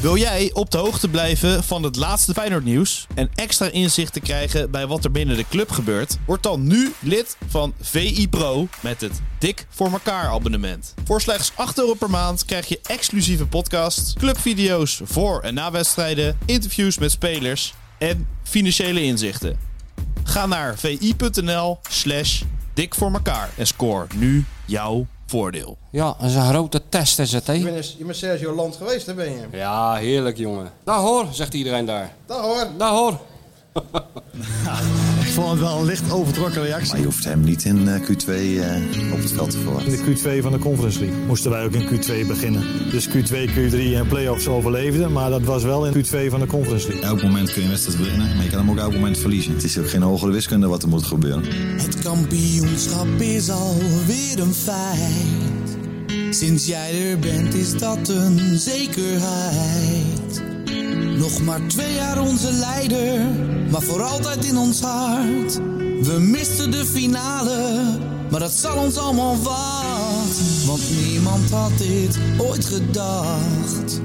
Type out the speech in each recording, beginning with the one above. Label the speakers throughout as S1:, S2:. S1: Wil jij op de hoogte blijven van het laatste Feyenoord nieuws en extra inzicht te krijgen bij wat er binnen de club gebeurt? Word dan nu lid van VI Pro met het Dik voor elkaar abonnement. Voor slechts 8 euro per maand krijg je exclusieve podcasts, clubvideo's voor en na wedstrijden, interviews met spelers en financiële inzichten. Ga naar vi.nl slash dik voor elkaar en score nu jouw voordeel.
S2: Ja, dat is een grote test is het,
S3: Je
S2: hè?
S3: bent, eens- je bent Sergio Land geweest, hè ben je?
S2: Ja, heerlijk, jongen. Daar hoor, zegt iedereen daar.
S3: Daar hoor.
S2: Daar hoor.
S4: Ik vond het wel een licht overtrokken reactie.
S5: Maar je hoeft hem niet in eh, Q2 eh, op het veld te verwachten.
S4: In de Q2 van de Conference League moesten wij ook in Q2 beginnen. Dus Q2, Q3 en playoffs overleefden, maar dat was wel in Q2 van de Conference League.
S5: Elk moment kun je een wedstrijd winnen, maar je kan hem ook elk moment verliezen. Het is ook geen hogere wiskunde wat er moet gebeuren.
S6: Het kampioenschap is alweer een feit. Sinds jij er bent is dat een zekerheid. Nog maar twee jaar onze leider, maar voor altijd in ons hart. We misten de finale, maar dat zal ons allemaal wat. Want niemand had dit ooit gedacht.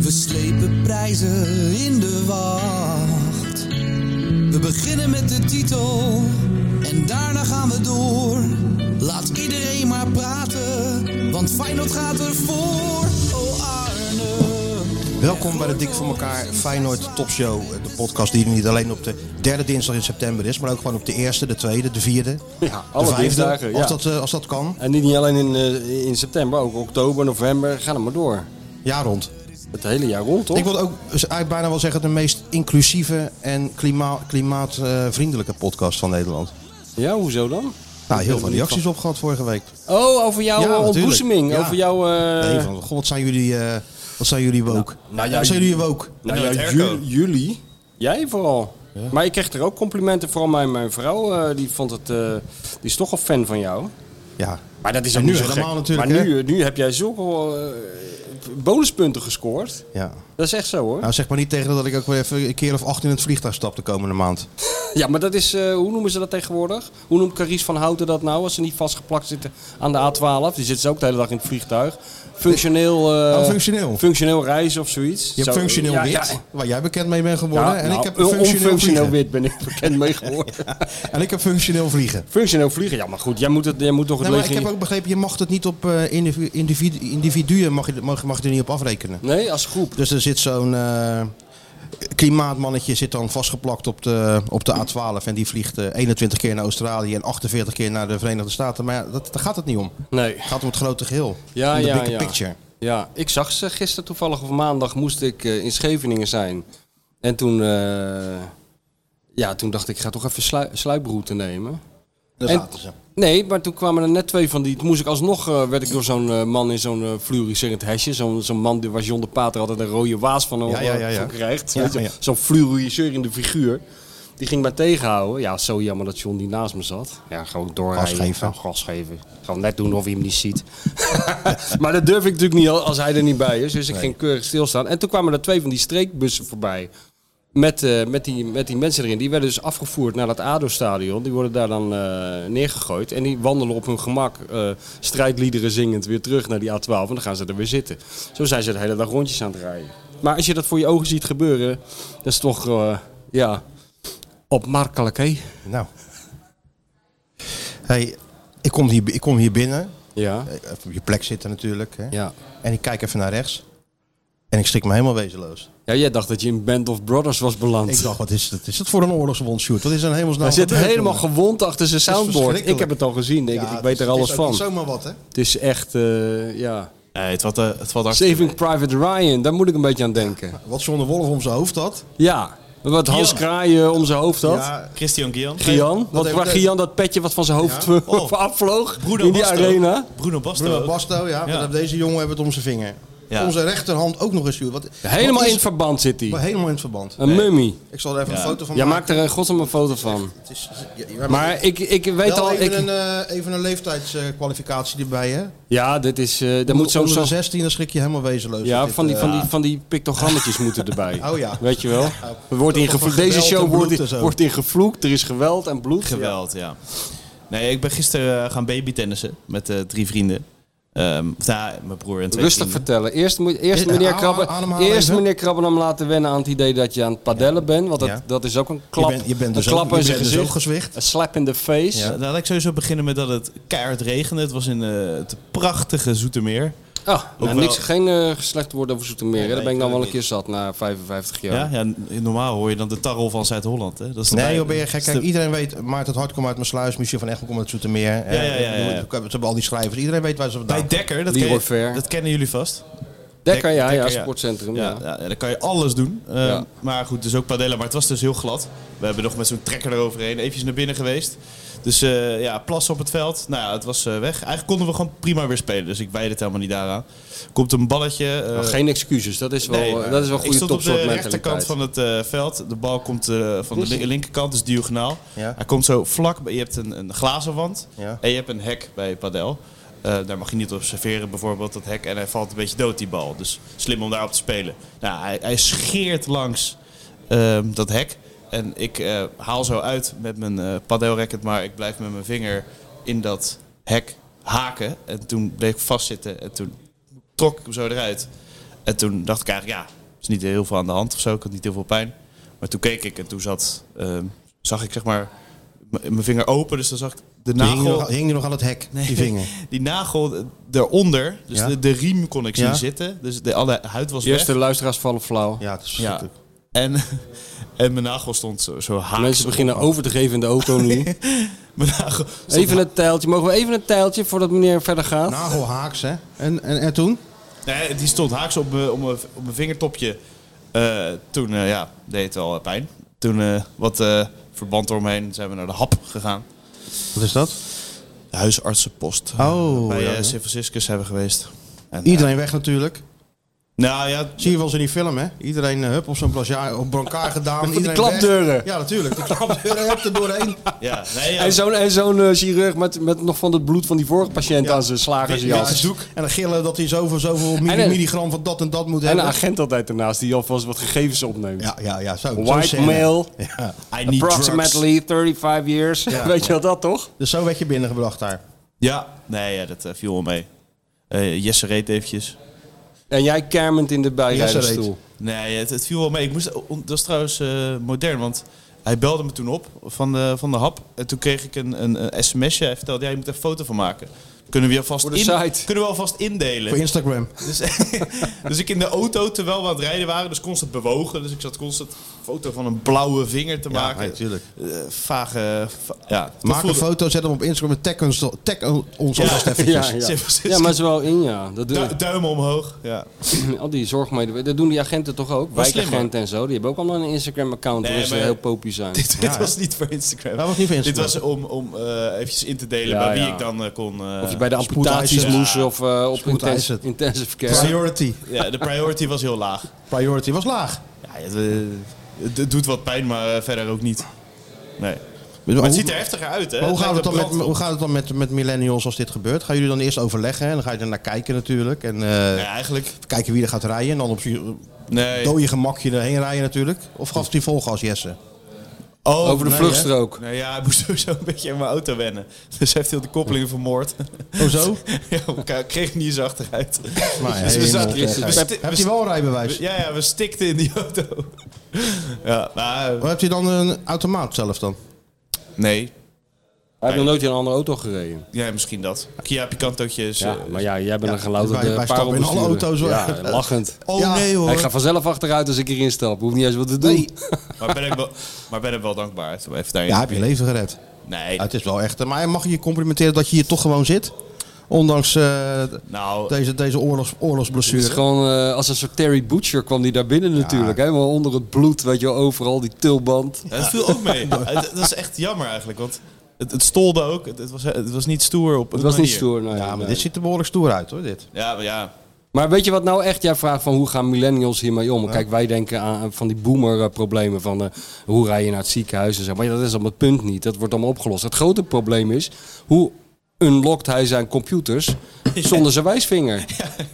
S6: We slepen prijzen in de wacht. We beginnen met de titel en daarna gaan we door. Laat iedereen maar praten, want Feyenoord gaat ervoor. Oh Arne.
S3: Welkom bij de Dik voor elkaar Feyenoord Topshow. Oh, eh, De podcast die niet alleen op de derde dinsdag in september is, maar ook gewoon op de eerste, de tweede, de vierde,
S2: Ja,
S3: de
S2: alle
S3: vijfde.
S2: dinsdagen, ja.
S3: als, dat, eh, als dat kan.
S2: En niet, niet alleen in, eh, in september, ook oktober, november. Ga er maar door.
S3: Jaar rond.
S2: Het hele jaar rond, toch?
S3: Ik wil ook eh, eigenlijk bijna wel zeggen de meest inclusieve en klima- klimaatvriendelijke podcast van Nederland.
S2: Ja, hoezo dan?
S3: Nou, heel veel reacties op gehad vorige week.
S2: Oh, over jouw
S3: Ja,
S2: eh, ontboezeming.
S3: natuurlijk. Ja.
S2: Over jouw... eh,
S3: Nee, van, god, wat zijn jullie, eh, wat zijn jullie woke?
S2: nou ja,
S3: wat zijn jullie woke?
S2: Nou
S1: Nooit
S2: ja,
S1: airco.
S2: ju- jullie. Jij vooral. Maar ik kreeg er ook complimenten. Vooral mijn, mijn vrouw, eh, die vond het... eh, die is toch al fan van jou.
S3: Ja.
S2: Maar dat is
S3: En
S2: ook
S3: nu
S2: niet zo
S3: helemaal
S2: gek.
S3: natuurlijk,
S2: Maar
S3: hè?
S2: nu, eh, nu heb jij zulke eh, bonuspunten gescoord.
S3: ja.
S2: Dat is echt zo, hoor.
S3: Nou, zeg maar niet tegen dat ik ook weer even een keer of acht in het vliegtuig stap de komende maand.
S2: Ja, maar dat is, eh, hoe noemen ze dat tegenwoordig? Hoe noemt Caries van Houten dat nou als ze niet vastgeplakt zitten aan de A12? Die zitten ze ook de hele dag in het vliegtuig. Functioneel, eh,
S3: Oh, functioneel.
S2: functioneel reizen of zoiets.
S3: Je hebt
S2: Zo,
S3: functioneel
S2: ja,
S3: wit,
S2: ja.
S3: waar jij bekend mee bent geworden.
S2: Ja,
S3: en,
S2: nou,
S3: ik heb functioneel
S2: onfunctioneel
S3: vliegen.
S2: wit ben ik bekend mee geworden.
S3: en ik heb functioneel vliegen.
S2: Functioneel vliegen, ja, maar goed, jij moet, het, jij moet toch het
S3: Nee, maar ik
S2: leger-
S3: heb ook begrepen, je mag het niet op eh, individu- individu- individuen mag je, mag, mag je er niet op afrekenen.
S2: Nee, als groep.
S3: Dus er zit zo'n eh, klimaatmannetje zit dan vastgeplakt op de, op de A12 en die vliegt eh, 21 keer naar Australië en 48 keer naar de Verenigde Staten. Maar ja, dat, daar gaat het niet om.
S2: Nee.
S3: Het gaat om het grote geheel.
S2: Ja,
S3: om de
S2: ja,
S3: bigger
S2: ja.
S3: picture.
S2: Ja, ik zag ze gisteren toevallig of maandag moest ik eh, in Scheveningen zijn. En toen, eh, ja, toen dacht ik, ik ga toch even slui- sluiproute nemen.
S3: Daar
S2: En-
S3: zaten ze.
S2: Nee, maar toen kwamen er net twee van die. Toen moest ik alsnog, eh, werd ik door zo'n eh, man in zo'n eh, fluoriserend hesje. Zo'n zo'n man die, waar John de Pater altijd een rode waas van,
S3: Ja, ja, ja, ja.
S2: van krijgt.
S3: Ja,
S2: Weet je,
S3: ja.
S2: Zo'n fluoriserende figuur. Die ging mij tegenhouden. Ja, zo jammer dat John die naast me zat. Ja, gewoon doorrijden.
S3: Gas geven.
S2: Gewoon Gas geven. Gewoon net doen of hij hem niet ziet. maar dat durf ik natuurlijk niet al- als hij er niet bij is. Dus ik ging keurig stilstaan. En toen kwamen er twee van die streekbussen voorbij. Met, eh, met, die, met die mensen erin. Die werden dus afgevoerd naar dat ADO-stadion. Die worden daar dan eh, neergegooid. En die wandelen op hun gemak, eh, strijdliederen zingend, weer terug naar die A12. En dan gaan ze er weer zitten. Zo zijn ze de hele dag rondjes aan het rijden. Maar als je dat voor je ogen ziet gebeuren, dat is toch, eh, ja, opmerkelijk, hè?
S3: Nou. Hey, ik kom hier, ik kom hier binnen.
S2: Ja.
S3: Even op je plek zitten natuurlijk. Hè.
S2: Ja.
S3: En ik kijk even naar rechts. En ik schrik me helemaal wezenloos.
S2: ja, jij dacht dat je in Band of Brothers was beland.
S3: Ik dacht, wat is dat, is dat voor een oorlogswond, shoot? Wat is er in hemelsnaam
S2: Hij zit
S3: gebeurd,
S2: helemaal
S3: jongen?
S2: gewond achter zijn soundboard.
S3: verschrikkelijk.
S2: Ik heb het al gezien, denk
S3: Ja,
S2: ik. Ik
S3: het
S2: weet
S3: is-
S2: er
S3: het
S2: alles
S3: is ook
S2: van.
S3: niet zomaar wat, hè?
S2: Het is echt, eh, ja...
S1: Nee, het valt, eh, het valt hartstikke
S2: Saving Private Ryan, daar moet ik een beetje aan denken.
S3: Wat John de Wolf om zijn hoofd had.
S2: Ja, wat Hans
S1: Gian.
S2: Kraaien eh, om zijn hoofd had.
S3: Ja,
S1: Christian Gian.
S2: Gian, wat
S3: heeft-
S2: waar
S3: dat-
S2: Gian dat petje wat van zijn hoofd eh,
S1: Oh.
S2: afvloog
S1: Bruno
S2: in die
S1: Basto.
S2: arena.
S1: Bruno Basto.
S3: Bruno
S1: ook.
S3: Basto, ja.
S1: Ja.
S3: maar Deze jongen hebben het om zijn vinger.
S1: Ja.
S3: onze rechterhand ook nog eens sturen. Want-
S2: Helemaal
S3: wat
S2: in
S3: is-
S2: het verband zit hij.
S3: Helemaal in het verband.
S2: Een mummie.
S3: Ik zal er even een foto van
S2: Jij
S3: maken.
S2: maakt er een godsom een foto van.
S3: Het is- ja, ja,
S2: Maar ik, ik weet
S3: wel
S2: al...
S3: even,
S2: Ik,
S3: een, eh, even een leeftijdskwalificatie erbij, hè?
S2: ja, dit is... eh daar moet zo'n...
S3: Onder
S2: zo-
S3: de 16, dan schrik je helemaal wezenloos.
S2: Ja,
S3: Dit,
S2: van die,
S3: eh,
S2: van, die, van die pictogrammetjes moeten erbij.
S3: Oh ja.
S2: Weet je wel? Er wordt
S3: Zo
S2: in
S3: van
S2: gevloekt.
S3: geweld
S2: Deze show
S3: en
S2: wordt
S3: bloed en
S2: in,
S3: zo.
S2: wordt in gevloekt. Er is geweld en bloed.
S1: Geweld, ja. Nee, ik ben gisteren eh, gaan babytennissen met eh, drie vrienden. Ehm of, nou, ja, mijn broer en twee
S2: Rustig
S1: vrienden.
S2: vertellen. Eerst, moet, eerst,
S3: Ja,
S2: meneer
S3: adem-
S2: Krabben,
S3: ademhalen
S2: eerst
S3: even.
S2: meneer Krabben hem laten wennen aan het idee dat je aan het padellen bent. Want dat,
S3: Ja.
S2: dat is ook een
S3: Je
S2: klap.
S3: bent, je bent dus
S2: een klap
S3: ook, je
S2: in zijn
S3: bent dus
S2: gezicht.
S3: ook gezwicht.
S2: Een slap in the face.
S1: Ja, Nou, laat ik sowieso beginnen met dat het keihard regende. Het was in eh, het prachtige Zoetermeer.
S2: Ah, nou,
S1: wel-
S2: niks, geen eh slecht woord over Zoetermeer. hè.
S1: Nee,
S2: Daar ben ik
S1: nee,
S2: nou wel een
S1: niet.
S2: keer zat na 55 jaar.
S1: Ja, ja, n- normaal hoor je dan de tarrel van Zuid-Holland. hè? Dat is
S3: Nee,
S1: erbij.
S3: joh, ben je gek.
S1: Dat is
S3: Kijk,
S1: de-
S3: iedereen weet, Maarten het Hart komt uit mijn sluis, Michiel van Echel komt uit Zoetermeer. Eh, Ja,
S1: ja, ja, ja, ja.
S3: Ze hebben al die schrijvers. Iedereen weet waar ze vandaan
S1: Bij
S3: komen.
S1: Dekker, dat,
S2: Leroy
S1: ken je-
S2: Fair.
S1: dat kennen jullie vast.
S2: Dekker, ja,
S1: Dekker,
S2: ja,
S1: ja.
S2: sportcentrum.
S1: Ja, eh,
S2: Ja.
S1: ja. ja, dan kan je alles doen. Ehm,
S2: Ja.
S1: Maar goed, dus ook padellen. Maar het was dus heel glad. We hebben nog met zo'n trekker eroverheen eventjes naar binnen geweest. Dus eh, ja, plassen op het veld. Nou ja, het was eh, weg. Eigenlijk konden we gewoon prima weer spelen. Dus ik wijde het helemaal niet daaraan. Komt een balletje. eh,
S2: Maar Geen excuses, dat is wel,
S1: nee,
S2: eh, dat is wel
S1: ik
S2: goede
S1: stond op de
S2: topsoort
S1: rechterkant
S2: mentaliteit.
S1: van het eh, veld. De bal komt eh, van de li- linkerkant, dus diagonaal.
S3: Ja.
S1: Hij komt zo vlak. bij- Je hebt een, een glazen wand
S3: Ja.
S1: en je hebt een hek bij Padel. Eh, daar mag je niet op serveren bijvoorbeeld, dat hek. En hij valt een beetje dood, die bal. Dus slim om daarop te spelen. Nou, hij, hij scheert langs ehm, dat hek. En ik eh, haal zo uit met mijn eh padelracket, maar ik blijf met mijn vinger in dat hek haken. En toen bleef ik vastzitten en toen trok ik hem zo eruit. En toen dacht ik eigenlijk, ja, er is niet heel veel aan de hand of zo. Ik had niet heel veel pijn. Maar toen keek ik en toen zat, ehm, zag ik zeg maar m- mijn vinger open. Dus dan zag ik de
S3: Die hing, je
S1: nagel,
S3: nog, hing je nog aan het hek, die vinger.
S1: die nagel eronder. Dus
S3: Ja.
S1: de, de riem kon ik zien
S3: Ja.
S1: zitten. Dus de, alle huid was
S2: De eerste
S1: weg.
S2: luisteraars vallen flauw.
S3: Ja, het is
S1: Ja.
S3: verschrikkelijk.
S1: En, en mijn nagel stond zo, zo haaks.
S2: Mensen beginnen over te geven in de auto nu.
S1: Mijn nagel stond
S2: Even een tijltje. Mogen we even een tijltje voordat meneer verder gaat?
S3: Nagel haaks, hè? En, en, en toen?
S1: Nee, die stond haaks op mijn, op mijn, op mijn vingertopje. Eh, toen eh, ja, deed het wel eh, pijn. Toen eh, wat eh, verband eromheen zijn we naar de hap gegaan.
S3: Wat is dat?
S1: De huisartsenpost.
S3: Oh,
S1: bij
S3: ja,
S1: eh,
S3: ja.
S1: San Francisco zijn we geweest. En,
S3: Iedereen weg natuurlijk.
S1: eh, nou ja,
S3: Zie je wel eens in die film, hè? Iedereen eh, hup op zo'n blasjaar, op brancard gedaan.
S2: die
S3: iedereen
S2: klapdeuren.
S3: weg. Ja, natuurlijk. Die klapdeuren heb er doorheen.
S1: ja, nee, ja.
S2: En zo'n en zo'n eh, chirurg met, met nog van het bloed van die vorige patiënt
S3: Ja.
S2: aan zijn
S3: Ja,
S2: slagersjas.
S3: en dan gillen dat hij zoveel, zoveel milli-
S2: En een-
S3: milligram van dat en dat moet
S2: en
S3: hebben.
S2: een agent altijd ernaast die alvast wat gegevens opneemt.
S3: Ja, ja, ja. Zo, zo'n
S2: White
S3: scène.
S2: male,
S3: Ja.
S1: I need drugs.
S2: approximately 35 years.
S3: Ja.
S2: Weet je wel dat toch?
S3: Dus zo werd je binnengebracht daar.
S1: Ja, nee, ja, dat eh, viel wel mee. Eh, Jesse reed eventjes.
S2: En jij kermend in de bijrijdersstoel.
S1: Nee, het, het viel wel mee. Ik moest, on- dat is trouwens eh, modern, want hij belde me toen op van de, van de hap. En toen kreeg ik een, een, een sms'je. Hij vertelde, ja, je moet er een foto van maken. Kunnen we, je alvast
S2: Voor de
S1: in-
S2: site.
S1: kunnen we alvast indelen.
S3: Voor Instagram.
S1: Dus, dus ik in de auto, terwijl we aan het rijden waren, dus constant bewogen. Dus ik zat constant een foto van een blauwe vinger te maken.
S3: nee, tuurlijk.
S1: Eh, vage... va- ja, dat
S3: Maak een
S1: voelde-
S3: foto, zet hem op Instagram en tag ons, tag ons alvast eventjes.
S2: Ja, ja.
S1: San Francisco.
S2: ja, maar is wel in, ja. Dat doen
S1: Du- duimen omhoog. Ja.
S2: al die zorgmedewerkers. Dat doen die agenten toch ook?
S1: Wel slim,
S2: Wijkagenten en zo. Die hebben ook allemaal een Instagram-account
S1: Nee,
S2: waarin ze
S1: maar-
S2: heel popie zijn.
S1: Dit, dit was niet voor Instagram.
S3: Dat was niet voor
S1: Dit
S3: Instagram.
S1: was om, om eh, eventjes in te delen
S2: Ja,
S1: bij wie
S2: ja.
S1: ik dan eh, kon... eh,
S2: Of je bij de amputaties
S3: spoedeisen.
S2: moest of eh, op intensive,
S3: Spoedeisen.
S2: intensive care.
S3: Priority.
S1: ja, de priority was heel laag.
S3: Priority was laag.
S1: Ja, het, eh, het, het doet wat pijn, maar eh, verder ook niet. Nee. Maar
S3: Maar
S1: het
S3: hoe-
S1: ziet er heftiger uit, hè?
S3: maar hoe, gaat
S1: lijkt
S3: het dan
S1: een
S3: met,
S1: brand-
S3: hoe gaat het dan met, met millennials als dit gebeurt? Gaan jullie dan eerst overleggen en dan ga je er naar kijken natuurlijk. En eh,
S1: Ja, eigenlijk...
S3: kijken wie er gaat rijden en dan op je
S1: Nee.
S3: dode gemakje erheen rijden natuurlijk. Of gaf hij volgas Jesse?
S1: Oh,
S2: Over de
S1: nee, hè?
S2: vluchtstrook.
S1: Nou ja, hij moest sowieso een beetje aan mijn auto wennen. Dus hij heeft heel de koppeling vermoord.
S3: Oh zo?
S1: ja, elkaar kreeg niet eens achteruit.
S3: Maar
S1: Dus we
S3: helemaal
S1: zaten-
S3: gek.
S1: we
S3: Heb
S1: sti-
S3: heb
S1: we
S3: je wel een rijbewijs?
S1: sti- Ja, ja, we stikten in die auto. ja, nou,
S3: Of heb je dan een automaat zelf dan?
S1: nee.
S2: Hij heeft nog nooit in een andere auto gereden.
S1: Ja, misschien dat. Kia Picantootjes.
S2: Ja,
S1: eh,
S2: maar ja, jij bent een
S3: wij-
S2: gelouterde
S3: wij stappen in alle
S2: parelbestuurder.
S3: auto's, hoor.
S2: Ja, lachend.
S3: Oh nee
S2: Ik ga vanzelf achteruit als ik hierin stap. Hoef niet eens wat te doen.
S1: Maar ben ik wel, maar ben ik wel dankbaar. Zo Even daarin.
S3: Ja, heb je leven gered.
S1: Nee,
S3: Ja, het is wel echt. eh, Maar mag je je complimenteren dat je hier toch gewoon zit? Ondanks eh,
S1: nou,
S3: deze, deze oorlogs,
S2: Het is
S3: oorlogsblessure.
S2: gewoon eh, als een soort Terry Butcher kwam die daar binnen natuurlijk. Helemaal onder het bloed, weet je wel, overal die tulband.
S1: het viel ook mee. Het- Dat is echt jammer eigenlijk, want het, het stolde ook. Het, het was, het was niet stoer op een
S2: Het was niet
S1: manier.
S2: stoer. nou nee,
S3: Ja, maar
S2: nee.
S3: dit ziet er behoorlijk stoer uit hoor. Dit.
S1: Ja, maar ja.
S2: Maar weet je wat nou echt, jij vraagt van hoe gaan millennials hiermee om? Kijk, wij denken aan aan van die boomer-problemen van eh, hoe rij je naar het ziekenhuis en zo. Maar ja, dat is allemaal het punt niet. Dat wordt allemaal opgelost. Het grote probleem is, hoe unlockt hij zijn computers zonder zijn wijsvinger?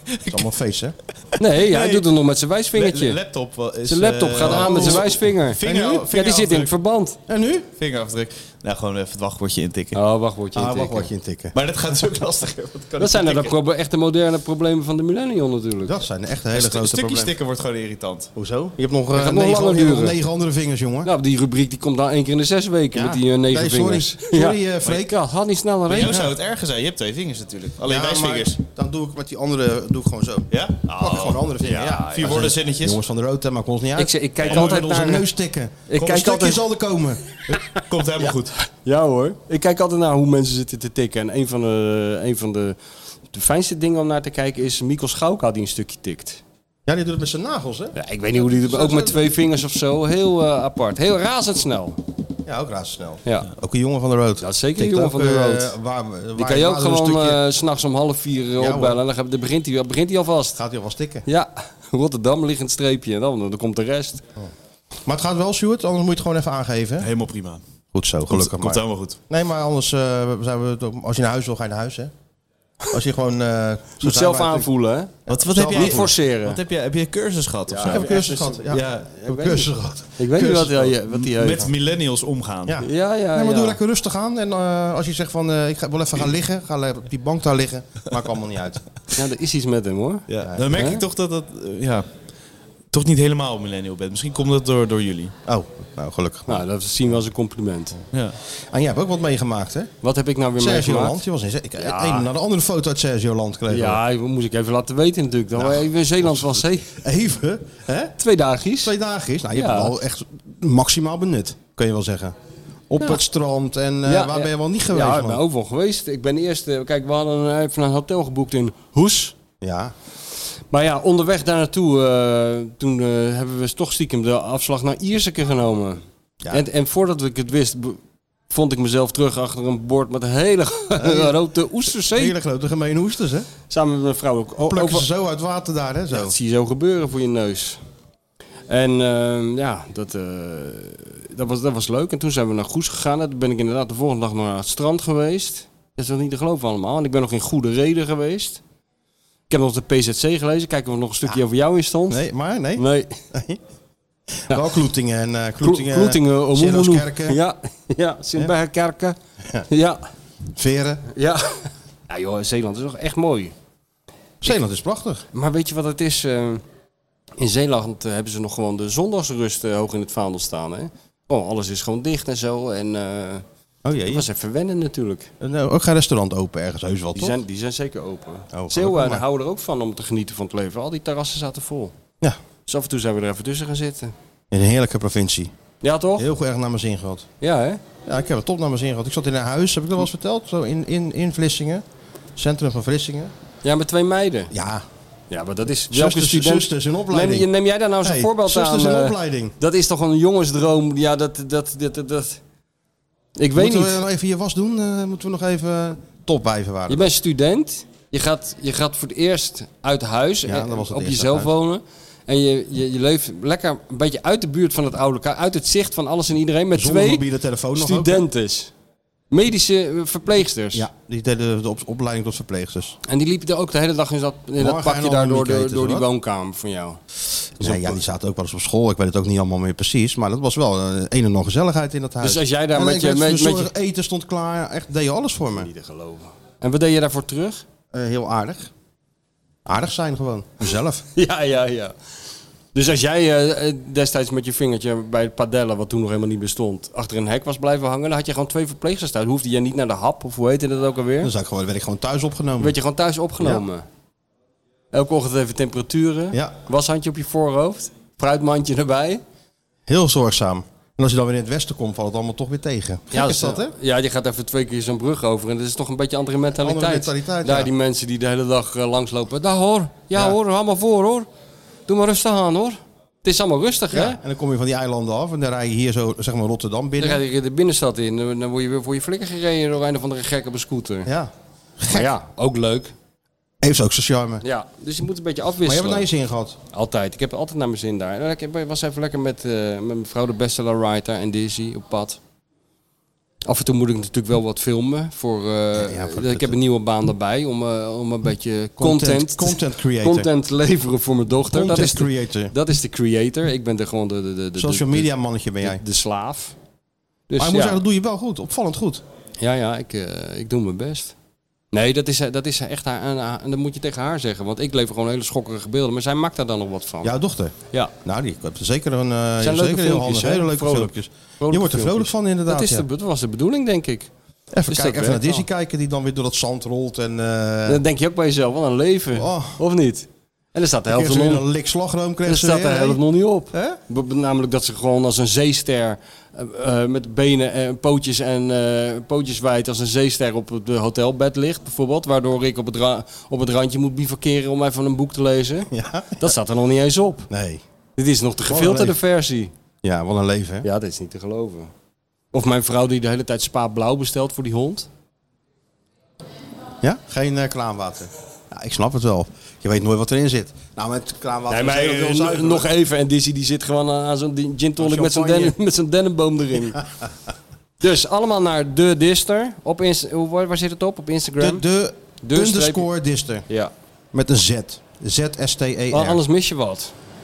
S3: Het is allemaal face, hè?
S2: Nee, hij doet het nog met zijn wijsvingertje.
S1: De laptop wel is,
S2: zijn laptop gaat
S3: Oh.
S1: eh,
S2: aan met zijn wijsvinger.
S1: Vinger-
S2: En nu? ja, die zit in het
S1: vingerafdruk.
S2: verband.
S3: En nu?
S1: Vingerafdruk. Nou, gewoon even het wachtwoordje intikken.
S2: Oh, wachtwoordje.
S3: Ah,
S2: intikken.
S3: wacht wat je intikken.
S1: Maar dat gaat dus ook lastiger. want kan
S2: Dat
S1: ik
S2: zijn
S1: niet
S2: nou de
S1: tikken.
S2: proble- echte moderne problemen van de millennial natuurlijk.
S3: Dat zijn echt hele
S1: Stu-
S3: grote
S1: stukjes
S3: problemen.
S1: stikken wordt gewoon irritant.
S3: Hoezo? Je hebt nog, eh,
S2: gaat nog langer
S3: negen, je hebt nog
S2: duren.
S3: negen andere vingers, jongen.
S2: Nou, die rubriek die komt dan één keer in de zes weken
S3: Ja.
S2: met die eh, negen
S3: Nee, sorry.
S2: vingers.
S3: Sorry, eh, Freek.
S2: Ja, had niet sneller
S1: Bij
S2: heen.
S1: jou zou het erger zijn. Je hebt twee vingers natuurlijk. Alleen
S3: Ja,
S1: wijsvingers.
S3: maar Dan doe ik met die andere doe ik gewoon zo.
S1: Ja? Oh.
S3: Pak ik gewoon andere vinger. Ja,
S1: Ja, vier woorden zinnetjes.
S3: Jongens van de rood, hè, maakt ons niet uit.
S2: Ik, zeg- ik kijk
S3: Gewoon
S2: altijd
S3: met onze
S2: naar...
S3: neus stikken.
S2: Ik
S3: Kom,
S2: kijk
S3: een stukje
S2: altijd-
S3: zal er komen.
S1: Komt helemaal goed.
S2: Ja hoor. Ik kijk altijd naar hoe mensen zitten te tikken. En een van de, een van de, de fijnste dingen om naar te kijken is Mikkel Schauka die een stukje tikt.
S3: Ja, die doet het met zijn nagels, hè?
S2: Ja, ik weet niet hoe die doet, maar ook met twee vingers of zo. Heel eh, apart. Heel razendsnel.
S3: Ja, ook razendsnel.
S2: Ja.
S3: Ook een jongen van de rood.
S2: Dat is zeker een
S3: Tikt
S2: jongen van
S3: ook,
S2: de
S3: eh,
S2: rood.
S3: waar- waar-
S2: Die kan je
S3: waar
S2: ook
S3: er een
S2: gewoon
S3: stukje-
S2: eh, s s'nachts om half vier eh,
S3: hoor.
S2: opbellen. En dan gaat- dan begint hij begint hij alvast.
S3: Gaat hij alvast tikken.
S2: Ja, Rotterdam ligt een streepje. En dan, dan komt de rest.
S3: Maar het gaat wel, Stuart, anders moet je het gewoon even aangeven. hè?
S1: Helemaal prima.
S3: Goed zo,
S1: Komt,
S3: gelukkig
S1: komt
S3: maar.
S1: helemaal goed.
S3: Nee, maar anders eh, zijn we... toch- Als je naar huis wil, ga je naar huis, hè? Als je gewoon... eh
S2: Je moet zelf aanvoelen, hè?
S1: Wat, wat heb
S3: Zal
S1: jij
S3: niet
S2: Niet
S1: voor...
S2: forceren.
S1: Wat heb je, heb je een cursus gehad of
S3: Ik
S1: zo?
S3: heb een cursus gehad. Ja,
S1: Ja,
S3: ik heb een cursus gehad.
S2: Ik weet niet wat hij wat hij heeft.
S1: Met millennials omgaan.
S3: Ja.
S2: Ja, ja,
S3: Nee, maar doe
S2: ja.
S3: lekker rustig aan. En eh, als je zegt van, eh, ik ga, wil even gaan liggen, ga le- op die bank daar liggen. Maakt allemaal niet uit.
S2: Ja, er is iets met hem, hoor.
S1: Ja, Dan merk
S2: Hè?
S1: ik toch dat dat... eh, Ja, toch niet helemaal millennial bent. Misschien komt dat door, door jullie.
S3: Oh, nou gelukkig.
S2: Nou, dat zien we als een compliment.
S1: Ja.
S3: En jij hebt ook wat meegemaakt, hè?
S2: Wat heb ik nou weer
S3: Sergio
S2: meegemaakt?
S3: Land. Je was in, ik, een naar de andere foto uit Sergio Land kregen.
S2: Ja, ik- moest ik even laten weten natuurlijk.
S3: Nou.
S2: Dan was even in Zeeland van zee.
S3: we. Even, hè?
S2: Twee dagjes.
S3: Twee dagen is. Nou, je
S2: Ja.
S3: hebt het wel echt maximaal benut, kun je wel zeggen. Op het strand en eh, waar ben je wel niet geweest,
S2: Ja, ik
S3: man?
S2: ben overal geweest. Ik ben eerst... eh, Kijk, we hadden even een hotel geboekt in Hoes.
S3: Ja.
S2: Maar ja, onderweg daar naartoe, eh, toen eh, hebben we toch stiekem de afslag naar Ierseke genomen. En, en voordat ik het wist, be- vond ik mezelf terug achter een bord met een hele grote oesterzee.
S3: Hele grote gemene hoesters, hè?
S2: Samen met mijn vrouw ook. O-
S3: Plukken ze
S2: over-
S3: zo uit water daar, hè? Zo.
S2: dat zie je zo gebeuren voor je neus. En ehm, ja, dat, eh, dat, was, dat was leuk. En toen zijn we naar Goes gegaan. En toen ben ik inderdaad de volgende dag nog naar het strand geweest. Dat is wel niet te geloven allemaal. En ik ben nog in goede reden geweest. Ik heb nog de PZC gelezen. Kijken of er nog een stukje over jou in stond.
S3: Nee, maar nee.
S2: Nee,
S3: Wel Kloetingen en eh
S2: Kloetingen,
S3: Kloetingen,
S2: Kloetingen om-
S3: Sint-Rooskerken.
S2: Ja, ja Sint-Bergkerken. Ja,
S3: Veren.
S2: ja. Ja joh, Zeeland is toch echt mooi.
S3: Zeeland is prachtig.
S2: Maar weet je wat het is? eh, in Zeeland eh, hebben ze nog gewoon de zondagsrust eh, hoog in het vaandel staan. Hè? Oh, alles is gewoon dicht en zo. En eh
S3: Oh
S2: dat
S3: jee.
S2: was even wennen natuurlijk.
S3: Nou, ook geen restaurant open ergens, heus wel
S2: Die
S3: toch?
S2: zijn, die zijn zeker open.
S3: gelukkig
S2: Zeeuwen
S3: maar.
S2: houden er ook van om te genieten van het leven. Al die terrassen zaten vol.
S3: Ja,
S2: Dus af en toe zijn we er even tussen gaan zitten.
S3: in een heerlijke provincie.
S2: Ja toch?
S3: Heel goed erg naar mijn zin gehad.
S2: Ja hè?
S3: Ja, ik heb het top naar mijn zin gehad. Ik zat in een huis, heb ik dat wel eens verteld, zo in, in, in Vlissingen. Centrum van Vlissingen.
S2: Ja, met twee meiden.
S3: Ja,
S2: Ja, maar dat is...
S3: zusters, zusters in opleiding.
S2: Neem, neem jij daar nou eens een
S3: Hey,
S2: voorbeeld aan?
S3: zusters in
S2: eh,
S3: opleiding.
S2: Dat is toch een jongensdroom? Ja, dat... dat, dat, dat, dat. Ik weet
S3: Moeten
S2: niet.
S3: we nog even je was doen? Eh, moeten we nog even topwijven waren?
S2: Je bent student. Je gaat, je gaat voor het eerst uit huis.
S3: Ja,
S2: en
S3: dat was het
S2: op
S3: eerst
S2: jezelf
S3: uit huis.
S2: wonen. En je, je, je leeft lekker een beetje uit de buurt van het oude elkaar. Uit het zicht van alles en iedereen. Met
S3: Zonder
S2: twee
S3: mobiele telefoon nog ook.
S2: studentes. Medische eh, verpleegsters.
S3: Ja, die deden de op- opleiding tot verpleegsters.
S2: En die liepen er ook de hele dag in dat, in dat
S3: Morgen
S2: pakje
S3: en
S2: daar
S3: allemaal
S2: door, de-
S3: weekenden,
S2: door die
S3: hoor.
S2: woonkamer van jou.
S3: Nee, ja, die zaten ook wel eens op school. Ik weet het ook niet allemaal meer precies. Maar dat was wel eh, een en al gezelligheid in dat huis.
S2: Dus als jij daar
S3: En
S2: met
S3: ik
S2: je-
S3: werd
S2: met- met je-
S3: verzorgd, eten stond klaar. Echt, deed je alles voor me.
S2: te geloven. En wat deed je daarvoor terug?
S3: Eh, heel aardig. Aardig zijn gewoon. Mezelf.
S2: Ja, ja, ja. Dus als jij eh, eh, destijds met je vingertje bij het padellen, wat toen nog helemaal niet bestond, achter een hek was blijven hangen, dan had je gewoon twee verpleegsters thuis. Hoefde je niet naar de hap, of hoe heette dat ook alweer?
S3: Dan
S2: Dan
S3: zou ik gewoon, werd ik gewoon thuis opgenomen.
S2: werd je gewoon thuis opgenomen. Elke ochtend even temperaturen,
S3: Ja.
S2: washandje op je voorhoofd, fruitmandje erbij.
S3: Heel zorgzaam. En als je dan weer in het westen komt, valt het allemaal toch weer tegen. Gek is dat, hè?
S2: Ja, eh, je gaat even twee keer zo'n brug over en dat is toch een beetje andere mentaliteit.
S3: Andere mentaliteit,
S2: Daar
S3: ja.
S2: die mensen die de hele dag eh, langslopen. Daar hoor, ja, hoor, hou maar voor hoor. Doe maar rustig aan hoor. Het is allemaal rustig
S3: Ja.
S2: hè.
S3: En dan kom je van die eilanden af en dan rij je hier zo, zeg maar, Rotterdam
S2: Dan ga
S3: binnen.
S2: je weer de binnenstad in. Dan dan word je weer voor je flikker gereden door een of andere gek op een scooter.
S3: Ja.
S2: Maar ja, ook leuk.
S3: Heeft ook zijn charme. Maar
S2: Ja, dus je moet een beetje
S3: je hebt
S2: afwisselen.
S3: het naar je zin gehad.
S2: Altijd. Ik heb altijd naar mijn zin daar. En Ik was even lekker met, eh, met mevrouw de bestseller writer en Dizzy op pad. Af en toe moet ik natuurlijk wel wat filmen. Voor, eh,
S3: ja, voor
S2: ik
S3: het-
S2: heb een nieuwe baan daarbij om, eh, om een beetje content,
S3: Content- content creator.
S2: content te leveren voor mijn dochter.
S3: Content
S2: dat is de,
S3: creator.
S2: Dat is de creator. Ik ben de, gewoon de, de, de, de-
S3: Social
S2: de-
S3: media mannetje ben
S2: de,
S3: jij.
S2: de slaaf. Dus
S3: Maar ik
S2: ja,
S3: moet zeggen, dat doe je wel goed. Opvallend goed.
S2: ja, ja ik, eh, ik doe mijn best. Nee, dat is, dat is echt haar, aan haar- en dat moet je tegen haar zeggen. Want ik lever gewoon hele schokkerige beelden. Maar zij maakt daar dan nog wat van.
S3: Jouw dochter.
S2: ja.
S3: Nou, die hebt zeker een eh, je
S2: zijn
S3: hebt
S2: leuke
S3: zeker heel
S2: filmpjes,
S3: handig.
S2: hè?
S3: Hele leuke
S2: Vrolijk.
S3: filmpjes.
S2: Vrolijke
S3: je wordt er vrolijk
S2: filmpjes.
S3: van inderdaad.
S2: Dat, is
S3: ja.
S2: de, dat was de bedoeling, denk ik.
S3: Even,
S2: dus dat
S3: kijken,
S2: werkt
S3: even naar Disney
S2: wel.
S3: kijken die dan weer door dat zand rolt. En eh
S2: Dan denk je ook bij jezelf, wat een leven.
S3: Oh.
S2: Of niet? En er staat de
S3: kreeg
S2: helft
S3: ze
S2: nog,
S3: weer
S2: er
S3: een lik slagroom. Kreeg ze
S2: staat de
S3: weer, hè?
S2: helft nog niet op.
S3: Hè?
S2: B- b- Namelijk dat ze gewoon als een zeester eh, eh, met benen en pootjes en eh, pootjes wijd als een zeester op het eh, hotelbed ligt, bijvoorbeeld. Waardoor ik op het, ra- op het randje moet bivakeren om even een boek te lezen.
S3: Ja.
S2: Dat staat er nog niet eens op.
S3: Nee.
S2: Dit is nog de
S3: een
S2: gefilterde
S3: leven.
S2: versie.
S3: Ja, wat een leven, hè?
S2: Ja, dat is niet te geloven. Of mijn vrouw die de hele tijd spa blauw bestelt voor die hond.
S3: Ja? Geen eh, kraanwater. Ja, ik snap het wel. Je weet nooit wat erin zit. Nou, met kraanwater...
S2: Nee, maar
S3: is heel veel
S2: eh,
S3: zuiver.
S2: nog even. En Dizzy die zit gewoon eh, aan aan zo'n di- gin tonic met zo'n,
S3: Champagne.
S2: dennen- met zo'n dennenboom erin. dus allemaal naar de Dister. Op Inst- hoe- waar, waar zit het op? Op
S3: De,
S2: Instagram?
S3: de,
S2: De
S3: underscore dister.
S2: ja.
S3: Met een Z. Z-S-T-E-R.
S2: Want anders mis je wat.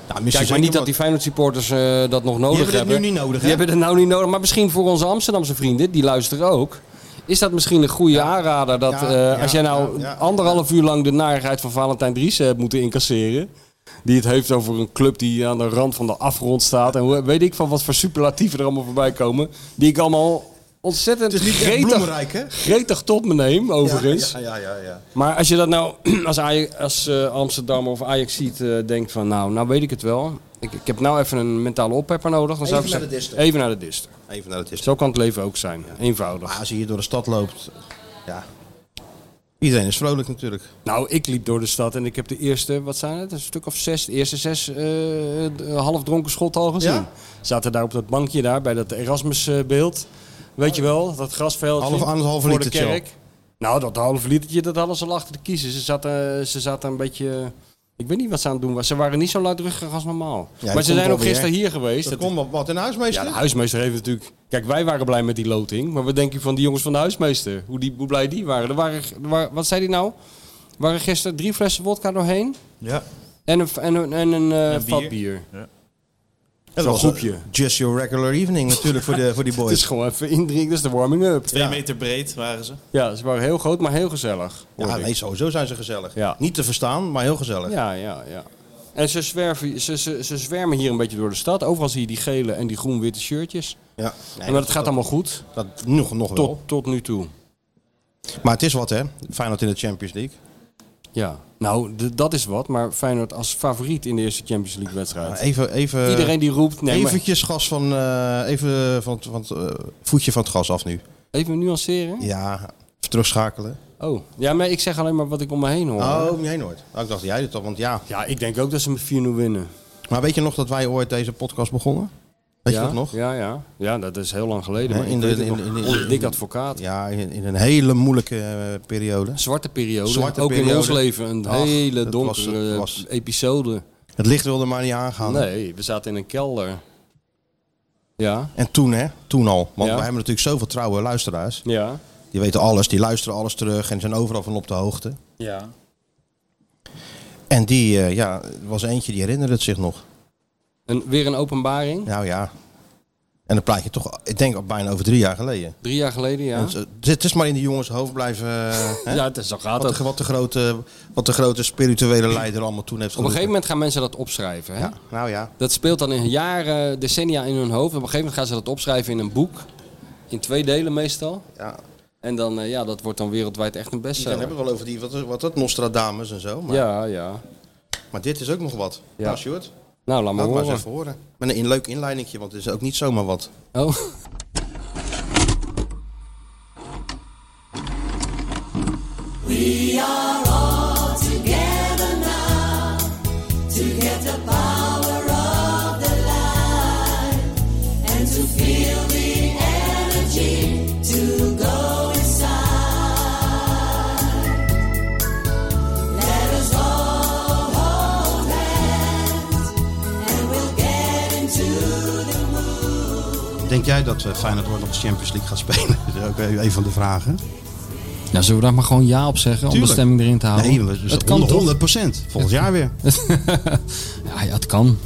S3: Nou, misschien
S2: Kijk, maar
S3: zeker
S2: niet dat
S3: wat.
S2: die Feyenoord supporters eh, dat nog nodig
S3: hebben dit
S2: hebben.
S3: nu niet nodig,
S2: Die
S3: hè?
S2: hebben het nou niet nodig. Maar misschien voor onze Amsterdamse vrienden, die luisteren ook. Is dat misschien een goede aanrader? Dat
S3: Ja,
S2: eh,
S3: ja,
S2: als jij nou
S3: ja, ja.
S2: anderhalf uur lang de narigheid van Valentijn Driessen hebt moeten incasseren. Die het heeft over een club die aan de rand van de afgrond staat. En hoe- weet ik van wat voor superlatieven er allemaal voorbij komen. Die ik allemaal ontzettend
S3: Het is niet echt
S2: gretig,
S3: bloemenrijk, hè?
S2: gretig tot me neem, overigens.
S3: Ja, ja, ja, ja.
S2: Maar als je dat nou als, Aj- als eh, Amsterdam of Ajax ziet, eh, denkt van nou, nou weet ik het wel. Ik, ik heb nou even een mentale oppepper nodig. Dan zou
S3: Even
S2: ik zeggen,
S3: naar de dister.
S2: Even naar de dister.
S3: Even naar het dister.
S2: Zo kan het leven ook zijn. Eenvoudig.
S3: Maar als je hier door de stad loopt... Ja. Iedereen is vrolijk natuurlijk.
S2: Nou, ik liep door de stad en ik heb de eerste, wat zijn het? Een stuk of zes, de eerste zes eh, d- half dronken schotten al gezien.
S3: Ja?
S2: Zaten daar op dat bankje daar, bij dat Erasmus-beeld. Weet je wel, dat grasveld
S3: Half- anderhalf
S2: voor de
S3: litertje al.
S2: kerk. Nou, dat half litertje, dat hadden ze al achter de kiezen. Ze zaten, ze zaten een beetje... Ik weet niet wat ze aan het doen was. Ze waren niet zo luidruchtig als normaal.
S3: dat
S2: maar ze
S3: komt
S2: zijn
S3: wel
S2: ook gisteren
S3: weer.
S2: hier geweest.
S3: Dat
S2: Dat-
S3: komt wat, wat in
S2: ja,
S3: huismeester.
S2: de huismeester heeft natuurlijk... Kijk, wij waren blij met die loting. Maar wat denk je van die jongens van de huismeester? Hoe, die, hoe blij die waren. Er waren, er waren- wat zei die nou? Er waren gisteren drie flessen wodka doorheen.
S1: Ja.
S2: En een, en een, en een eh, vat bier.
S3: dat
S2: zo'n
S3: was een-
S2: groepje.
S3: eh, Just your regular evening natuurlijk voor, de, voor die
S2: Het is
S3: boys.
S2: gewoon even indrinken. Dat is de warming-up.
S1: Twee meter breed waren ze.
S2: Ja, ze waren heel groot, maar heel gezellig.
S3: Ja,
S2: hoorde ik.
S3: nee, sowieso zijn ze gezellig.
S2: Ja.
S3: Niet te verstaan, maar heel gezellig.
S2: ja, ja, ja. En ze, zwerven, ze, ze, ze zwermen hier een beetje door de stad. Overal zie je die gele en die groen-witte shirtjes.
S3: Ja. Nee,
S2: maar dat gaat allemaal goed.
S3: dat, nog, nog wel.
S2: Tot, tot nu toe.
S3: Maar het is wat, hè? Feyenoord in de Champions League.
S2: Ja. Nou, d- dat is wat. Maar Feyenoord als favoriet in de eerste Champions League-wedstrijd.
S3: Even, even,
S2: Iedereen die roept... Nee, maar
S3: Eh, eventjes gas van, eh, even van, het- van het eh, voetje van het gas af nu.
S2: even nuanceren.
S3: Ja, even terugschakelen.
S2: Oh. Ja, maar ik zeg alleen maar wat ik om me heen hoor.
S3: Oh, nee, nooit. Oh, ik dacht jij dit al, want ja.
S2: Ja, ik denk ook dat ze met 4-0 winnen.
S3: Maar weet je nog dat wij ooit deze podcast begonnen? Weet
S2: ja?
S3: je dat nog?
S2: Ja, ja. ja, dat is heel lang geleden.
S3: Hè,
S2: Maar in
S3: in de-
S2: de,
S3: in de- in de-
S2: dik advocaat.
S3: Ja, in, in een hele moeilijke eh, periode.
S2: Zwarte periode.
S3: Zwarte
S2: ook in
S3: periode.
S2: ons leven een
S3: Ach,
S2: hele
S3: het was-
S2: donkere
S3: het was- Ah.
S2: episode.
S3: Het licht wilde maar niet aangaan.
S2: Nee, we zaten in een kelder. Ja,
S3: En toen, hè? Toen al. Want
S2: Ja.
S3: we hebben natuurlijk zoveel trouwe luisteraars.
S2: ja.
S3: Die weten alles, die luisteren alles terug en zijn overal van op de hoogte.
S2: Ja.
S3: En die, eh, ja, er was eentje die herinnerde het zich nog.
S2: En weer een openbaring.
S3: Nou ja. En dan praat je toch, ik denk al bijna over drie jaar geleden.
S2: Drie jaar geleden, ja.
S3: Dus, eh, het is maar in de jongens hoofd blijven. eh, hè?
S2: Ja, het is, zo gaat
S3: wat,
S2: dat.
S3: de, wat, de grote, wat de grote spirituele leider allemaal toen heeft
S2: Op een
S3: geroepen.
S2: gegeven moment gaan mensen dat opschrijven. Hè?
S3: Ja, nou ja.
S2: Dat speelt dan in jaren, decennia in hun hoofd. Op een gegeven moment gaan ze dat opschrijven in een boek. In twee delen meestal.
S3: ja.
S2: En dan, eh, ja, dat wordt dan wereldwijd echt een
S3: Dan hebben
S2: bestseller.
S3: we het wel over die, wat, wat dat, Nostradamus en zo. Maar,
S2: Ja, ja.
S3: maar dit is ook nog wat.
S2: Ja.
S3: Nou, Sjoerd,
S2: Nou, laat maar
S3: laat maar eens
S2: horen.
S3: even horen. Met een in- leuk inleidingje, want het is ook niet zomaar wat.
S2: Oh.
S7: Let
S3: jij dat eh, Feyenoord ooit nog de Champions League gaat spelen? Dat is ook eh, een van de vragen.
S7: Nou, zullen we daar maar gewoon ja op zeggen om
S3: Tuurlijk.
S7: de stemming erin te houden?
S3: Nee, we- we-
S7: het kan toch?
S3: 100 procent. Volgend jaar weer.
S7: ja, ja, het kan.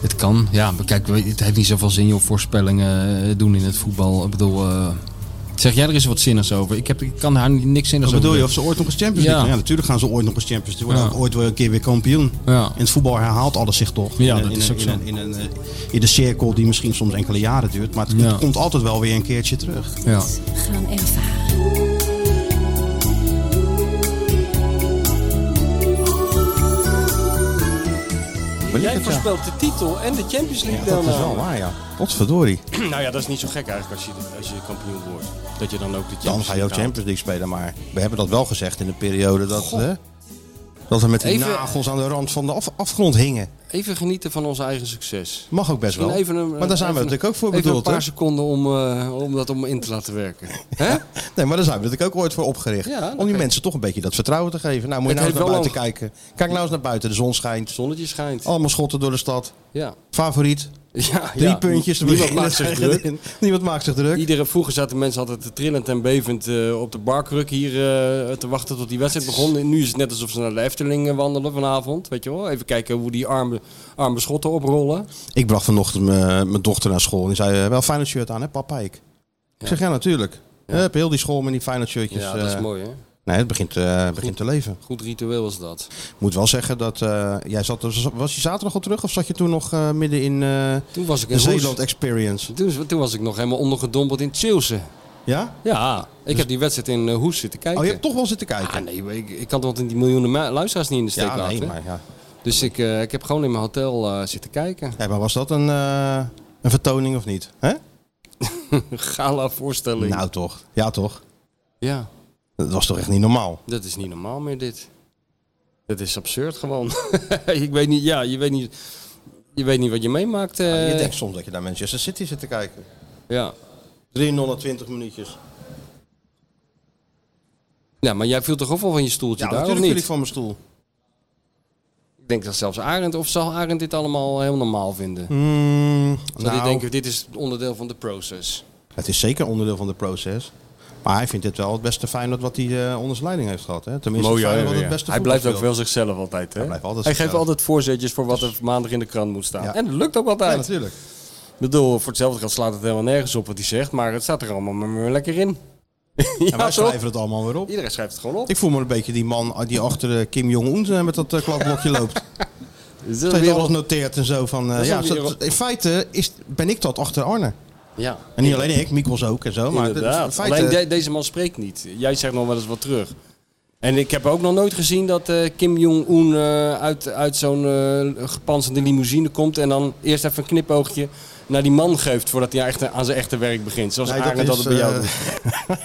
S7: Het kan. Ja, maar kijk, we- het heeft niet zoveel zin je voorspellingen eh, doen in het voetbal. Ik bedoel, eh, zeg jij er eens wat zinnigs over? Ik, heb, ik kan haar niet- niks zinnigs
S3: Wat bedoel je?
S7: over
S3: Of ze ooit nog eens Champions League
S7: Ja.
S3: gaan? Ja, natuurlijk gaan ze ooit nog eens Champions League. Ze worden
S7: Ja.
S3: ook ooit weer een keer weer kampioen.
S7: Ja.
S3: In het voetbal herhaalt alles zich toch.
S7: Ja,
S3: in, een-
S7: dat
S3: in
S7: is
S3: een-
S7: ook
S3: in
S7: zo.
S3: een- in een, eh, in de cirkel die misschien soms enkele jaren duurt. Maar het,
S7: Ja.
S3: het komt altijd wel weer een keertje terug.
S7: Ja.
S8: gaan ervaren.
S2: Jij voorspelt de titel en de Champions League dan.
S3: Dat
S2: eh.
S3: is wel waar, ja. Potverdorie.
S2: Nou ja, dat is niet zo gek eigenlijk als je, als je kampioen wordt. Dat je dan ook de Champions
S3: Dan ga je ook
S2: League haalt.
S3: Champions League spelen. Maar we hebben dat wel gezegd in de periode dat, hè, dat we met die
S2: Even-
S3: nagels aan de rand van de af- afgrond hingen.
S2: Even genieten van ons eigen succes.
S3: Mag ook best wel.
S2: Misschien even een-
S3: maar daar zijn we
S2: even-
S3: natuurlijk ook voor
S2: even
S3: bedoeld.
S2: een
S3: hè?
S2: paar seconden om, eh, om dat om in te laten werken. Hè?
S3: Nee, maar daar zijn we natuurlijk ook ooit voor opgericht.
S2: Ja,
S3: om die
S2: oké.
S3: mensen toch een beetje dat vertrouwen te geven. Nou, moet je
S2: Het
S3: nou eens
S2: heeft
S3: naar
S2: wel
S3: buiten kijken. Kijk nou eens naar buiten. De zon schijnt.
S2: Zonnetje schijnt.
S3: Allemaal schotten door de stad.
S2: Ja.
S3: Favoriet.
S2: Ja,
S3: Drie
S2: ja.
S3: puntjes.
S2: Niemand maakt zich druk.
S3: Niemand maakt zich druk.
S2: Iedere, vroeger zaten mensen altijd te trillend en bevend eh, op de barkruk hier eh, te wachten tot die wedstrijd begon. En nu is het net alsof ze naar de Efteling eh, wandelen vanavond. Weet je wel? Even kijken hoe die arme, arme schotten oprollen.
S3: Ik bracht vanochtend mijn mijn dochter naar school. En die zei, eh, wel Feyenoord shirt aan hè papa ik. Ik zeg, ja natuurlijk. Hup, heel die school met die Feyenoord shirtjes.
S2: Ja, dat is
S3: eh,
S2: mooi hè.
S3: Nee, het begint, eh, begint te leven.
S2: Goed ritueel was dat.
S3: Moet wel zeggen dat eh, jij zat, was je zaterdag al terug of zat je toen nog eh, midden in eh,
S2: Toen was ik
S3: de
S2: in
S3: Zeeland
S2: Roos-
S3: Experience?
S2: Toen, Dus toen was ik nog helemaal ondergedompeld in Chilsen.
S3: Ja? dus-
S2: Ja, ik heb die wedstrijd in eh, Hoes zitten kijken.
S3: Oh, je hebt toch wel zitten kijken.
S2: Ah, nee, maar ik, ik kan toch die miljoenen ma- luisteraars niet in de steek
S3: ja,
S2: laten.
S3: nee, maar ja.
S2: Dus ik, eh, ik heb gewoon in mijn hotel eh, zitten kijken.
S3: Ja, maar was dat een, eh, een vertoning of niet? Hè?
S2: Een gala voorstelling.
S3: Nou toch. Ja toch.
S2: Ja,
S3: Dat was toch echt niet normaal?
S2: dat is niet normaal meer dit. Dat is absurd gewoon. ik weet niet, ja, je weet niet, je weet niet wat je meemaakt. eh.
S3: je denkt soms dat je naar Manchester City zit te kijken.
S2: ja.
S3: 320 minuutjes.
S2: ja, maar jij viel toch ook wel van je stoeltje
S3: Ja,
S2: daar, of
S3: natuurlijk viel
S2: niet?
S3: ik van mijn stoel.
S2: Ik denk dat zelfs Arend, of zal Arend dit allemaal heel normaal vinden? Zal die
S3: Mm, nou,
S2: Mm, denken, dit is onderdeel van de process.
S3: Het is zeker onderdeel van de proces. Maar hij vindt dit wel het beste Feyenoord wat hij eh, onder zijn leiding heeft gehad. Hè? Tenminste, Feyenoord wat het beste
S2: Hij blijft ook
S3: voetbal
S2: wel zichzelf altijd. Hè?
S3: Hij blijft altijd
S2: geeft
S3: zichzelf. Dus-
S2: altijd voorzetjes voor wat er maandag in de krant moet staan.
S3: Ja.
S2: En dat lukt ook
S3: speelt. Ja,
S2: altijd.
S3: natuurlijk.
S2: Ik bedoel, voor hetzelfde geld slaat het helemaal nergens op wat hij zegt. Maar het staat er allemaal maar maar lekker in. ja,
S3: En wij
S2: toch?
S3: schrijven het allemaal weer op.
S2: Iedereen schrijft het gewoon op.
S3: Ik voel me een beetje die man die achter eh, Kim Jong-un eh, met dat eh, klapblokje loopt.
S2: Is
S3: Dat
S2: dat
S3: hij
S2: weer-
S3: alles noteert en zo. Van, eh,
S2: Dat is
S3: ja,
S2: een wereld-
S3: dat- in feite is, ben ik dat achter Arne.
S2: Ja.
S3: En niet alleen ik, Mikkels ook en zo. Maar dat is in
S2: Inderdaad.
S3: feite,
S2: Alleen de- deze man spreekt niet. Jij zegt nog wel eens wat terug. En ik heb ook nog nooit gezien dat eh, Kim Jong-un eh, uit, uit zo'n eh, gepantserde limousine komt. En dan eerst even een knipoogje naar die man geeft voordat hij echt aan zijn echte werk begint. Zoals
S3: Nee, dat
S2: Arend dat het bij
S3: is,
S2: jou
S3: eh,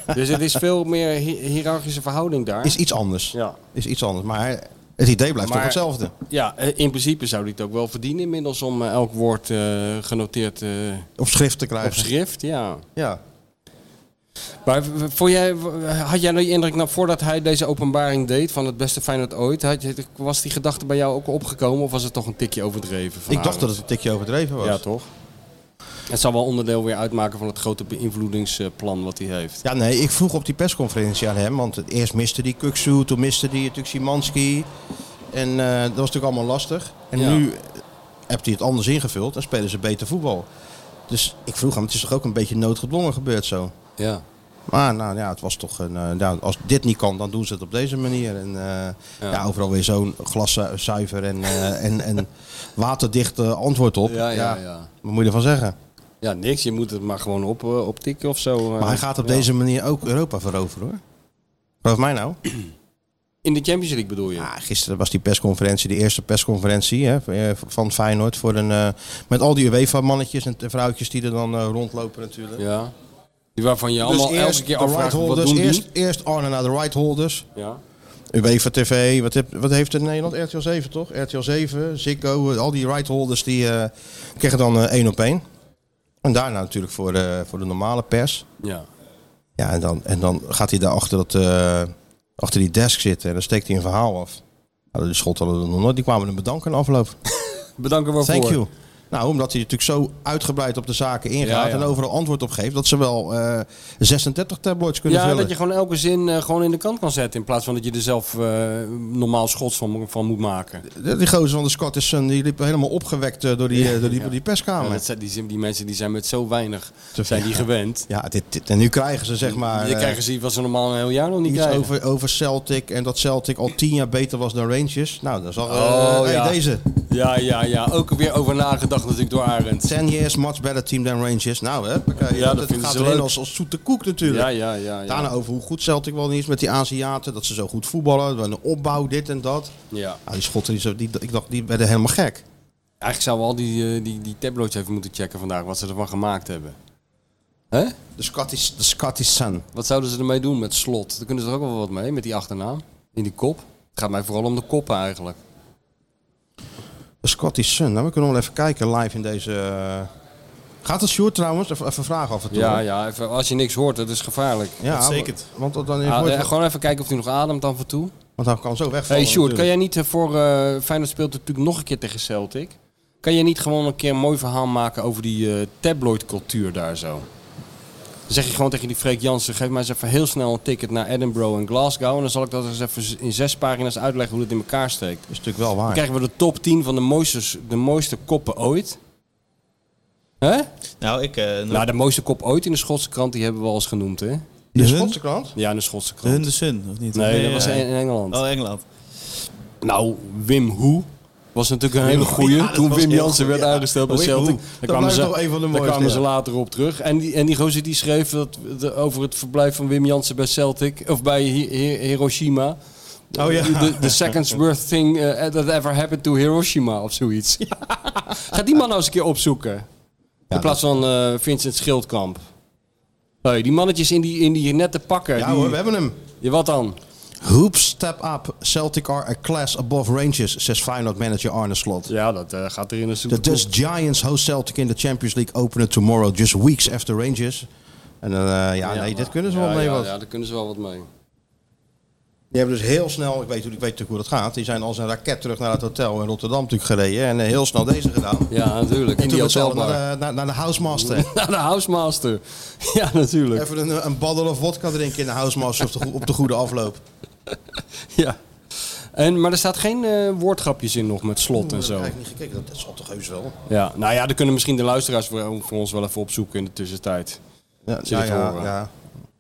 S2: doet. Dus het is veel meer hi- hiërarchische verhouding daar.
S3: is iets anders.
S2: Ja.
S3: Is iets anders. Maar het idee blijft
S2: Maar-
S3: toch hetzelfde.
S2: Ja, eh, in principe zou hij het ook wel verdienen inmiddels om eh, elk woord eh, genoteerd eh,
S3: Op schrift te
S2: op
S3: krijgen.
S2: schrift. Ja.
S3: Ja.
S2: Maar v- vond jij, w- had jij nou die indruk, nou, voordat hij deze openbaring deed van het beste Feyenoord ooit, had je, was die gedachte bij jou ook opgekomen of was het toch een tikje overdreven? van
S3: Ik dacht dat
S2: Arend?
S3: het een tikje overdreven was.
S2: Nou, Ja, toch? Het zal wel onderdeel weer uitmaken van het grote beïnvloedingsplan wat hij heeft.
S3: Ja, nee, ik vroeg op die persconferentie aan hem. Want het eerst miste die Kuksu, toen miste die natuurlijk Simanski. En eh, dat was natuurlijk allemaal lastig. En
S2: Ja.
S3: nu eh, hebt hij het anders ingevuld en spelen ze beter voetbal. Dus ik vroeg hem, het is toch ook een beetje noodgedwongen gebeurd zo.
S2: Ja.
S3: Maar nou ja, het was toch een. eh, nou, als dit niet kan, dan doen ze het op deze manier. En eh, ja. overal weer zo'n glaszuiver en, eh, en, en waterdicht eh, antwoord op.
S2: Ja, ja, ja.
S3: Wat moet je ervan zeggen?
S2: Ja, niks. Je moet het maar gewoon op, eh, optikken of zo. eh.
S3: Maar hij gaat op
S2: Ja.
S3: deze manier ook Europa veroveren hoor. Geloof mij nou.
S2: In de Champions League bedoel je?
S3: Ja, Nou, gisteren was die persconferentie, de eerste persconferentie hè, eh, van Feyenoord. Voor een, eh, met al die UEFA-mannetjes en vrouwtjes die er dan eh, rondlopen natuurlijk.
S2: Ja. Die waarvan je allemaal elke keer
S3: Dus de
S2: afvraagt, wat
S3: right-holders,
S2: doen die?
S3: eerst, eerst Arne naar de right-holders.
S2: Ja.
S3: UEFA TV, wat, heb, wat heeft het in Nederland? RTL 7 toch? RTL 7, Ziggo, eh, al die right-holders die eh, krijgen dan eh, één op één. En daarna natuurlijk voor de, voor de normale pers.
S2: ja.
S3: Ja, en dan, en dan gaat hij daar achter, dat, eh, achter die desk zitten en dan steekt hij een verhaal af. Nou, de schotten hadden we nog nooit, die kwamen hem bedanken in de afloop.
S2: Bedanken waarvoor.
S3: Thank you. Nou, omdat hij natuurlijk zo uitgebreid op de zaken ingaat
S2: Ja, ja.
S3: en overal antwoord op geeft, dat ze wel eh, 36 tabloids kunnen
S2: ja,
S3: vullen.
S2: dat je gewoon elke zin eh, gewoon in de kant kan zetten. In plaats van dat je er zelf eh, normaal schots van, van moet maken.
S3: Die- Die gozer van de Scottish Sun, die liep helemaal opgewekt eh, door die, eh, door die, door die
S2: Ja,
S3: perskamer.
S2: dat zijn, die, zijn- die mensen die zijn met zo weinig
S3: Te
S2: zijn die
S3: veel.
S2: gewend.
S3: Ja, dit, dit- en nu krijgen ze zeg maar
S2: je
S3: eh,
S2: krijgen ze wat ze normaal een heel jaar nog niet
S3: iets
S2: krijgen.
S3: over, over Celtic en dat Celtic al tien jaar beter was dan Rangers. Nou, dan zag
S2: Oh,
S3: eh, hey,
S2: ja.
S3: deze.
S2: Ja, ja, ja. Ook weer over nagedacht natuurlijk door Arend.
S3: 10 years much better team than Rangers. Nou, hè, bekijk,
S2: Ja, dat
S3: dat,
S2: vinden
S3: gaat
S2: ze
S3: erin
S2: leuk.
S3: als, als zoete koek natuurlijk.
S2: Ja, ja, ja.
S3: Daarna
S2: ja.
S3: over hoe goed Celtic wel niet is met die Aziaten. Dat ze zo goed voetballen. De opbouw, dit en dat.
S2: ja.
S3: Nou, die schotten, die, zo- die, ik dacht, die werden helemaal gek.
S2: Eigenlijk zouden we al die, eh, die, die tabloids even moeten checken vandaag, wat ze ervan gemaakt hebben. Hè?
S3: De Scottish, de Scottish Sun.
S2: Wat zouden ze ermee doen met slot? Daar kunnen ze er ook wel wat mee, met die achternaam. In die kop. Het gaat mij vooral om de koppen eigenlijk.
S3: De Scottish Sun. Nou, we kunnen wel even kijken live in deze... eh, Gaat het short trouwens? Even, even vragen af en toe.
S2: Ja,
S3: hoor.
S2: ja, even, als je niks hoort, dat is gevaarlijk.
S3: Ja,
S1: Uitstekend.
S3: wa- Want, dan
S2: Ah,
S3: wordt-
S2: eh, gewoon even kijken of hij nog ademt af en toe.
S3: want hij kan zo wegvallen.
S2: hey Sjoerd, kan
S3: natuurlijk.
S2: jij niet eh, voor... eh Feyenoord speelt natuurlijk nog een keer tegen Celtic. Kan jij niet gewoon een keer een mooi verhaal maken over die eh, tabloidcultuur daar zo? Dan zeg je gewoon tegen die Freek Jansen, geef mij eens even heel snel een ticket naar Edinburgh en Glasgow. En dan zal ik dat eens even in zes pagina's uitleggen hoe dat in elkaar steekt.
S3: is natuurlijk wel waar.
S2: Dan krijgen we de top 10 van de mooiste, de mooiste koppen ooit. Hè?
S1: Nou, ik... eh,
S2: Nou, de mooiste kop ooit in de Schotse krant, die hebben we al eens genoemd, hè?
S3: de
S1: hun?
S3: Schotse krant?
S2: Ja, in de Schotse
S1: Hun
S2: krant.
S1: de Sun, of niet?
S2: Nee, dat was
S1: ja.
S2: in in Engeland.
S1: Oh, Engeland.
S2: Nou, Wim Hoe was natuurlijk een hele goeie.
S1: Ja, dat
S2: Toen
S1: was
S2: Wim
S1: heel
S2: Jansen
S1: goed,
S2: werd
S1: ja.
S2: aangesteld bij
S1: Wim Hoe.
S2: Celtic.
S1: Dat
S2: Daar kwamen,
S3: blijft
S2: ze,
S3: nog een van de
S2: daar
S3: mooiste,
S2: kwamen ze
S3: ja.
S2: later op terug. En die, en die gozer die schreef dat, de- over het verblijf van Wim Jansen bij Celtic. Of bij Hi- Hi- Hiroshima.
S1: Oh, ja.
S2: The, the second's worst thing eh, that ever happened to Hiroshima of zoiets. Ga die man nou eens een keer opzoeken. In plaats van eh, Vincent Schildkamp. Hey, die mannetjes in die, in die nette pakken.
S3: Ja
S2: die-
S3: hoor, we hebben hem.
S2: Ja, wat dan?
S3: Hoops, step up. Celtic are a class above Rangers, says Feyenoord manager Arne Slot.
S2: Ja, dat eh, gaat er in de
S3: The
S2: zoete
S3: Dutch Giants host Celtic in the Champions League opener tomorrow, just weeks after Rangers. En dan, eh, ja, nee, dit kunnen ze wel
S2: ja,
S3: mee
S2: ja,
S3: wat.
S2: Ja, daar kunnen ze wel wat mee.
S3: Die hebben dus heel snel, ik weet, ik weet natuurlijk hoe dat gaat, die zijn als een raket terug naar het hotel in Rotterdam natuurlijk gereden. En eh, heel snel deze gedaan.
S2: Ja, natuurlijk.
S3: En
S2: In die
S3: toen was ze allemaal
S2: hotelbar. Naar
S3: naar de, naar, naar de housemaster.
S2: de... housemaster. Ja, natuurlijk.
S3: Even een, een nou. baddel of vodka drinken in de housemaster op de, goe- op de goede afloop.
S2: Ja. En, maar er staat geen eh, woordgrapjes in nog met slot en
S3: Dat heb
S2: zo.
S3: ik eigenlijk niet gekeken, dat, dat zal toch heus wel.
S2: Ja. Nou ja, daar kunnen misschien de luisteraars voor, voor ons wel even opzoeken in de tussentijd.
S3: Ja,
S2: Zit
S3: nou
S2: het
S3: ja,
S2: voor, hè?
S3: ja.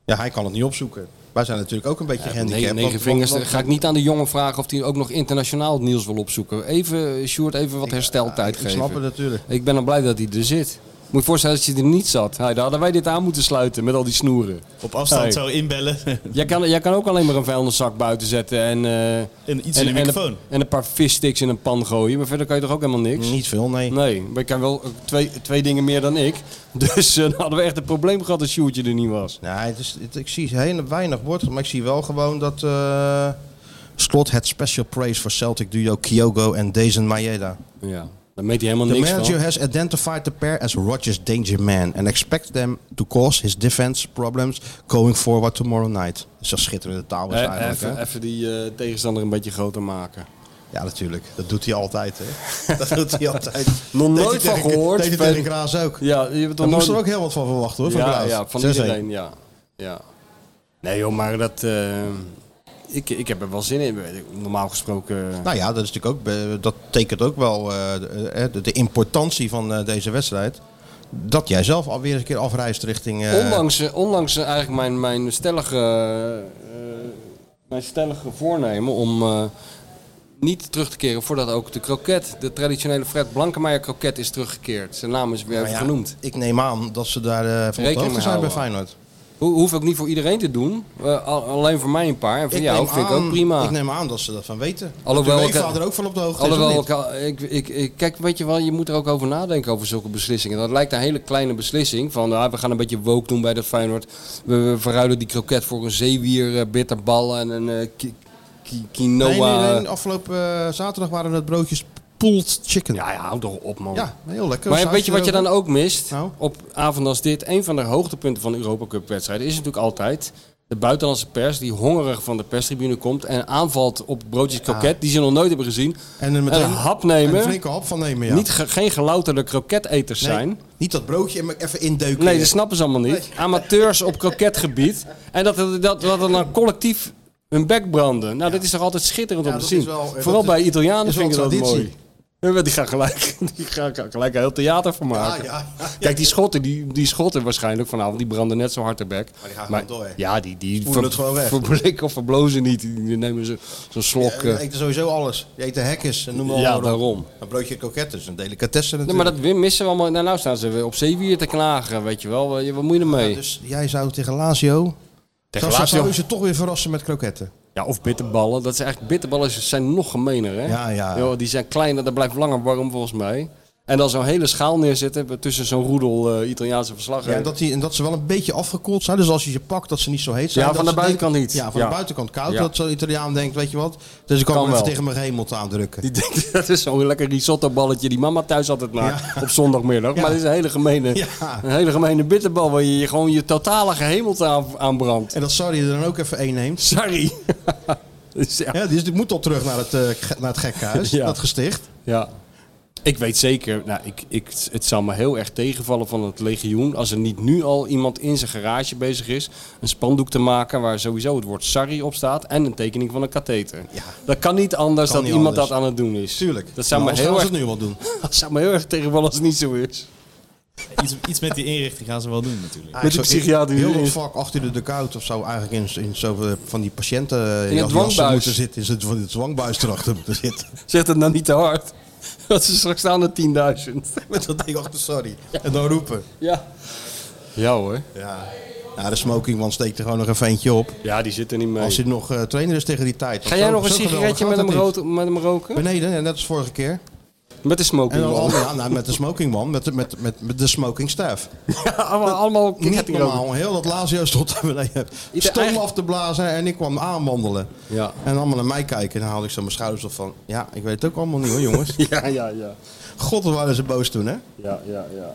S3: ja, hij kan het niet opzoeken. Wij zijn natuurlijk ook een beetje gehandicapt.
S2: Nee, negen
S3: want-
S2: vingers.
S3: want-
S2: ga ik niet aan de jongen vragen of hij ook nog internationaal het nieuws wil opzoeken. Even, eh, Sjoerd, even wat hersteltijd
S3: Ik
S2: geven.
S3: snap het natuurlijk.
S2: Ik ben dan blij dat hij er zit. Moet je voorstellen dat je er niet zat. Hey, daar hadden wij dit aan moeten sluiten met al die snoeren.
S1: Op afstand
S2: Hey.
S1: zo inbellen.
S2: Jij kan, jij kan ook alleen maar een vuilniszak buiten zetten en... eh,
S1: en iets
S2: En,
S1: in de
S2: en
S1: microfoon.
S2: een, en een paar vissticks in een pan gooien. Maar verder kan je toch ook helemaal niks?
S3: Niet veel, nee.
S2: Nee, maar ik kan wel eh, twee, twee dingen meer dan ik. Dus eh, dan hadden we echt een probleem gehad als Sjoerdje er niet was.
S3: Nee, het is, het- ik zie heel weinig woord, maar ik zie wel gewoon dat eh Slot het special praise voor Celtic duo Kyogo en Dezen Maeda.
S2: Ja, dan meet hij helemaal
S3: The
S2: niks
S3: manager
S2: van.
S3: has identified the pair as Rogers' danger man and expects them to cause his defense problems going forward tomorrow night. Dat is een schitterende taal is
S2: Eh,
S3: eigenlijk.
S2: even,
S3: hè?
S2: even die eh, tegenstander een beetje groter maken.
S3: Ja, natuurlijk. Dat doet hij altijd. Hè? Dat doet hij altijd.
S2: Nog
S3: Deed hij
S2: nooit van
S3: tegen-
S2: gehoord.
S3: Deed hij tegen Graas ook.
S2: Ja, je hebt
S3: Daar
S2: toch
S3: moest er
S2: nooit-
S3: ook heel wat van verwachten hoor. Van
S2: ja,
S3: Klaas.
S2: ja, van
S3: 6-1.
S2: iedereen, ja. ja. Nee joh, maar dat... eh, ik, ik heb er wel zin in. Normaal gesproken... eh,
S3: Nou ja, dat, is natuurlijk ook, eh, dat tekent ook wel eh, de, eh, de, de importantie van eh, deze wedstrijd. Dat jij zelf alweer eens een keer afreist richting... eh,
S2: Ondanks, eh, ondanks eh, eigenlijk mijn, mijn, stellige, eh, mijn stellige voornemen om eh, niet terug te keren voordat ook de kroket, de traditionele Fred Blankemeijer kroket is teruggekeerd. Zijn naam is weer
S3: nou
S2: even
S3: ja,
S2: genoemd.
S3: Ik neem aan dat ze daar eh, van op
S2: Rekening
S3: de hoogte
S2: mee
S3: zijn bij
S2: houden.
S3: Feyenoord.
S2: Ho hoef ik niet voor iedereen te doen, eh, al- alleen voor mij een paar. En voor jou
S3: neem
S2: vind ik
S3: aan-
S2: ook prima.
S3: Ik neem aan dat ze dat van weten.
S2: Alhoewel
S3: Alhoewel
S2: ik-
S3: ik vader er ook van op de hoogte is,
S2: Alhoewel,
S3: of niet?
S2: ik, ik, ik, ik- kijk, weet je wel, je moet er ook over nadenken over zulke beslissingen. Dat lijkt een hele kleine beslissing. Van ah, we gaan een beetje woke doen bij de Feyenoord. We, we verruilen die kroket voor een zeewier, eh, bitterbal en een eh, ki- ki- quinoa.
S3: Nee, nee, nee, Afgelopen eh, zaterdag waren het broodjes pulled chicken. Ja,
S2: Ja, ja, hou toch op man.
S3: heel lekker.
S2: Maar
S3: Sausje
S2: weet je wat je
S3: erop.
S2: dan ook mist?
S3: Nou?
S2: Op avond als dit, een van de hoogtepunten van de Europa Cup wedstrijden is natuurlijk altijd de buitenlandse pers die hongerig van de perstribune komt en aanvalt op broodjes kroket die ze nog nooit hebben gezien.
S3: En er
S2: En
S3: meteen
S2: een hap nemen.
S3: en een flinke hap van nemen, ja.
S2: Niet ge- geen gelouterde kroketeters
S3: Nee,
S2: zijn.
S3: Niet dat broodje en maar even indeuken.
S2: Nee, dat snappen ze allemaal niet. Amateurs op kroketgebied. En dat, dat, dat, dat er dan collectief hun bek branden. Nou, dat is toch altijd schitterend om
S3: Ja,
S2: te
S3: dat
S2: zien.
S3: is wel-
S2: Vooral
S3: dat is-
S2: bij Italianen
S3: is wel
S2: vind ik dat
S3: traditie.
S2: mooi. Ja, Die gaan, gelijk, die gaan gelijk een heel theater van maken.
S3: ja, ja.
S2: Kijk, die schotten, die, die schotten waarschijnlijk vanavond, die branden net zo hard de bek. Maar
S3: die gaan gewoon door, hè?
S2: Ja, die, die
S3: Voelen het gewoon weg.
S2: verblikken of verblozen niet. Die nemen zo- zo'n slok.
S3: Je
S2: eh.
S3: eet sowieso alles. Je eet de hekjes en noem maar
S2: ja,
S3: op.
S2: daarom.
S3: Een broodje kroket is een delicatesse
S2: Nee,
S3: natuurlijk.
S2: maar dat missen we allemaal. Nou, nou staan ze weer op zeewier te klagen, weet je wel. Eh, Wat moet je ermee?
S3: Dus jij zou tegen Lazio... Tegen
S2: Lazio.
S3: zou je ze toch weer verrassen met kroketten.
S2: Ja, of bitterballen. Dat is eigenlijk, bitterballen is- zijn nog gemener, hè?
S3: Ja, ja.
S2: Joh, die zijn kleiner, dat blijft langer warm volgens mij. En dan zo'n hele schaal neerzetten tussen zo'n roedel eh, Italiaanse
S3: Ja,
S2: verslaggever.
S3: en, dat die, en dat ze wel een beetje afgekoeld zijn. Dus als je ze pakt, dat ze niet zo heet zijn.
S2: Ja,
S3: Dat
S2: van de
S3: ze denken-
S2: buitenkant niet.
S3: Ja, van
S2: Ja.
S3: de buitenkant koud.
S2: Ja.
S3: Dat zo'n Italiaan denkt, weet je wat. Dus ik kan,
S2: Kan
S3: hem even
S2: wel.
S3: tegen mijn hemel aandrukken.
S2: Die denkt, dat is zo'n lekker risottoballetje die mama thuis altijd maakt op zondagmiddag. Maar dat is een hele gemene,
S3: Ja.
S2: een hele gemene bitterbal waar je je gewoon je totale gehemelte aan, aan brandt.
S3: En dat Sarri er dan ook even één neemt.
S2: Sorry. Dus ja,
S3: Ja, dus die moet al terug naar het, eh, ge- naar het gekkenhuis.
S2: Ja.
S3: Dat gesticht.
S2: Ja. Ik weet zeker, nou, ik, ik, het zou me heel erg tegenvallen van het legioen als er niet nu al iemand in zijn garage bezig is een spandoek te maken waar sowieso het woord Sarri op staat en een tekening van een katheter.
S3: Ja.
S2: Dat kan niet anders
S3: Kan
S2: dan
S3: niet
S2: iemand
S3: anders.
S2: dat aan het doen is.
S3: Tuurlijk.
S2: Dat zou, me
S3: Maar
S2: heel,
S3: Nou, ze
S2: erg,
S3: het nu wel doen.
S2: dat zou me heel erg tegenvallen als het niet zo is.
S1: Iets, iets met die inrichting gaan ze wel doen natuurlijk.
S2: Met die
S3: Zo, ik-
S2: psychiater die
S3: Heel
S2: erin
S3: dat
S2: is.
S3: vak achter de dugout of zo. Eigenlijk in, in zo van die patiënten
S2: In
S3: eh,
S2: het
S3: jassen
S2: dwangbuis.
S3: moeten zitten. In zo'n- van die dwangbuis erachter moeten zitten.
S2: Zeg dat nou niet te hard. Dat ze straks staan naar 10.000.
S3: Met dat ding achter, sorry. En dan roepen.
S2: Ja. Ja hoor.
S3: Ja. Ja, de smoking man steekt er gewoon nog even eentje op.
S2: Ja, die zitten niet mee.
S3: Als hij nog eh, trainer is tegen die tijd. Want
S2: Ga jij
S3: zo-
S2: nog een
S3: zo geweldig
S2: sigaretje
S3: gaat
S2: met hem,
S3: dat niet.
S2: rood- met hem roken?
S3: Beneden, en net als vorige keer.
S2: Met de
S3: En
S2: smoking.
S3: dan
S2: man.
S3: allemaal, ja, nou, met de smoking man, met, de- met, met, met de smoking staff.
S2: allemaal allemaal
S3: Niet
S2: kettingroken.
S3: normaal, heel dat Lazio stond daar beneden.
S2: Ieder-
S3: Stoom
S2: eigen-
S3: af te blazen en ik kwam aanwandelen.
S2: Ja.
S3: En allemaal naar mij kijken en dan haalde ik zo mijn schouders op van... Ja, ik weet het ook allemaal niet hoor jongens.
S2: Ja, ja, ja.
S3: God, wat waren ze boos toen hè.
S2: Ja, ja, ja.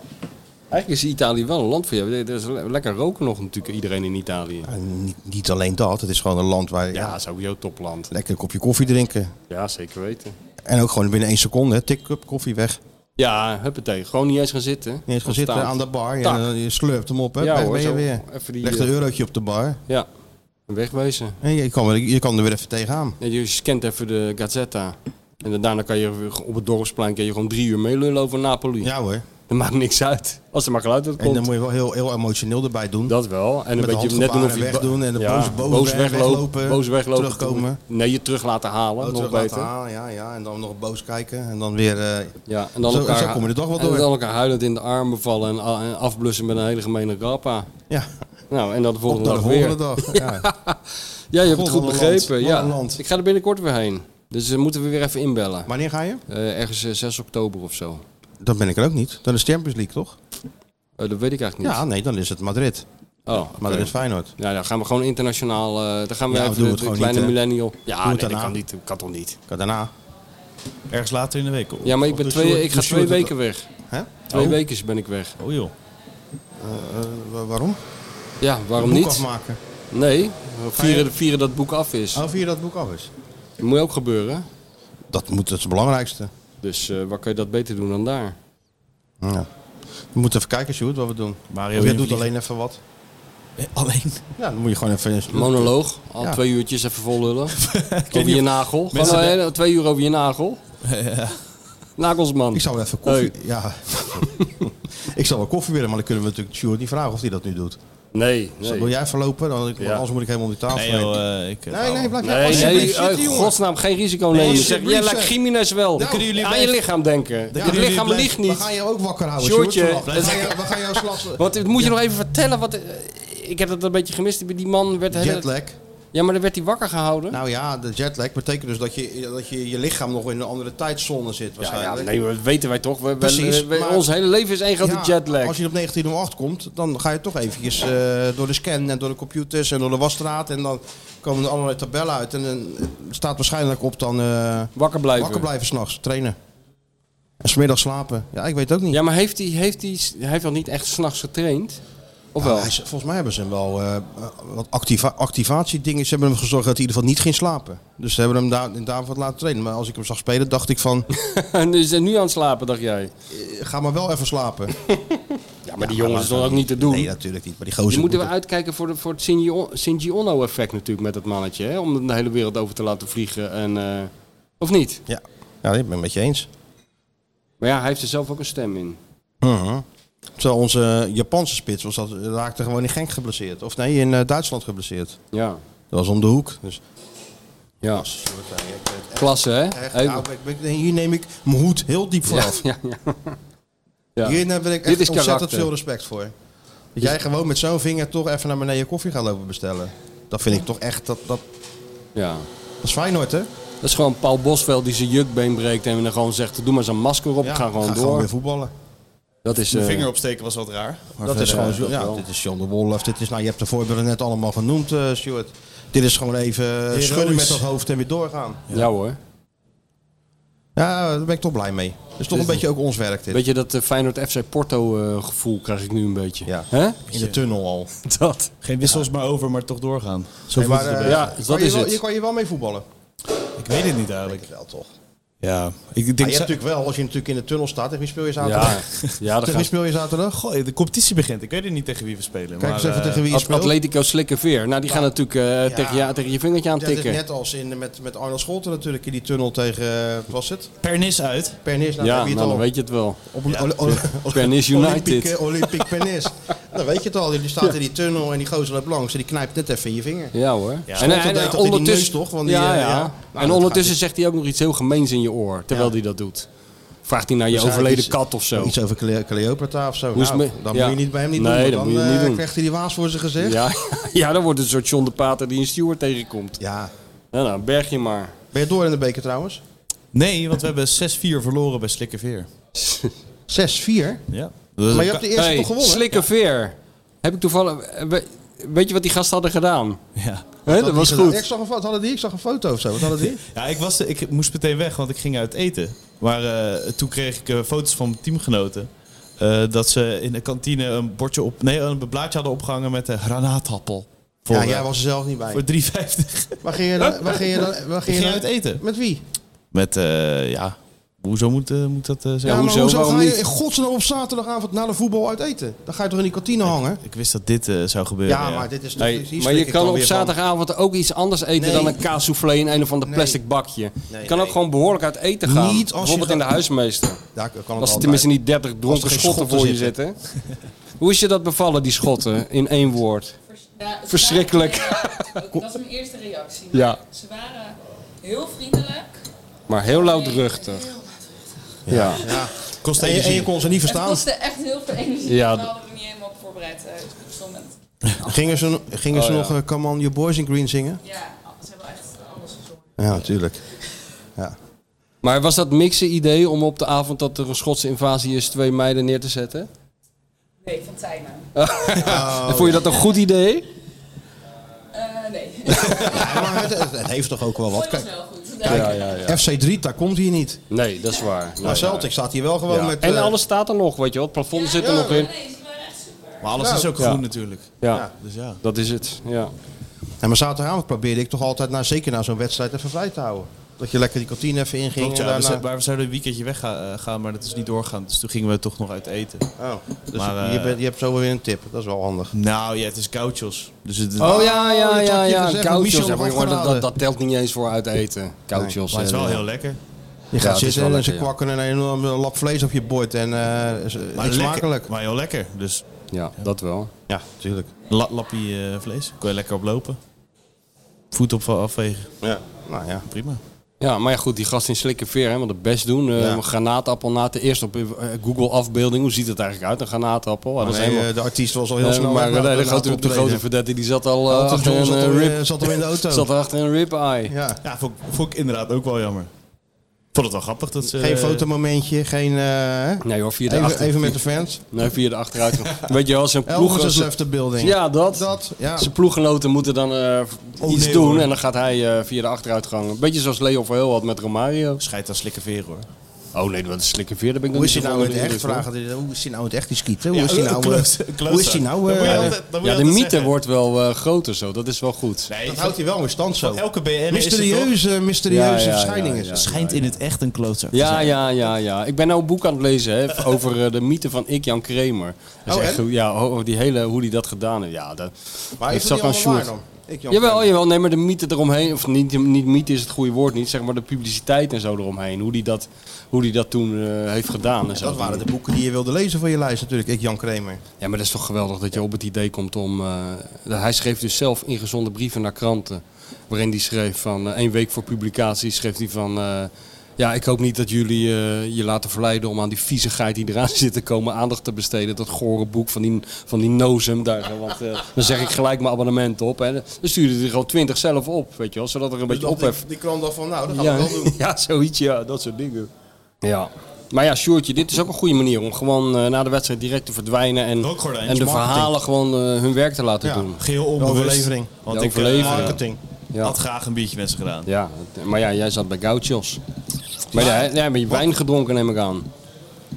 S2: Eigenlijk is Italië wel een land voor jou. Er is le- lekker roken nog natuurlijk iedereen in Italië. Ja,
S3: En niet, niet alleen dat, het is gewoon een land waar... Ja.
S2: sowieso topland.
S3: lekker een kopje koffie drinken.
S2: Ja, zeker weten.
S3: En ook gewoon binnen één seconde, hè, tik cup koffie weg.
S2: Ja, huppatee. Gewoon niet eens gaan zitten.
S3: Je eens gaan
S2: Of
S3: zitten
S2: staan.
S3: aan de
S2: Tak.
S3: bar. Ja, en eh, je slurpt hem op. Hè.
S2: Ja,
S3: Weg
S2: hoor,
S3: ben je
S2: zo.
S3: weer.
S2: Even die,
S3: Legt een
S2: eh,
S3: eurotje op de bar.
S2: Ja, wegwezen.
S3: En je kan, wel- je kan er weer even tegenaan.
S2: Ja, je scant even de Gazzetta. En dan- daarna kan je weer op het dorpsplein kan je gewoon drie uur meelullen over Napoli.
S3: Ja hoor.
S2: Dat maakt niks uit. Als er maar geluid uit
S3: En
S2: komt.
S3: dan moet je wel heel, heel emotioneel erbij doen.
S2: Dat wel. En een
S3: Met
S2: beetje net
S3: handgebaren
S2: doen of je
S3: weg doen en de boos- boos weg- weglopen,
S2: boos weglopen.
S3: terugkomen.
S2: Nee, je terug laten halen.
S3: Oh,
S2: nog
S3: terug laten
S2: beter.
S3: halen, ja, ja. En dan nog boos kijken. En dan weer... eh,
S2: Ja, en dan
S3: Zo-
S2: elkaar,
S3: zo kom je de dag wel
S2: en
S3: door.
S2: dan elkaar huilend in de armen vallen en, a- en afblussen met een hele gemene grappa.
S3: ja,
S2: Nou, en dat de
S3: op
S2: volgende
S3: naar de
S2: dag
S3: volgende
S2: weer.
S3: dag. Ja.
S2: Ja, je hebt het
S3: God,
S2: goed
S3: wat een land.
S2: begrepen.
S3: Wat
S2: Ja.
S3: een land.
S2: Ik ga er binnenkort weer heen. Dus eh, moeten we weer even inbellen.
S3: Wanneer ga je?
S2: Eh, ergens eh, 6 oktober of zo.
S3: Dat ben ik er ook niet. Dan is Champions League, toch?
S2: Eh, dat weet ik eigenlijk niet.
S3: Ja, nee, dan is het Madrid.
S2: Ja. Oh, oké.
S3: Madrid-Feyenoord.
S2: Ja, dan gaan we gewoon internationaal. eh, dan gaan we
S3: Ja,
S2: even
S3: doe
S2: de,
S3: het
S2: de
S3: gewoon
S2: kleine
S3: niet, hè.
S2: millennial. Ja,
S3: het
S2: nee, dat
S3: daarna.
S2: kan, niet, kan toch niet.
S3: Kan daarna.
S1: Ergens later in de week. Of-
S2: Ja, maar ik,
S1: of
S2: ben
S3: dus
S1: doe
S2: twee,
S1: Sjoerd-
S2: ik ga
S1: doe
S2: twee
S1: Sjoerd
S2: weken
S1: dat-
S2: weg.
S3: Hè?
S2: Twee
S1: Oh.
S2: weken ben ik weg.
S1: Oh joh.
S3: Eh, wa- waarom?
S2: Ja, waarom
S3: Een boek
S2: niet?
S3: afmaken.
S2: Nee, we vieren, vieren dat het boek af is.
S3: Oh, via dat boek af is.
S2: Dat moet ook gebeuren.
S3: Dat, moet, dat is het belangrijkste.
S2: Dus eh, waar kan je dat beter doen dan daar?
S3: Ja. We moeten even kijken, Sjoerd, wat we doen.
S1: Mario
S3: Of jij doet
S1: invliegen.
S3: alleen even wat.
S1: Eh, Alleen.
S3: Ja, dan moet je gewoon even...
S2: Monoloog, al
S3: Ja.
S2: twee uurtjes even vol lullen. over
S1: niet
S2: je
S1: of
S2: nagel.
S1: mensen
S2: Gewoon, eh, twee uur over je nagel. Nagelsman.
S3: Ik zou wel even koffie... Ja. ik zou wel koffie willen, maar dan kunnen we natuurlijk Sjoerd niet vragen of hij dat nu doet.
S2: Nee,
S3: Dus
S2: nee.
S3: wil jij verlopen? Dan, want
S2: Ja.
S3: anders moet ik helemaal die tafel
S1: Nee
S3: heen.
S1: joh, eh, ik... eh,
S3: nee, Oh, nee, blijf jij
S2: Nee,
S3: alsjeblieft
S2: nee,
S3: zitten,
S2: eh,
S3: jongen.
S2: godsnaam geen risico nemen. Zeg, jij
S3: alsjeblieft,
S2: lijkt
S3: zeg.
S2: criminelen wel.
S3: kunnen
S1: jullie
S2: aan je
S1: blijven-
S2: lichaam denken. Het
S1: kunnen
S2: lichaam
S1: jullie
S2: ligt
S3: We
S2: niet.
S3: gaan je ook wakker houden,
S2: Sjoerdje,
S3: Sjoerd. vannacht.
S2: dat
S3: We
S2: is-
S3: gaan je- we gaan jou s'nachts...
S2: Want dit moet je nog even vertellen. Wat, eh, ik heb dat een beetje gemist. Die man werd... de hele-
S3: Jetlag.
S2: Ja, maar dan werd hij wakker gehouden.
S3: Nou ja, de jetlag betekent dus dat je dat je, je lichaam nog in een andere tijdzone zit
S2: ja,
S3: waarschijnlijk.
S2: ja, nee, dat weten wij toch. We, we-
S3: Precies,
S2: we-
S3: maar-
S2: Ons hele leven is één grote
S3: Ja,
S2: jetlag.
S3: Als je op 1908 komt, dan ga je toch eventjes eh, door de scan en door de computers en door de wasstraat. En dan komen er allerlei tabellen uit. En dan staat waarschijnlijk op dan eh,
S2: Wakker blijven.
S3: wakker blijven s'nachts, trainen. En smiddags slapen. Ja, ik weet het ook niet.
S2: Ja, maar heeft hij heeft hij, hij heeft nog niet echt s'nachts getraind? Of
S3: Nou,
S2: wel?
S3: hij is- volgens mij hebben ze hem wel eh, wat activa activatiedingen. Ze hebben hem gezorgd dat hij in ieder geval niet ging slapen. Dus ze hebben hem daar, daarvoor wat laten trainen. Maar als ik hem zag spelen, dacht ik van, eh,
S2: En is hij nu aan het slapen, dacht jij?
S3: ga maar wel even slapen.
S2: Ja, maar die jongens is dat ook niet te doen.
S3: Nee, natuurlijk niet. Maar die gozer
S2: Je moet
S3: moet
S2: er uitkijken voor, de, voor het Shinji- Shinji Ono-effect natuurlijk met dat mannetje. Hè? Om de hele wereld over te laten vliegen. En, eh, of niet?
S3: Ja, ja ik ben het met je eens.
S2: Maar ja, hij heeft er zelf ook een stem in.
S3: Mhm. Terwijl onze Japanse spits was dat, raakte gewoon in Genk geblesseerd. Of nee, in eh, Duitsland geblesseerd.
S2: Ja.
S3: Dat was om de hoek. Dus, Ah,
S2: ja. Klasse, hè?
S3: eh, echt,
S2: Even-
S3: nou, ik ben- hier neem ik mijn hoed heel diep
S2: ja,
S3: vanaf.
S2: ja, ja. Ja.
S3: Hier heb ik echt
S2: Dit is
S3: ontzettend
S2: karakter.
S3: veel respect voor. Dat jij gewoon met zo'n vinger toch even naar beneden koffie gaat lopen bestellen. Dat vind ik toch echt, dat, dat,
S2: ja.
S3: dat is Feyenoord hè?
S2: Dat is gewoon Paul Bosveld die zijn jukbeen breekt en dan gewoon zegt, doe maar zijn masker op,
S3: Ja,
S2: ga gewoon
S3: ga
S2: door.
S3: weer voetballen.
S2: dat is, eh,
S1: Vinger opsteken was wat raar. Maar
S3: dat is
S1: verder,
S3: gewoon,
S1: eh,
S3: zo- ja,
S2: wel.
S3: dit is John de Wolf, dit is, nou je hebt de voorbeelden net allemaal genoemd eh Stuart. Dit is gewoon even eh, schudden met dat hoofd en weer doorgaan.
S2: ja. hoor.
S3: Ja, daar ben ik toch blij mee. Dat is toch een beetje ook ons werk dit.
S2: Weet je dat eh, Feyenoord FC Porto eh, gevoel krijg ik nu een beetje.
S3: Ja.
S2: Hè?
S3: In de tunnel al.
S2: Dat.
S1: Geen wissels maar over, maar toch doorgaan. Zo
S3: Nee,
S1: voelt
S3: maar,
S1: het een
S3: eh,
S1: beetje.
S2: Ja, dat
S3: kan je
S2: is
S3: wel-
S2: het.
S3: Je kan je wel mee voetballen.
S1: Ik weet het niet eigenlijk.
S3: Wel toch.
S1: Ja, ik denk...
S3: Maar je hebt
S1: zo-
S3: natuurlijk wel, als je natuurlijk in de tunnel staat, tegen wie speel je zaterdag?
S2: Ja, ja dat
S3: Tegen wie
S2: gaat.
S3: speel je zaterdag?
S1: Goh, de competitie begint. Ik weet het niet tegen wie we spelen.
S3: Kijk eens
S1: maar,
S3: even
S1: eh,
S3: tegen wie je
S2: At-
S3: speelt.
S2: Atletico Slikkerveer. Nou, die gaan natuurlijk eh,
S3: Ja.
S2: tegen, je, tegen je vingertje aan
S3: Ja, dit is
S2: tikken.
S3: net als in, met, met Arnold Scholten natuurlijk in die tunnel tegen, eh, wat was het?
S1: Pernis uit.
S3: Pernis, nou,
S2: ja,
S3: heb je
S2: nou,
S3: het
S2: dan
S3: al.
S2: weet je het wel.
S3: Op een, Oli- Oli-
S2: Pernis United.
S3: Olympic, eh, Olympic Pernis. dan weet je het al, die staat in die tunnel en die gozer loopt langs en die knijpt net even in je vinger.
S2: Ja hoor. eh,
S3: Schotten deed dat in die neus toch, want die,
S2: ja,
S3: eh,
S2: ja.
S3: ja. Nou, dat
S2: en
S3: gaat
S2: ondertussen
S3: niet.
S2: zegt hij ook nog iets heel gemeens in je oor, terwijl
S3: Ja.
S2: hij dat doet. Vraagt hij naar je
S3: Dus eigenlijk
S2: overleden
S3: iets-
S2: kat of zo.
S3: Iets over Cleo- Cleopatra of zo.
S2: Hoe is
S3: Nou,
S2: me-
S3: dan
S2: ja.
S3: moet je niet bij hem niet
S2: Nee,
S3: doen, want
S2: dat
S3: dan
S2: moet je
S3: eh,
S2: niet doen.
S3: krijgt hij die waas voor zijn gezicht.
S2: Ja, ja, dan wordt het een soort John de Pater die een steward tegenkomt.
S3: Ja.
S2: Nou, nou, berg je maar.
S3: Ben je door in de beker trouwens? 6-4.
S1: Nee, want we hebben 6-4 verloren bij Slikkerveer. Ja.
S3: Maar je hebt de eerste
S2: Hey,
S3: toch gewonnen?
S2: Slikkerveer. Heb ik toevallig... eh, we- Weet je wat die gasten hadden gedaan?
S1: ja.
S2: Hè, dat was
S3: gedaan? Ik
S2: goed.
S3: zag een foto, hadden die? Ik zag een foto of zo. Wat hadden die?
S1: Ja, ik, was, ik moest meteen weg, want ik ging uit eten. Maar eh, toen kreeg ik eh, foto's van mijn teamgenoten. eh, dat ze in de kantine een bordje op... Nee, een blaadje hadden opgehangen met een granaatappel. Voor,
S3: ja,
S1: eh,
S3: jij was er zelf niet bij.
S1: Voor 3,50.
S3: Waar ging je dan? Waar ging je dan? Waar
S1: Ik
S3: ging
S1: ging
S3: je dan-
S1: uit eten.
S3: Met wie?
S1: Met, eh, ja... Hoezo moet, eh, moet dat eh zijn?
S2: Ja,
S3: Ja, maar
S2: hoezo?
S3: hoezo,
S2: Waarom
S3: ga je
S2: niet?
S3: in godsnaam op zaterdagavond na de voetbal uit eten? Dan ga je toch in die kantine hangen?
S1: Ik wist dat dit eh, zou gebeuren.
S3: Ja, maar dit is
S2: Hey,
S3: natuurlijk... hier
S2: maar
S3: schrik
S2: je
S3: Dus ik
S2: kan
S3: dan
S2: op
S3: weer van.
S2: zaterdagavond ook iets anders eten
S3: Nee.
S2: dan een kaassoufflé in een of ander
S3: Nee.
S2: plastic bakje.
S3: Nee,
S2: je kan ook
S3: nee.
S2: gewoon behoorlijk uit eten gaan.
S3: Niet als je
S2: Bijvoorbeeld in
S3: gaat-
S2: de huismeester.
S3: Ja, ik kan het
S2: Als er
S3: altijd.
S2: tenminste niet 30 dronken
S3: geen
S2: schotten
S3: schotten
S2: voor je zitten. Hoe is je dat bevallen, die schotten, in één woord?
S8: Vers- ja, ze
S2: Verschrikkelijk.
S8: waren- dat, dat is mijn eerste reactie.
S2: Ja.
S8: Ze waren heel vriendelijk.
S2: Maar heel luidruchtig. Ja.
S1: kost
S3: En je, en
S1: energie.
S3: je kon ze niet
S8: Het
S3: verstaan.
S8: kostte echt heel veel
S2: Ja,
S8: energie. Ja,
S2: d-
S8: we hadden me niet helemaal op voorbereid eh, op dit moment.
S3: Gingen ze, gingen
S2: Oh,
S3: ze nog eh, Come On Your Boys in Green zingen?
S8: Ja, ze hebben echt alles gezongen.
S3: Ja, natuurlijk. Ja.
S2: Maar was dat Mixen idee om op de avond dat er een Schotse invasie is twee meiden neer te zetten?
S8: Nee, van Tijmen.
S3: Oh,
S2: En vond je dat een goed idee?
S8: Eh, nee.
S3: Ja, maar het, het- het heeft toch ook wel wat.
S8: Dat was
S3: Kijk,
S8: wel goed.
S2: Ja, ja, ja.
S3: FC Drita komt hier niet.
S2: Nee, dat is waar. Nee,
S3: Maar Celtic staat hier wel gewoon
S2: ja.
S3: Oh, met...
S2: En
S3: eh,
S2: alles staat er nog, weet je wel. Het plafond zit er nog in.
S8: Nee, ze waren echt super.
S3: eh,
S1: Maar alles is ook
S2: Ja.
S1: groen natuurlijk.
S2: Ja,
S1: Dus ja.
S2: dat is het. Ja.
S3: Ja, maar zaterdagavond probeerde ik toch altijd, nou, zeker na zo'n wedstrijd, even vrij te houden. Dat je lekker die kantine even inging.
S1: Klopt,
S3: en
S1: ja. We,
S3: daarna-
S1: zijn- maar we zouden een weekendje weggaan, gaan, maar dat is niet doorgaan. Dus toen gingen we toch nog uit eten.
S3: Oh, dus
S1: Maar, eh,
S3: je, bent, je hebt zo weer een tip. Dat is wel handig.
S1: Nou ja, het is koutjes. Dus het,
S2: Oh ja,
S3: dat
S2: ja,
S3: had
S2: ja,
S3: je
S2: ja.
S3: gezegd,
S2: Een
S3: want
S2: Koutjos.
S3: Michel
S2: Ja,
S3: nog
S2: maar jongen, dat,
S3: afgeraden.
S2: dat telt niet eens voor uit eten. Koutjos.
S1: maar het is wel
S2: en,
S1: heel lekker.
S3: Je
S2: het
S3: gaat
S2: is
S3: zitten
S2: wel
S3: en
S2: lekker,
S3: ze
S2: ja.
S3: kwakken een enorme lap vlees op je bord. En eh is, is
S1: Maar
S3: smakelijk.
S1: Maar heel lekker. Dus
S2: Ja, dat wel.
S3: Ja, tuurlijk.
S1: la, lappie eh, vlees. Kon je lekker oplopen. Voet op afwegen.
S3: Ja. Nou ja.
S1: Prima.
S2: Ja, maar ja, goed, die gast in slikkenveer, hè, want het best doen. eh,
S3: Ja.
S2: een granaatappel na te eerst op eh, Google afbeelding. Hoe ziet het eigenlijk uit, een granaatappel? Ah, dat is
S3: Nee,
S2: helemaal...
S3: eh, de artiest was al heel
S2: Nee,
S3: snel.
S2: maar
S3: weg na-
S2: nee, de
S3: na het
S2: grote, de
S3: optreden.
S2: grote verdette die zat al eh,
S3: Elton
S2: achter
S3: John
S2: een
S3: zat
S2: eh,
S3: al, eh,
S2: rib.
S3: zat al in de auto.
S2: Zat achter een rib-eye.
S3: Ja.
S1: Ja, vond, ik- vond ik inderdaad ook wel jammer. Vond het wel grappig dat ze...
S3: Geen
S1: eh,
S3: fotomomentje, geen... eh,
S2: Nee hoor, via de,
S3: even,
S2: achter...
S3: even met de fans.
S2: nee, via de achteruit. Weet je wel, zijn
S3: Elvis
S2: ploeg...
S3: has
S2: zijn-
S3: left the building.
S2: Ja, dat.
S3: Dat, ja.
S2: Zijn ploeggenoten moeten dan eh, iets
S1: nee,
S2: doen
S1: hoor.
S2: en dan gaat hij eh, via de achteruitgang. Een beetje zoals Leo Verheul had met Romario.
S1: Scheidt aan slikken veren hoor.
S2: Oh nee, dat is slikker veer. Daar ben ik
S3: Hoe
S2: nog
S3: is hij
S2: niet
S3: nou in het
S2: zo
S3: echt?
S2: van onder
S3: Vragen,
S2: de
S3: die- hoe is hij nou in het echt, die skieten? Hoe
S1: Ja,
S3: is hij nou... eh,
S1: kloot-
S3: Hoe is
S1: klootzak.
S3: hij nou...
S1: Dan moet je
S3: eh,
S1: altijd- dan
S2: indruk,
S1: moet je
S2: hoor. Ja, de
S1: altijd
S2: mythe
S1: zeggen.
S2: wordt wel eh, groter zo. Dat is wel goed.
S1: Nee,
S3: Dat houdt hij wel in stand zo.
S1: elke BN'er is er toch?
S3: Mysterieuze, mysterieuze
S2: Ja, ja,
S3: verschijning
S2: ja,
S3: is
S2: ja.
S3: het.
S1: schijnt in het echt een klootzak te
S2: Ja,
S1: zijn.
S2: ja, ja, ja. Ik ben nou een boek aan het lezen hè, over eh, de mythe van ik, Jan Kramer. Dat is
S3: Oh,
S2: echt
S3: en?
S2: goed. ja, ho- die hele, hoe die dat gedaan heeft. Ja, dat,
S3: Maar
S2: dat
S3: is dat
S2: zat aan
S3: niet allemaal waar
S2: Sjoerd.
S3: dan? Ik, Jan
S2: Jawel,
S3: Kramer.
S2: jawel, nee, maar de mythe eromheen, of niet, niet mythe is het goede woord niet, zeg maar de publiciteit en zo eromheen. Hoe die dat, hoe die dat toen eh, heeft gedaan en zo.
S3: Dat waren de boeken die je wilde lezen voor je lijst natuurlijk. Ik, Jan Kramer.
S2: Ja, maar dat is toch geweldig dat je op het idee komt om... eh, dat- hij schreef dus zelf ingezonde brieven naar kranten. Waarin hij schreef van eh, één week voor publicatie schreef hij van... eh, ja, ik hoop niet dat jullie eh, je laten verleiden om aan die viezigheid die eraan zit te komen aandacht te besteden. Dat gore boek van die, van die nozem daar. zo, Want eh, dan zeg ik gelijk mijn abonnement op. Hè. Dan stuurde hij er gewoon twintig zelf op, weet je wel. Zodat er een beetje
S3: die,
S2: ophef...
S3: die kwam dan van, nou, dat gaan
S2: Ja,
S3: we wel doen.
S2: ja, zoiets, ja, dat soort dingen. Ja. Maar ja, Sjoertje, dit is ook een goede manier om gewoon eh, na de wedstrijd direct te verdwijnen en,
S1: Rookgordijns,
S2: en de
S1: marketing.
S2: verhalen gewoon eh, hun werk te laten
S3: Ja.
S2: doen.
S1: Geheel onbewust.
S3: overlevering.
S1: Want
S2: De
S1: ik eh,
S2: overlevering.
S1: marketing.
S2: Ja.
S1: had graag een biertje met ze gedaan.
S2: Ja, het- maar ja, jij zat bij Gauchos. Maar ja, ja, heb je wijn gedronken, neem ik aan.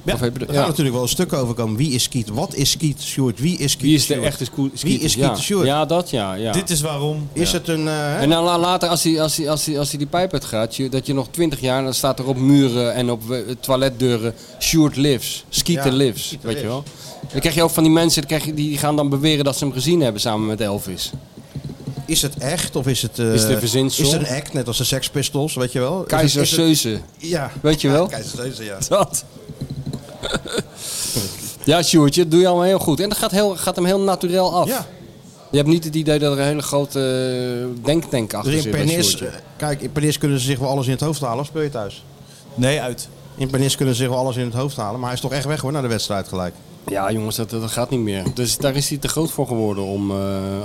S1: Ja.
S2: Of heb je de-
S3: Er
S2: ja.
S3: gaan natuurlijk wel stukken over komen. Wie is Kiet? Wat is Kiet Sjoerd? Wie is Kiet
S2: Wie is de
S3: Sjoerd?
S2: echte sco- skieter?
S3: Wie is
S2: ja.
S3: Kiet Sjoerd?
S2: Ja, dat ja. ja.
S1: Dit is waarom.
S3: Is het een... eh,
S2: En dan la- later, als hij, als hij, als hij, als hij die pijp uitgaat, je, dat je nog twintig jaar, dan staat er op muren en op eh, toiletdeuren, Sjoerd lives, Skeeter
S3: Ja,
S2: lives,
S3: Skeeter
S2: weet je wel.
S3: lives.
S2: Dan krijg je ook van die mensen, dan krijg je, die gaan dan beweren dat ze hem gezien hebben samen met Elvis.
S3: Is het echt of is het... eh,
S2: Is het een verzinsel?
S3: Is het een act, net als de Sex Pistols, weet je wel? Is het-
S2: Keizer
S3: is het-
S2: Seuze,
S3: Ja.
S2: weet je
S3: Ja,
S2: wel?
S3: Keizer Seuze, ja.
S2: dat. ja, Sjoerdje, dat doe je allemaal heel goed. En dat gaat, heel, gaat hem heel naturel af.
S3: Ja.
S2: Je hebt niet het idee dat er een hele grote eh, denktank achter
S3: Dus in
S2: zit. bij
S3: Pernis...
S2: Sjoerdje.
S3: eh, Kijk, in Pernis kunnen ze zich wel alles in het hoofd halen, of speel je thuis?
S1: Nee, uit.
S3: In Pernis kunnen ze zich wel alles in het hoofd halen, maar hij is toch echt weg hoor, naar de wedstrijd gelijk.
S2: Ja, jongens, dat, dat gaat niet meer. Dus daar is hij te groot voor geworden. Om, eh,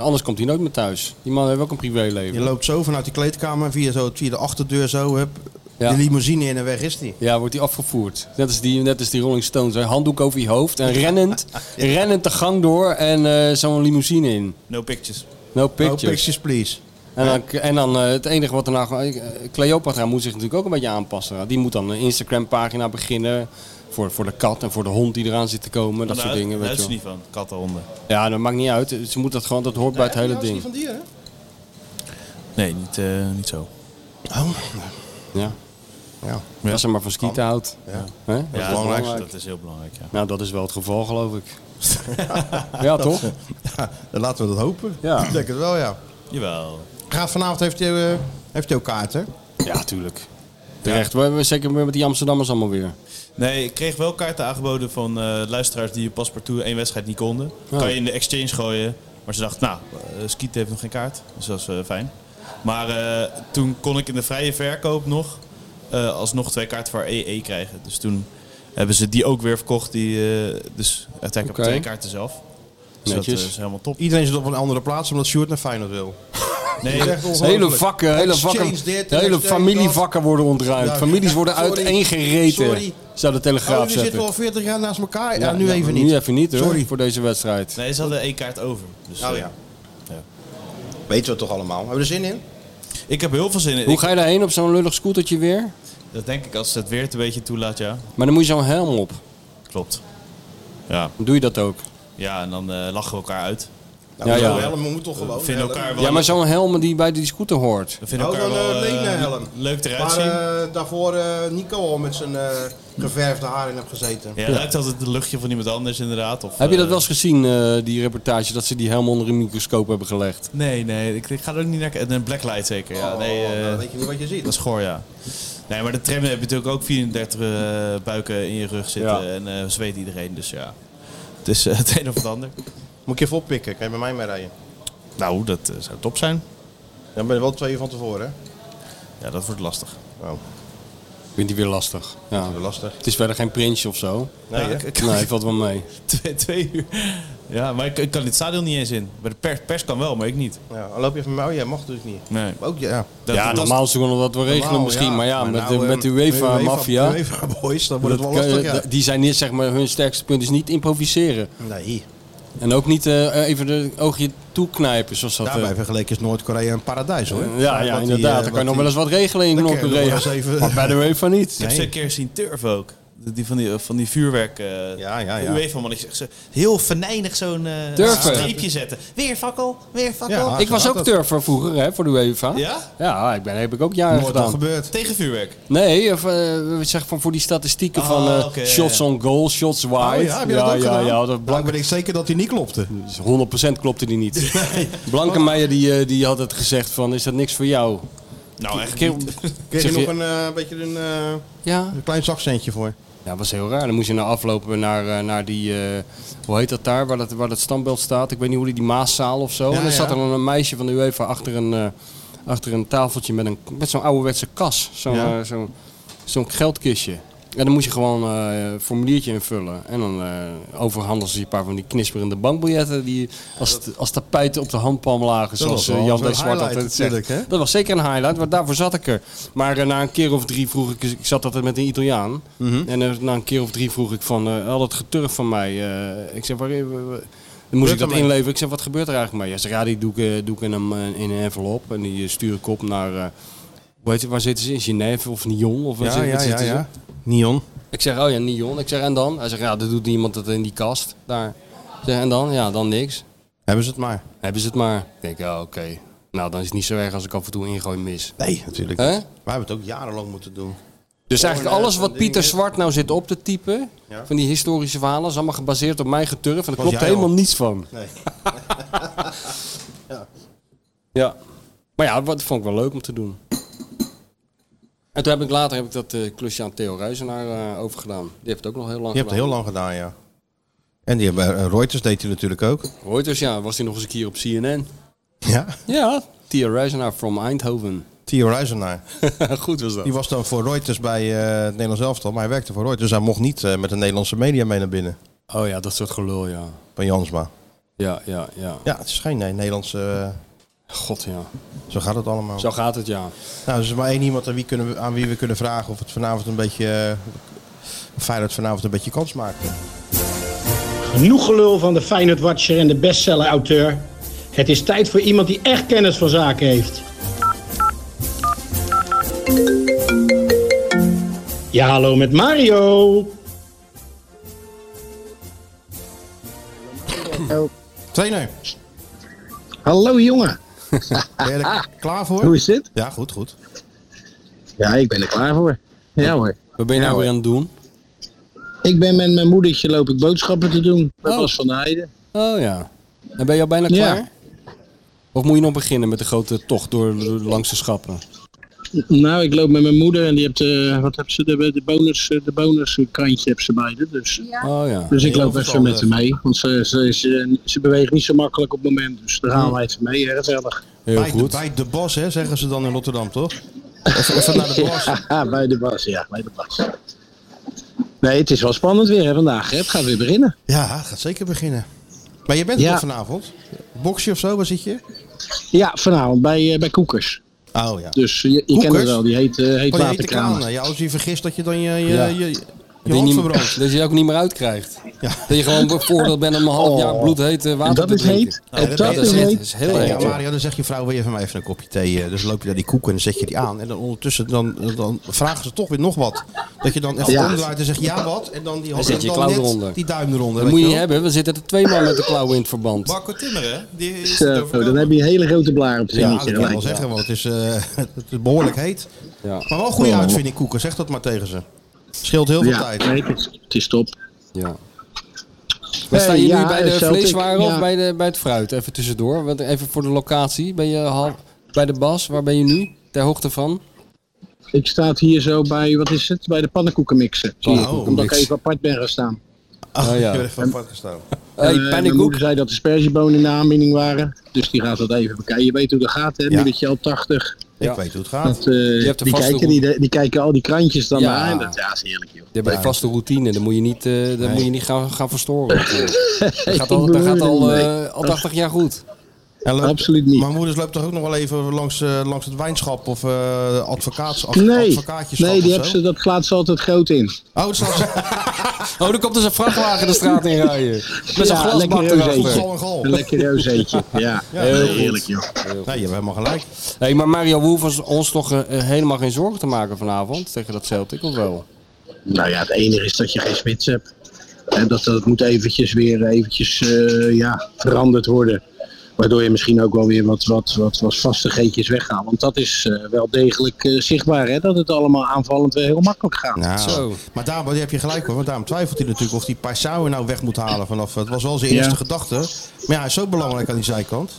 S2: anders komt hij nooit meer thuis. Die man heeft ook een
S3: Je
S2: privéleven.
S3: loopt zo vanuit die kleedkamer, via, zo, via de achterdeur zo, hup,
S2: Ja.
S3: de limousine in en weg is die.
S2: Ja, wordt hij afgevoerd. Net als die, net als die Rolling Stones. hè. Handdoek over je hoofd en rennend, rennend de gang door en eh, zo'n limousine in.
S1: No pictures.
S2: No pictures.
S3: Oh, pictures please.
S2: En dan, en dan eh, het enige wat erna... eh, Cleopatra moet zich natuurlijk ook een beetje aanpassen. Die moet dan een Instagram pagina beginnen. Voor, voor de kat en voor de hond die eraan zit te komen. Nou, Dat soort dingen.
S1: Daar
S2: Weet je
S1: is
S2: wel.
S1: niet van. Kattenhonden.
S2: Ja, dat maakt niet uit. Ze moet dat gewoon, dat hoort bij het hele ding.
S3: van dieren?
S1: Nee, niet, eh, niet zo.
S3: Oh,
S2: Ja.
S3: ja.
S2: Als ze maar van skieten houdt. Ja. Dat is
S1: Ja,
S2: belangrijk.
S1: Dat is heel belangrijk, ja.
S2: Nou, dat is wel het geval, geloof ik. ja, toch?
S3: Ja, dan laten we dat hopen.
S2: Ja.
S3: Ik denk het wel, ja.
S1: Jawel.
S3: Gaat vanavond heeft hij, eh, heeft hij ook kaart, hè?
S2: Ja, tuurlijk. Terecht. We hebben zeker met die Amsterdammers allemaal weer.
S1: Nee, ik kreeg wel kaarten aangeboden van eh, luisteraars die paspartout één wedstrijd niet konden.
S2: Oh.
S1: Kan je in de exchange gooien. Maar ze dachten, nou, eh Skiet heeft nog geen kaart. Dus dat is eh, fijn. Maar eh, toen kon ik in de vrije verkoop nog eh, alsnog twee kaarten voor EE krijgen. Dus toen hebben ze die ook weer verkocht. Die, eh, dus uiteindelijk heb ik
S2: Oké.
S1: twee kaarten zelf. Dus dat
S2: Netjes.
S1: eh, is helemaal top.
S3: Iedereen zit op een andere plaats omdat Sjoerd naar Feyenoord wil.
S1: Nee,
S3: Echt ongelooflijk.
S2: Hele vakken, hele
S3: Exchange
S2: vakken.
S3: dit,
S2: hele
S3: exchange dat.
S2: familievakken worden ontruimd.
S3: Ja.
S2: Families worden
S3: Sorry.
S2: uiteengereten.
S3: Sorry.
S2: Zou de
S3: Oh,
S2: Telegraaf
S3: die zitten
S2: zetten.
S3: wel al 40 jaar naast elkaar. Ja,
S2: Ja,
S3: nu
S2: ja,
S3: even
S2: nu
S3: niet.
S2: even niet, hoor.
S3: Sorry.
S2: Voor deze wedstrijd.
S1: nee ze hadden één kaart over. Dus,
S2: Oh,
S3: Nou
S1: eh,
S3: ja. Weten we het toch allemaal? Hebben we er zin in? Nou,
S1: Ik heb er heel veel zin in.
S2: Hoe
S1: Ik-
S2: ga je daarheen op zo'n lullig scootertje weer?
S1: Dat denk ik als het weer het een beetje toelaat, ja.
S2: Maar dan moet je zo'n helm op.
S1: Klopt. Ja,
S2: Doe je dat ook?
S1: ja en dan eh, lachen we elkaar uit.
S3: Nou,
S2: Ja,
S3: we
S2: ja.
S3: doen helm, we moeten toch gewoon.
S1: We vinden
S3: helm.
S1: elkaar wel,
S2: Ja, maar zo'n helm die bij die scooter hoort.
S1: we vinden
S3: Oh,
S1: elkaar
S3: dan,
S1: wel
S3: eh,
S1: eh,
S3: Lene helm.
S1: leuk eruit
S3: Waar
S1: zien.
S3: eh, daarvoor eh, Nico al met zijn eh, geverfde haar in heb gezeten.
S1: ja, lijkt altijd het luchtje van iemand anders inderdaad. Of,
S2: Heb je dat
S1: eh,
S2: wel eens gezien, eh, die reportage, dat ze die helm onder een microscoop hebben gelegd?
S1: Nee, nee, ik, ik ga er ook niet naar kijken. En een blacklight zeker, ja. nee,
S3: Oh,
S1: eh,
S3: nou, weet je niet wat je ziet.
S1: dat is goor, ja. Nee, maar de tram heb je natuurlijk ook 34 eh, buiken in je rug zitten.
S2: Ja.
S1: En eh, zweet iedereen, dus ja. Het is eh, het een of het ander.
S3: Moet ik je even oppikken, kan je bij mij mee rijden?
S1: Nou, dat eh, zou top zijn.
S3: Dan ben je wel twee uur van tevoren,
S1: Ja, dat wordt lastig.
S3: hè? Oh,
S2: Ik vind die weer lastig. Ja.
S3: lastig.
S2: Het is verder geen prinsje of zo.
S3: Nee,
S1: Ja,
S3: hè?
S1: ik- ik-
S2: Nee, valt wel mee.
S1: twee, twee uur. Ja, maar ik, ik kan dit stadion niet eens in. Bij de pers, pers kan wel, maar ik niet.
S3: Ja, dan loop je even mee. Oh, jij mag natuurlijk niet.
S1: Nee.
S3: Maar Ook, ja.
S1: Dat-
S2: ja,
S1: dat-
S2: normaal is het gewoon dat we regelen
S3: Normaal,
S2: misschien. Maar ja, met,
S3: nou,
S2: de,
S3: eh,
S2: met de UEFA-maffia.
S3: UEFA boys, dan wordt het wel
S2: dat-
S3: lastig, ja.
S2: dat- Die zijn niet, zeg maar, hun sterkste punt is niet improviseren.
S3: Nee.
S2: En ook niet eh, even de oogje toeknijpen, zoals dat... eh,
S3: Daarbij vergeleken is Noord-Korea een paradijs hoor.
S2: ja, ja,
S3: Wat die,
S2: inderdaad. Dan
S3: eh,
S2: kan
S3: wat
S2: je nog
S3: die-
S2: wel eens wat regelen in
S3: Dan kun je nog
S2: Noord-Korea.
S3: wel eens even-
S2: Maar bij de UEFA niet.
S1: Ik heb ze een keer zien turf ook. Die van die, van die vuurwerk. eh
S3: Ja, ja, ja.
S1: De UEFA man, ik zeg ze heel venijnig zo'n eh,
S2: Turven.
S1: streepje zetten. Weer fakkel, weer fakkel.
S3: Ja.
S1: Ja.
S2: Ik was ook turfer vroeger, hè, voor de UEFA.
S1: Ja?
S2: Ja, ik ben, heb ik ook jaren
S3: Nooit al
S2: gedaan.
S3: gebeurd.
S1: Tegen vuurwerk.
S2: Nee, of, eh, we zeggen van voor die statistieken
S1: Ah,
S2: van eh,
S1: oké,
S2: shots
S1: ja.
S2: on goal, shots wide.
S3: Oh ja, heb je dat ook
S2: ja,
S3: gedaan?
S2: ja, dat
S3: Dan
S2: blanke,
S3: ben ik zeker dat die niet klopte.
S2: 100% klopte die niet.
S3: Oh.
S2: Blankenmeijer die, eh, die had het gezegd van, is dat niks voor jou?
S1: Nou, echt.
S2: Keer-
S3: Kreeg je
S2: Zeg
S3: nog
S2: je-
S3: een eh, beetje een, eh,
S2: Ja,
S3: een klein zakcentje voor?
S2: Ja, dat was heel raar. Dan moest je nou aflopen naar, eh, naar die, eh, hoe heet dat daar, waar dat, waar dat standbeeld staat. Ik weet niet hoe die, die Maaszaal of zo.
S3: Ja,
S2: en dan
S3: ja.
S2: zat er dan een meisje van de UEFA achter een, eh, achter een tafeltje met, een, met zo'n ouderwetse kas. Zo'n
S3: Ja.
S2: eh, zo'n- zo'n geldkistje. En dan moest je gewoon eh, een formuliertje invullen. En dan eh overhandelden ze je een paar van die knisperende bankbiljetten die als, als tapijten op de handpalm lagen. Zoals
S3: was wel
S2: eh, Jan
S3: zo'n
S2: de Zwart
S3: highlight
S2: altijd zegt.
S3: natuurlijk, hè?
S2: Dat was zeker een highlight, want daarvoor zat ik er. Maar eh, na een keer of drie vroeg ik, ik zat altijd met een Italiaan.
S3: Mhm.
S2: En eh, na een keer of drie vroeg ik van, eh, al dat geturf van mij. eh, ik zeg, waar, waar- waar- dan moest ik dat
S3: ermee?
S2: inleveren. Ik zeg, wat gebeurt er eigenlijk mee? Hij zegt, ja, die doe ik, eh, doe ik in, een, eh, in een envelop. En die eh, stuur ik op naar, eh, hoe heet het, waar zitten ze? In Genève of Nyon? Of waar
S3: Ja,
S2: zit-
S3: ja,
S2: waar
S3: ja,
S2: zitten ze?
S3: ja. Nion.
S2: Ik zeg, oh ja, Nyon. Ik zeg, en dan? Hij zegt, ja, dat doet iemand dat in die kast daar. Ik zeg, en dan? Ja, dan niks.
S3: Hebben ze het maar.
S2: Hebben ze het maar. Ik denk, ja, oké. Nou, dan is het niet zo erg als ik af en toe ingooi mis.
S3: Nee, natuurlijk
S2: Hè?
S3: niet. Wij hebben het ook jarenlang moeten doen.
S2: Dus eigenlijk alles
S3: eh,
S2: wat
S3: ding
S2: Pieter
S3: is-
S2: Zwart nou zit op te typen,
S3: Ja.
S2: van die historische verhalen, is allemaal gebaseerd op mijn geturf. En daar
S3: Was
S2: klopt
S3: jij
S2: helemaal
S3: al?
S2: niets van.
S3: Nee.
S2: Ja. Maar ja, wat- dat vond ik wel leuk om te doen. En toen heb ik later heb ik dat eh, klusje aan Theo Ruizenaar eh, overgedaan. Die heeft het ook nog heel lang
S3: Je hebt het heel lang gedaan, ja. En die hebben, eh, Reuters deed hij natuurlijk ook.
S2: gedaan. Reuters, dus, ja, was hij nog eens een keer op CNN.
S3: Ja.
S2: Ja, Theo Ruizenaar from Eindhoven.
S3: Theo Ruizenaar.
S2: Goed was dat.
S3: Die was dan voor Reuters bij eh, het Nederlands elftal, maar hij werkte voor Reuters. Dus hij mocht niet eh, met de Nederlandse media mee naar binnen,
S2: Oh ja, dat soort gelul, ja.
S3: bij Jansma.
S2: Ja, ja, ja.
S3: Ja, het is geen nee, Nederlandse... eh,
S2: God, ja.
S3: zo gaat het allemaal.
S2: Zo gaat het, ja.
S3: Nou, er is maar één iemand aan wie, kunnen we, aan wie we kunnen vragen of het vanavond een beetje... eh, of Feyenoord vanavond een beetje kans maakt. eh.
S9: Genoeg gelul van de Feyenoord Watcher en de bestseller-auteur. Het is tijd voor iemand die echt kennis van zaken heeft. Ja, hallo met Mario.
S3: Trainer,
S9: Hallo jongen,
S3: ben je er klaar voor?
S9: hoe is dit?
S3: Ja, goed, goed.
S9: Ja, ik ben er klaar voor. Ja hoor.
S2: Wat ben je nou weer aan het doen?
S9: Ik ben met mijn moedertje loop ik boodschappen te doen. Met
S2: Oh.
S9: Bas van de Heijden.
S2: Oh ja. En ben je al bijna
S9: Ja.
S2: klaar? Of moet je nog beginnen met de grote tocht door, door langs de schappen?
S9: Nou, ik loop met mijn moeder en die hebt, eh, wat hebben ze, de, de bonus, eh, de bonuskrantje hebben ze bij de, dus...
S2: Oh ja.
S9: Dus ik
S3: Heel
S9: loop even
S3: verstandig.
S9: met hem mee, want ze, ze, ze, ze beweegt niet zo makkelijk op het moment. Dus daar gaan wij even mee, hè, gezellig.
S2: Hm. Heel
S3: Bij,
S2: goed.
S3: bij de bos, hè, zeggen ze dan in Rotterdam, toch? Even, even naar de bos.
S9: Ja, bij de bas, ja, bij de bas. Nee, het is wel spannend weer hè, vandaag. Hè? Het gaat weer beginnen.
S3: Ja, het gaat zeker beginnen. Maar je bent er
S9: Ja.
S3: toch vanavond? Boxje of zo, waar zit je?
S9: Ja, vanavond bij, eh, bij Koekers.
S3: Oh ja.
S9: Dus eh, je, je kent
S3: Koekers?
S9: het wel, die heet, eh
S3: Oh,
S9: heet
S3: je heet de
S9: Waterkranen.
S3: kranen. Ja, als je vergist dat je dan je, je,
S2: Ja.
S3: je, je
S2: dat, je
S3: hand
S2: niet-
S3: verbrandt.
S2: dat je je ook niet meer uitkrijgt.
S3: Ja.
S2: Dat je gewoon bevoordeeld bent om een half jaar
S9: Oh.
S2: bloedheet eh, water
S9: En dat
S2: te
S9: is
S2: drinken.
S9: heet. En dat
S2: dat is
S9: is
S2: heet.
S9: heet.
S2: Dat is heel
S3: ja,
S2: heet. hoor.
S3: Mario, dan zegt je vrouw, wil je van mij even een kopje thee? eh, Dus loop je naar die koek en dan zet je die aan. En dan ondertussen dan, dan vragen ze toch weer nog wat. Dat je dan even
S9: Ja.
S3: omdraait en zegt, ja wat? En dan die hand
S2: zet
S3: en
S2: je
S3: dan
S2: klauw
S3: net
S2: eronder.
S3: die duim
S2: Dat
S3: eronder. weet
S2: moet je
S3: je
S2: niet
S3: wel.
S2: hebben. We zitten er twee man met de klauwen in het verband.
S1: Marco Timmeren, die is het
S9: Zo,
S1: overkomen.
S9: dan heb je een hele grote blaar op je
S3: Ja, dat
S9: vingertje.
S3: kan ik wel
S9: gelijk.
S3: zeggen, want het is, eh, het is behoorlijk heet.
S2: Ja.
S3: Maar wel een goede uitvinding, koeken. Zeg dat maar tegen ze. Scheelt heel veel
S9: Ja,
S3: tijd.
S9: nee, het, is, het is top.
S2: ja. Maar sta je
S9: Eh,
S2: nu
S9: ja,
S2: bij de
S9: Celtic,
S2: vleeswaren of
S9: ja.
S2: bij, de, bij het fruit? Even tussendoor. Want even voor de locatie. Ben je half, bij de Bas? Waar ben je nu? Ter hoogte van?
S9: Ik sta hier zo bij, wat is het? Bij de pannenkoekenmixer. zie ik.
S2: Pannenkoekenmix.
S9: Omdat ik even apart ben gaan staan.
S3: Ah,
S2: Oh, ja.
S3: je bent even apart gestaan.
S2: Hey,
S9: Eh, mijn
S2: pannenkoek.
S9: moeder zei dat de sperziebonen in de aanbieding waren. Dus die gaat dat even bekijken. Je weet hoe dat gaat, hè? Moedertje al 80.
S3: Ik
S2: Ja.
S3: weet hoe het gaat.
S9: Dat, eh,
S2: hebt er
S9: die,
S2: vast
S9: kijken,
S2: nog-
S9: die, die kijken al die krantjes dan
S2: Ja.
S9: naar. En dat, ja, is heerlijk, joh.
S2: Je hebt een vaste routine, dan moet je niet, eh dat moet je niet gaan, gaan verstoren. Dat gaat al,
S9: Ik
S2: dat gaat
S9: bedoel,
S2: al,
S9: nee.
S2: eh, al 80 jaar goed.
S3: En loopt-
S9: Absoluut niet.
S3: Maar moeders loopt toch ook nog wel even langs, eh, langs het wijnschap of eh advocaats, ad-
S9: Nee,
S3: advocaatjeschap
S9: nee
S3: of
S9: die hebben
S3: zo?
S9: ze, dat slaat ze altijd groot in.
S3: Oh, dat slaat ze-
S2: Oh, er komt dus een vrachtwagen de straat in rijden. Met zo'n
S9: Ja,
S2: glasbak
S9: lekker
S2: erachter.
S3: Gal en gal.
S9: rozeetje. Een lekker rozeetje, ja.
S2: Heel goed.
S5: Heerlijk, joh.
S3: Nee, je hebt helemaal gelijk.
S2: Hey, maar Mario, we hoeven ons toch eh, helemaal geen zorgen te maken vanavond tegen dat Celtic, of wel?
S9: Nou ja, het enige is dat je geen spits hebt. En dat, dat moet eventjes weer eventjes, eh, ja, veranderd worden. Waardoor je misschien ook wel weer wat, wat, wat, wat vastigheidjes weggaan. Want dat is eh, wel degelijk eh, zichtbaar, hè? dat het allemaal aanvallend weer heel makkelijk gaat.
S3: Nou,
S2: Zo.
S3: Maar daarom daar heb je gelijk hoor. Want daarom twijfelt hij natuurlijk of hij Paisao nou weg moet halen vanaf. Het was wel zijn eerste
S9: Ja.
S3: gedachte. Maar ja, hij is zo belangrijk aan die zijkant.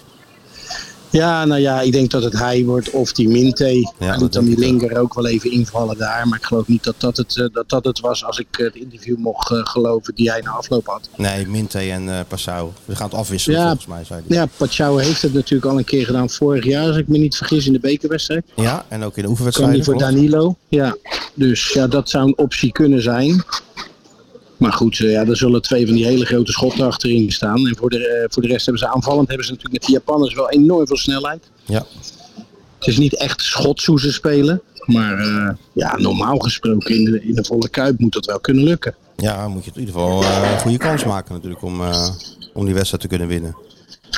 S9: Ja, nou ja, ik denk dat het hij wordt of die Minte.
S3: dat
S9: hij liet dan
S3: denk
S9: die
S3: ik
S9: linker ook wel even invallen daar. Maar ik geloof niet dat dat het, eh, dat dat het was als ik eh, het interview mocht eh, geloven die hij na afloop had.
S3: Nee, Minte en eh Paisao. We gaan het afwisselen
S9: Ja.
S3: volgens mij, zei hij.
S9: Ja, Pachau heeft het natuurlijk al een keer gedaan vorig jaar, als ik me niet vergis, in de bekerwedstrijd.
S3: Ja, en ook in de
S9: Kan
S3: oefenwedstrijden.
S9: die voor
S3: klopt.
S9: Danilo. Ja, dus ja, dat zou een optie kunnen zijn. Maar goed, eh, ja, er zullen twee van die hele grote schotten achterin staan. En voor de, eh, voor de rest hebben ze aanvallend hebben ze natuurlijk met de Japanners wel enorm veel snelheid.
S3: Ja.
S9: Het is niet echt schotsoezen spelen. Maar eh, ja, normaal gesproken in de, in de volle kuip moet dat wel kunnen lukken.
S3: ja, dan moet je in ieder geval eh, een goede kans maken natuurlijk om, eh, om die wedstrijd te kunnen winnen.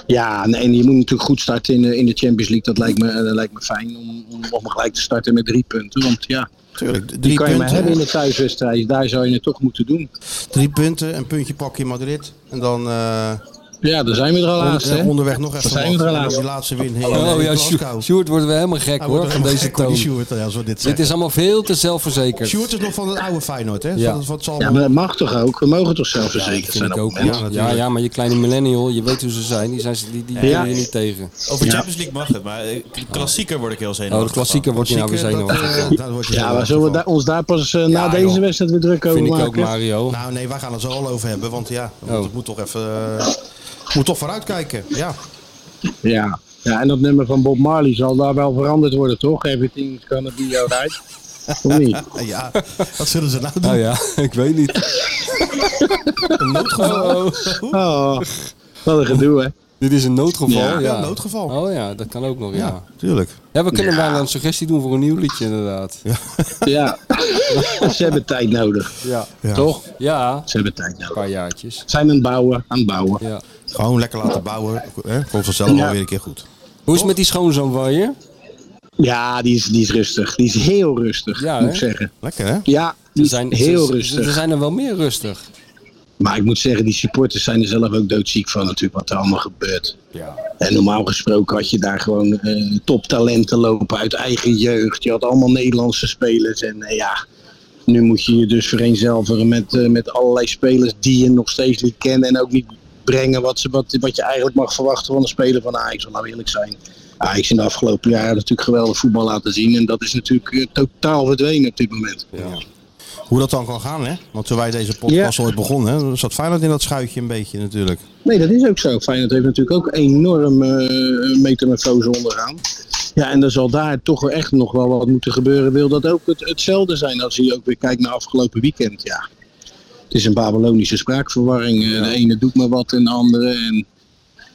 S9: Ja, en, en je moet natuurlijk goed starten in, eh, in de Champions League. Dat lijkt me, eh, dat lijkt me fijn om, om, om gelijk te starten met drie punten. Want ja,
S3: Tuurlijk, d-
S9: die
S3: drie
S9: kan je maar hebben in
S3: punten,
S9: de thuiswedstrijd. Daar zou je het toch moeten doen.
S3: drie punten, een puntje pakken in Madrid. En dan eh,
S9: Ja, daar zijn we er al
S3: on-
S9: haast,
S3: eh,
S9: hè?
S3: onderweg nog even
S9: zijn we
S3: wat.
S9: er al
S3: En
S9: aan.
S3: als die laatste win in,
S2: Oh
S3: in
S2: ja,
S3: Glasgow.
S2: Sjoerd- Sjoerd wordt weer helemaal gek
S3: Hij wordt
S2: hoor, van
S3: er helemaal
S2: deze
S3: gek van
S2: toon.
S3: die Sjoerd, ja, als we dit
S2: Dit
S3: zeggen.
S2: is allemaal veel te zelfverzekerd.
S3: Sjoerd is nog van het oude Feyenoord, hè?
S2: Ja.
S3: Van, van het Zalm.
S9: Ja, maar dat mag toch ook? We mogen toch zelfverzekerd zijn?
S2: vind ik ook.
S9: op-
S2: Ja, ja, ja, maar je kleine millennial, je weet hoe ze zijn. Die, zijn, ze- die, die kunnen je niet tegen.
S1: Over
S9: Ja.
S1: Champions League mag het, maar eh, klassieker word ik heel
S2: Oh,
S1: zenuwachtig.
S2: de klassieker wordt je nou weer
S3: Klassieker,
S2: zenuwachtig.
S3: dat, eh, daar word je
S9: Ja,
S3: zo
S9: maar zullen we daar- ons daar pas eh, na
S2: Ja,
S9: deze
S2: joh.
S9: wedstrijd weer druk over
S2: Vind ik
S9: maken?
S2: ook, Mario.
S3: Nou nee, wij gaan het zo al over hebben, want ja, we
S2: Oh.
S3: moeten- moet toch even... eh, moet toch vooruitkijken, ja.
S9: Ja. ja, en dat nummer van Bob Marley zal daar wel veranderd worden, toch? Everything gonna be alright. Of niet?
S1: Oh.
S3: Eh, Ja, wat zullen ze
S1: Eh,
S3: nou doen?
S2: Nou ja, ik weet niet.
S3: Een noodgeval?
S9: Oh, wat een gedoe, hè?
S2: Dit is een noodgeval. Ja,
S3: Ja, een noodgeval.
S2: Oh ja, dat kan ook nog, ja.
S3: Ja, tuurlijk.
S2: Ja, we kunnen bijna een suggestie doen voor een nieuw liedje inderdaad.
S9: Ja, ze hebben tijd nodig,
S2: Ja.
S3: Ja.
S9: toch?
S2: Ja,
S9: Ze hebben tijd
S2: een
S9: nodig.
S2: paar jaartjes.
S9: Zijn aan het bouwen, aan het bouwen.
S2: Ja.
S3: Gewoon lekker laten bouwen. Hè? Komt vanzelf
S9: Ja.
S3: wel weer een keer goed.
S2: Hoe is het met die schoonzoon van je?
S9: Ja, die is, die is rustig. Die is heel rustig,
S2: Ja,
S9: moet
S2: hè?
S9: ik zeggen.
S3: Lekker, hè?
S9: Ja, die
S2: Er
S9: is
S2: zijn,
S9: heel
S2: ze-
S9: rustig.
S2: Er zijn er wel meer rustig.
S9: Maar ik moet zeggen, die supporters zijn er zelf ook doodziek van natuurlijk, wat er allemaal gebeurt.
S2: Ja.
S9: En normaal gesproken had je daar gewoon eh, toptalenten lopen uit eigen jeugd. Je had allemaal Nederlandse spelers. En eh, ja, nu moet je je dus vereenzelvigen met, eh, met allerlei spelers die je nog steeds niet kent. En ook niet brengen wat, ze, wat, wat je eigenlijk mag verwachten van een speler van Ajax. Want nou eerlijk zijn, Ajax in de afgelopen jaren natuurlijk geweldig voetbal laten zien. En dat is natuurlijk eh, totaal verdwenen op dit moment.
S3: Hoe dat dan kan gaan, hè? Want toen wij deze podcast ooit begonnen, hè, zat Feyenoord in dat schuitje een beetje natuurlijk.
S9: Nee, dat is ook zo. Feyenoord heeft natuurlijk ook enorm eh metamorfose ondergaan. Ja, en er zal daar toch wel echt nog wel wat moeten gebeuren. Wil dat ook het, hetzelfde zijn als je ook weer kijkt naar afgelopen weekend? Ja, het is een Babylonische spraakverwarring. Eh, De ene doet maar wat en de andere. En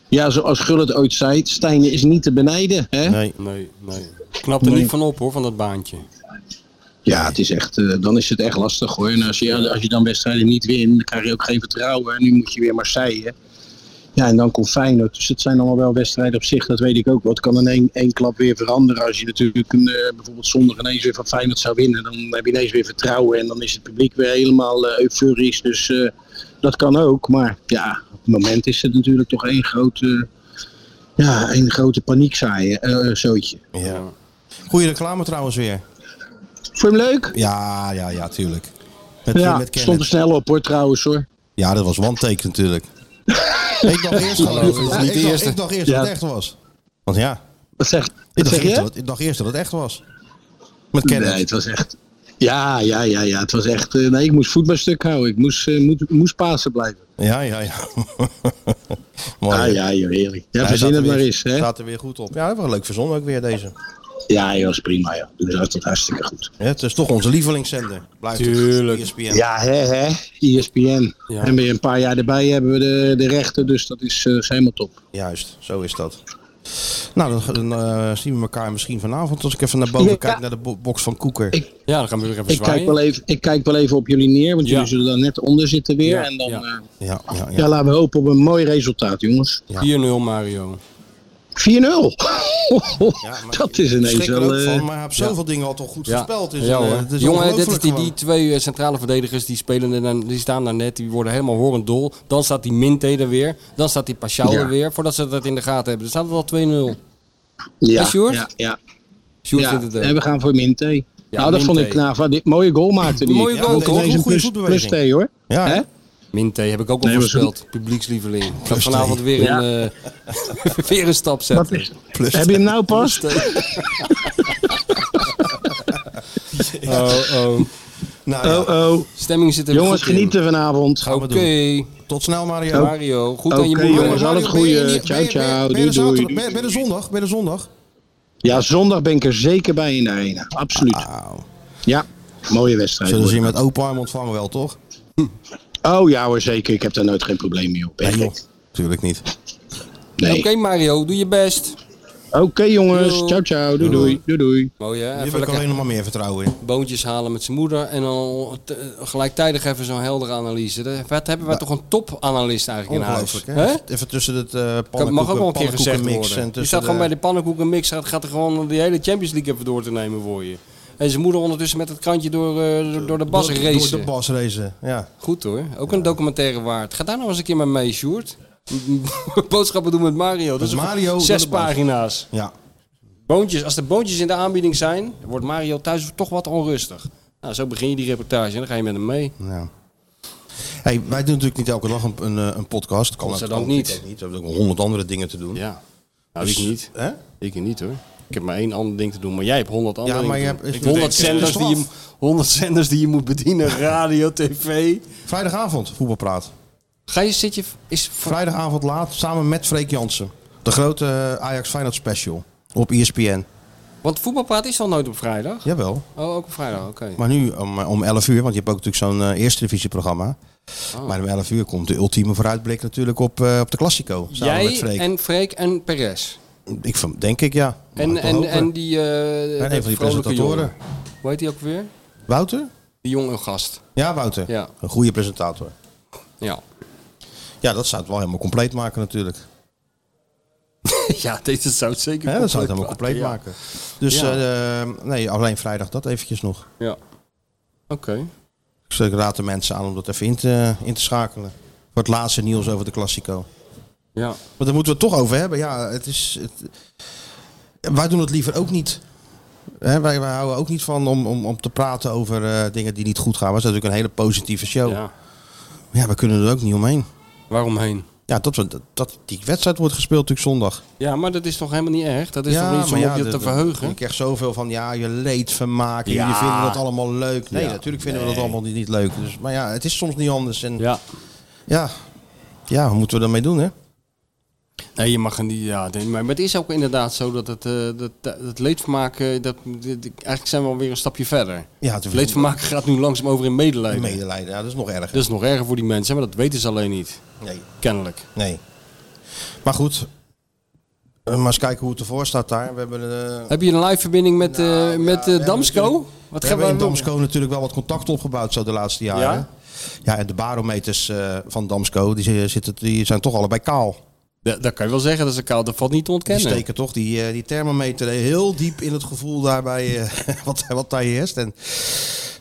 S9: ja, zoals Gullit ooit zei, Stijnen is niet te benijden. Hè?
S3: Nee.
S2: Nee, nee. Knap er niet van op hoor, van dat baantje.
S9: Ja, het is echt, eh, dan is het echt lastig hoor. En als je, als je dan wedstrijden niet wint, dan krijg je ook geen vertrouwen. En nu moet je weer Marseille. Ja, en dan komt Feyenoord. Dus het zijn allemaal wel wedstrijden op zich, dat weet ik ook. Wat kan in één, één klap weer veranderen? Als je natuurlijk een, eh, bijvoorbeeld zondag ineens weer van Feyenoord zou winnen, dan heb je ineens weer vertrouwen. En dan is het publiek weer helemaal eh, euforisch. Dus eh, dat kan ook. Maar ja, op het moment is het natuurlijk toch één grote, ja, één grote paniekzaaien, eh zootje.
S3: Ja. Goeie reclame trouwens weer.
S9: Vond je hem leuk?
S3: Ja, ja, ja, tuurlijk. Met,
S9: Ja,
S3: met
S9: stond er
S3: Kenneth.
S9: snel op hoor trouwens hoor.
S3: Ja, dat was one take natuurlijk. ik dacht eerst dat
S2: Hallo, dat is
S3: ja,
S2: niet de
S3: ik dacht-
S2: eerste.
S3: ik dacht eerst dat het
S9: Ja.
S3: echt was. Want ja,
S9: Wat zeg,
S3: ik
S9: wat
S3: dacht,
S9: zeg
S3: eerst dat,
S9: je?
S3: het- ik dacht eerst dat het echt was. Met Kenneth.
S9: Nee, het was echt. Ja, ja, ja, ja. Het was echt. eh, nee, ik moest voetbalstuk houden. Ik moest, eh, moet, moest Pasen blijven.
S3: Ja, ja, ja. Mooi.
S9: ah ja, joh, heerlijk. Ja,
S3: Hij
S9: verzin
S3: staat
S9: het
S3: er
S9: maar
S3: weer-
S9: eens. Hè?
S3: Staat er weer goed op. Ja, we hebben een leuk verzonnen ook weer deze.
S5: Ja, joh, is prima. Ja. Dus dat is hartstikke goed.
S9: Hè, het is toch onze lievelingszender. Blijft het.
S2: Tuurlijk.
S3: E
S9: ESPN.
S5: Ja, hè, hè. ESPN.
S2: Ja.
S5: En weer een paar jaar erbij hebben we de, de rechten, dus dat is, eh, is helemaal top.
S9: Juist, zo is dat. Nou, dan, dan, eh, zien we elkaar misschien vanavond als ik even naar boven
S5: Ja.
S9: kijk naar de bo- box van Koeker.
S5: Ik-
S2: Ja, dan gaan we weer even
S5: Ik kijk,
S2: zwaaien.
S5: wel even, ik kijk wel even op jullie neer, want
S2: Ja.
S5: jullie zullen daar net onder zitten weer.
S2: Ja,
S5: en dan, eh,
S2: ja.
S5: ja.
S9: Ja, ja,
S5: ja,
S9: ja.
S5: laten we hopen op een mooi resultaat, jongens.
S2: 4-0 Mario.
S5: 4-0. dat is
S9: Ik
S5: ineens
S9: schrik er
S5: wel...
S9: ook
S5: eh,
S9: van, maar hij heeft zoveel dingen al toch goed voorspeld. Het is
S2: ja
S9: een, eh,
S2: hoor.
S9: het is
S2: Jongen, dit is
S9: ongelooflijk
S2: die,
S9: gewoon.
S2: die twee eh, centrale verdedigers die spelen er dan- die staan daar net, die worden helemaal horend dol. Dan staat die Minte er weer, dan staat die Pashao
S5: Ja.
S2: er weer, voordat ze dat in de gaten hebben. Dan staat het al 2-0.
S5: ja,
S2: Hè, Sjoerd?
S5: Ja, ja,
S2: Sjoerd
S5: ja.
S2: vindt het ook.
S5: En we gaan voor Minté. nou, dat
S2: Minté.
S5: vond ik Knava. Die mooie goal maakte die.
S2: Mooie goal,
S5: Dat
S2: toch?
S5: is ineens
S9: Een
S5: een
S9: goede
S5: plus,
S9: voetbeweging.
S5: plus twee, hoor.
S9: Ja,
S5: Hè?
S2: Minte heb ik ook al
S5: Nee, maar ze-
S2: voorspeld, publiekslieveling. Ik ga vanavond weer,
S5: Ja.
S2: een, eh, weer een stap
S5: Dat
S2: zetten.
S5: is, heb je hem nou pas?
S2: Oh, oh.
S9: Nou, ja.
S5: Oh, oh.
S2: Stemming zit er weer
S5: Jongens,
S2: goed in.
S5: genieten vanavond.
S2: Oké,
S9: Tot snel,
S2: Oh,
S9: Mario.
S2: Mario. Goed aan je
S5: Oké,
S2: moeder.
S5: jongens. al het
S9: Mario, ben je
S5: goede.
S9: niet-
S5: Ciao,
S9: ben je- ben je-
S5: ciao.
S9: ben je er
S5: Doei, doei.
S9: zaterdag- ben je- Ben je er zondag? Ben je er zondag?
S5: Ja, zondag ben ik er zeker bij in de arena. Absoluut.
S9: Auw.
S5: Ja, mooie wedstrijd.
S9: Zullen ze je
S5: hoor.
S9: met open arm ontvangen wel, toch?
S5: Oh ja hoor, zeker. Ik heb daar nooit geen probleem mee op. Echt.
S9: joh.
S5: Nee.
S9: Tuurlijk niet.
S2: Oké Mario, doe je best.
S5: Oké jongens,
S2: Doei.
S5: ciao ciao. Oh, Doei doei. Doei doei.
S2: Mooi hè,
S9: Hier
S2: even
S9: heb ik
S2: lekker
S9: alleen nog maar meer vertrouwen in.
S2: boontjes halen met zijn moeder en dan t- eh, gelijktijdig even zo'n heldere analyse. Dat- Wat hebben we toch een topanalist eigenlijk in huis?
S9: Ongelooflijk, hè?
S2: Hè?
S9: Even tussen het
S2: Dat
S9: eh pannenkoeken,
S2: mag ook wel een keer gezegd
S9: pannenkoekenmix en
S2: worden. Je
S9: tussen
S2: staat gewoon
S9: de-
S2: bij de pannenkoekenmix, gaat, gaat er gewoon die hele Champions League even door te nemen voor je. En zijn moeder ondertussen met het krantje door, eh, door- door de bas
S9: door- Door
S2: racen.
S9: de bas racen, ja.
S2: Goed hoor, ook een documentaire waard. Ga daar nou eens een keer mee mee, Sjoerd. Boodschappen doen met Mario. Dat is
S9: Met
S2: een-
S9: Mario door
S2: zes
S9: de bas.
S2: pagina's.
S9: Ja,
S2: Boontjes, als de boontjes in de aanbieding zijn, wordt Mario thuis toch wat onrustig. Nou, zo begin je die reportage en dan ga je met hem mee.
S9: ja. Hey, wij doen natuurlijk niet elke dag een, een, eh, een podcast. Kan
S2: Godzijdank
S9: ook
S2: niet.
S9: kan ook niet. We hebben ook honderd andere dingen te doen.
S2: Ja. Nou,
S9: Dus-
S2: ik niet.
S9: Hè?
S2: Ik niet hoor. Ik heb maar één ander ding te doen, maar jij hebt honderd andere
S9: Ja, maar je
S2: dingen te
S9: hebt...
S2: doen.
S9: is-
S2: 100 zenders, die je, 100 zenders die je moet bedienen, radio, tv.
S9: Vrijdagavond, voetbalpraat.
S2: Ga je, zit je, is,
S9: Vrijdagavond laat, samen met Freek Jansen. De grote eh, Ajax Feyenoord Special. Op E ESPN.
S2: want voetbalpraat is al nooit op vrijdag.
S9: Jawel.
S2: Oh, ook op vrijdag, oké.
S9: Maar nu om, eh, om 11 uur, want je hebt ook natuurlijk zo'n eh, eerste divisieprogramma.
S2: Ah.
S9: Maar om 11 uur komt de ultieme vooruitblik natuurlijk op, eh, op de Classico. Samen met
S2: Jij
S9: Freek.
S2: en Freek en Perez.
S9: Ik, van- denk ik, ja. Mag ik
S2: En,
S9: wel
S2: en,
S9: hopen.
S2: en die eh
S9: En een van
S2: vrolijke
S9: die
S2: jongen.
S9: presentatoren.
S2: Hoe heet die ook weer?
S9: Wouter?
S2: Die jonge gast.
S9: Ja, Wouter.
S2: Ja.
S9: Een goede presentator.
S2: Ja.
S9: Ja, dat zou het wel helemaal compleet maken natuurlijk.
S2: ja, deze zou het zeker
S9: Hè, dat zou het helemaal
S2: compleet
S9: compleet
S2: maken,
S9: maken. Dus eh, nee, alleen vrijdag dat eventjes nog.
S2: Ja. Ja. Oké.
S9: Dus ik raad de mensen aan om dat even in te, in te schakelen. Voor het laatste nieuws over de Classico.
S2: Ja.
S9: Want daar moeten we het toch over hebben. Ja, het is, het- wij doen het liever ook niet. Hè, wij, wij houden ook niet van om, om, om te praten over eh, dingen die niet goed gaan. We zijn natuurlijk een hele positieve show. Ja,
S2: ja.
S9: we kunnen er ook niet omheen.
S2: Waarom heen?
S9: Ja, dat, we- dat, dat die wedstrijd wordt gespeeld natuurlijk zondag.
S2: Ja, maar dat is toch helemaal niet erg? Dat is
S9: ja,
S2: toch niet om
S9: maar
S2: op je
S9: dat-
S2: te
S9: dat-
S2: verheugen?
S9: Je krijgt zoveel van, ja, je leed vermaken.
S2: Ja.
S9: Jullie vinden dat allemaal leuk. Nee,
S2: Ja.
S9: natuurlijk vinden we dat allemaal niet, niet leuk. Dus, maar ja, het is soms niet anders. En ja,
S2: Ja.
S9: ja, wat moeten we daarmee doen, hè?
S2: Nee, je mag er niet... Ja, nee, maar het is ook inderdaad zo dat het, eh, dat, dat het leedvermaak... eh, Dat, dit- dit- eigenlijk zijn we alweer een stapje verder.
S9: Ja, het
S2: Leedvermaak gaat nu langzaam over in medelijden.
S9: medelijden. Ja, dat is nog erger.
S2: Dat is nog erger voor die mensen, maar dat weten ze alleen niet.
S9: Nee.
S2: Kennelijk.
S9: Nee. Maar goed. Eh, maar eens kijken hoe het ervoor staat daar. We hebben, eh,
S2: Heb je een live verbinding met, eh, met eh,
S9: Nou, hebben
S2: Damsko?
S9: natuurlijk-
S2: Wat gaan
S9: we hebben
S2: we
S9: in
S2: doen?
S9: Damsco natuurlijk wel wat contact opgebouwd zo de laatste jaren.
S2: Ja?
S9: Ja, en de barometers eh, van Damsco die, zi- zitten, die zijn toch allebei kaal.
S2: Da- dat kan je wel zeggen, dat is een koud. Dat valt niet te
S9: Die
S2: ontkennen.
S9: steken toch die, eh, die thermometer heel diep in het gevoel daarbij eh, wat, wat daar heerst. En,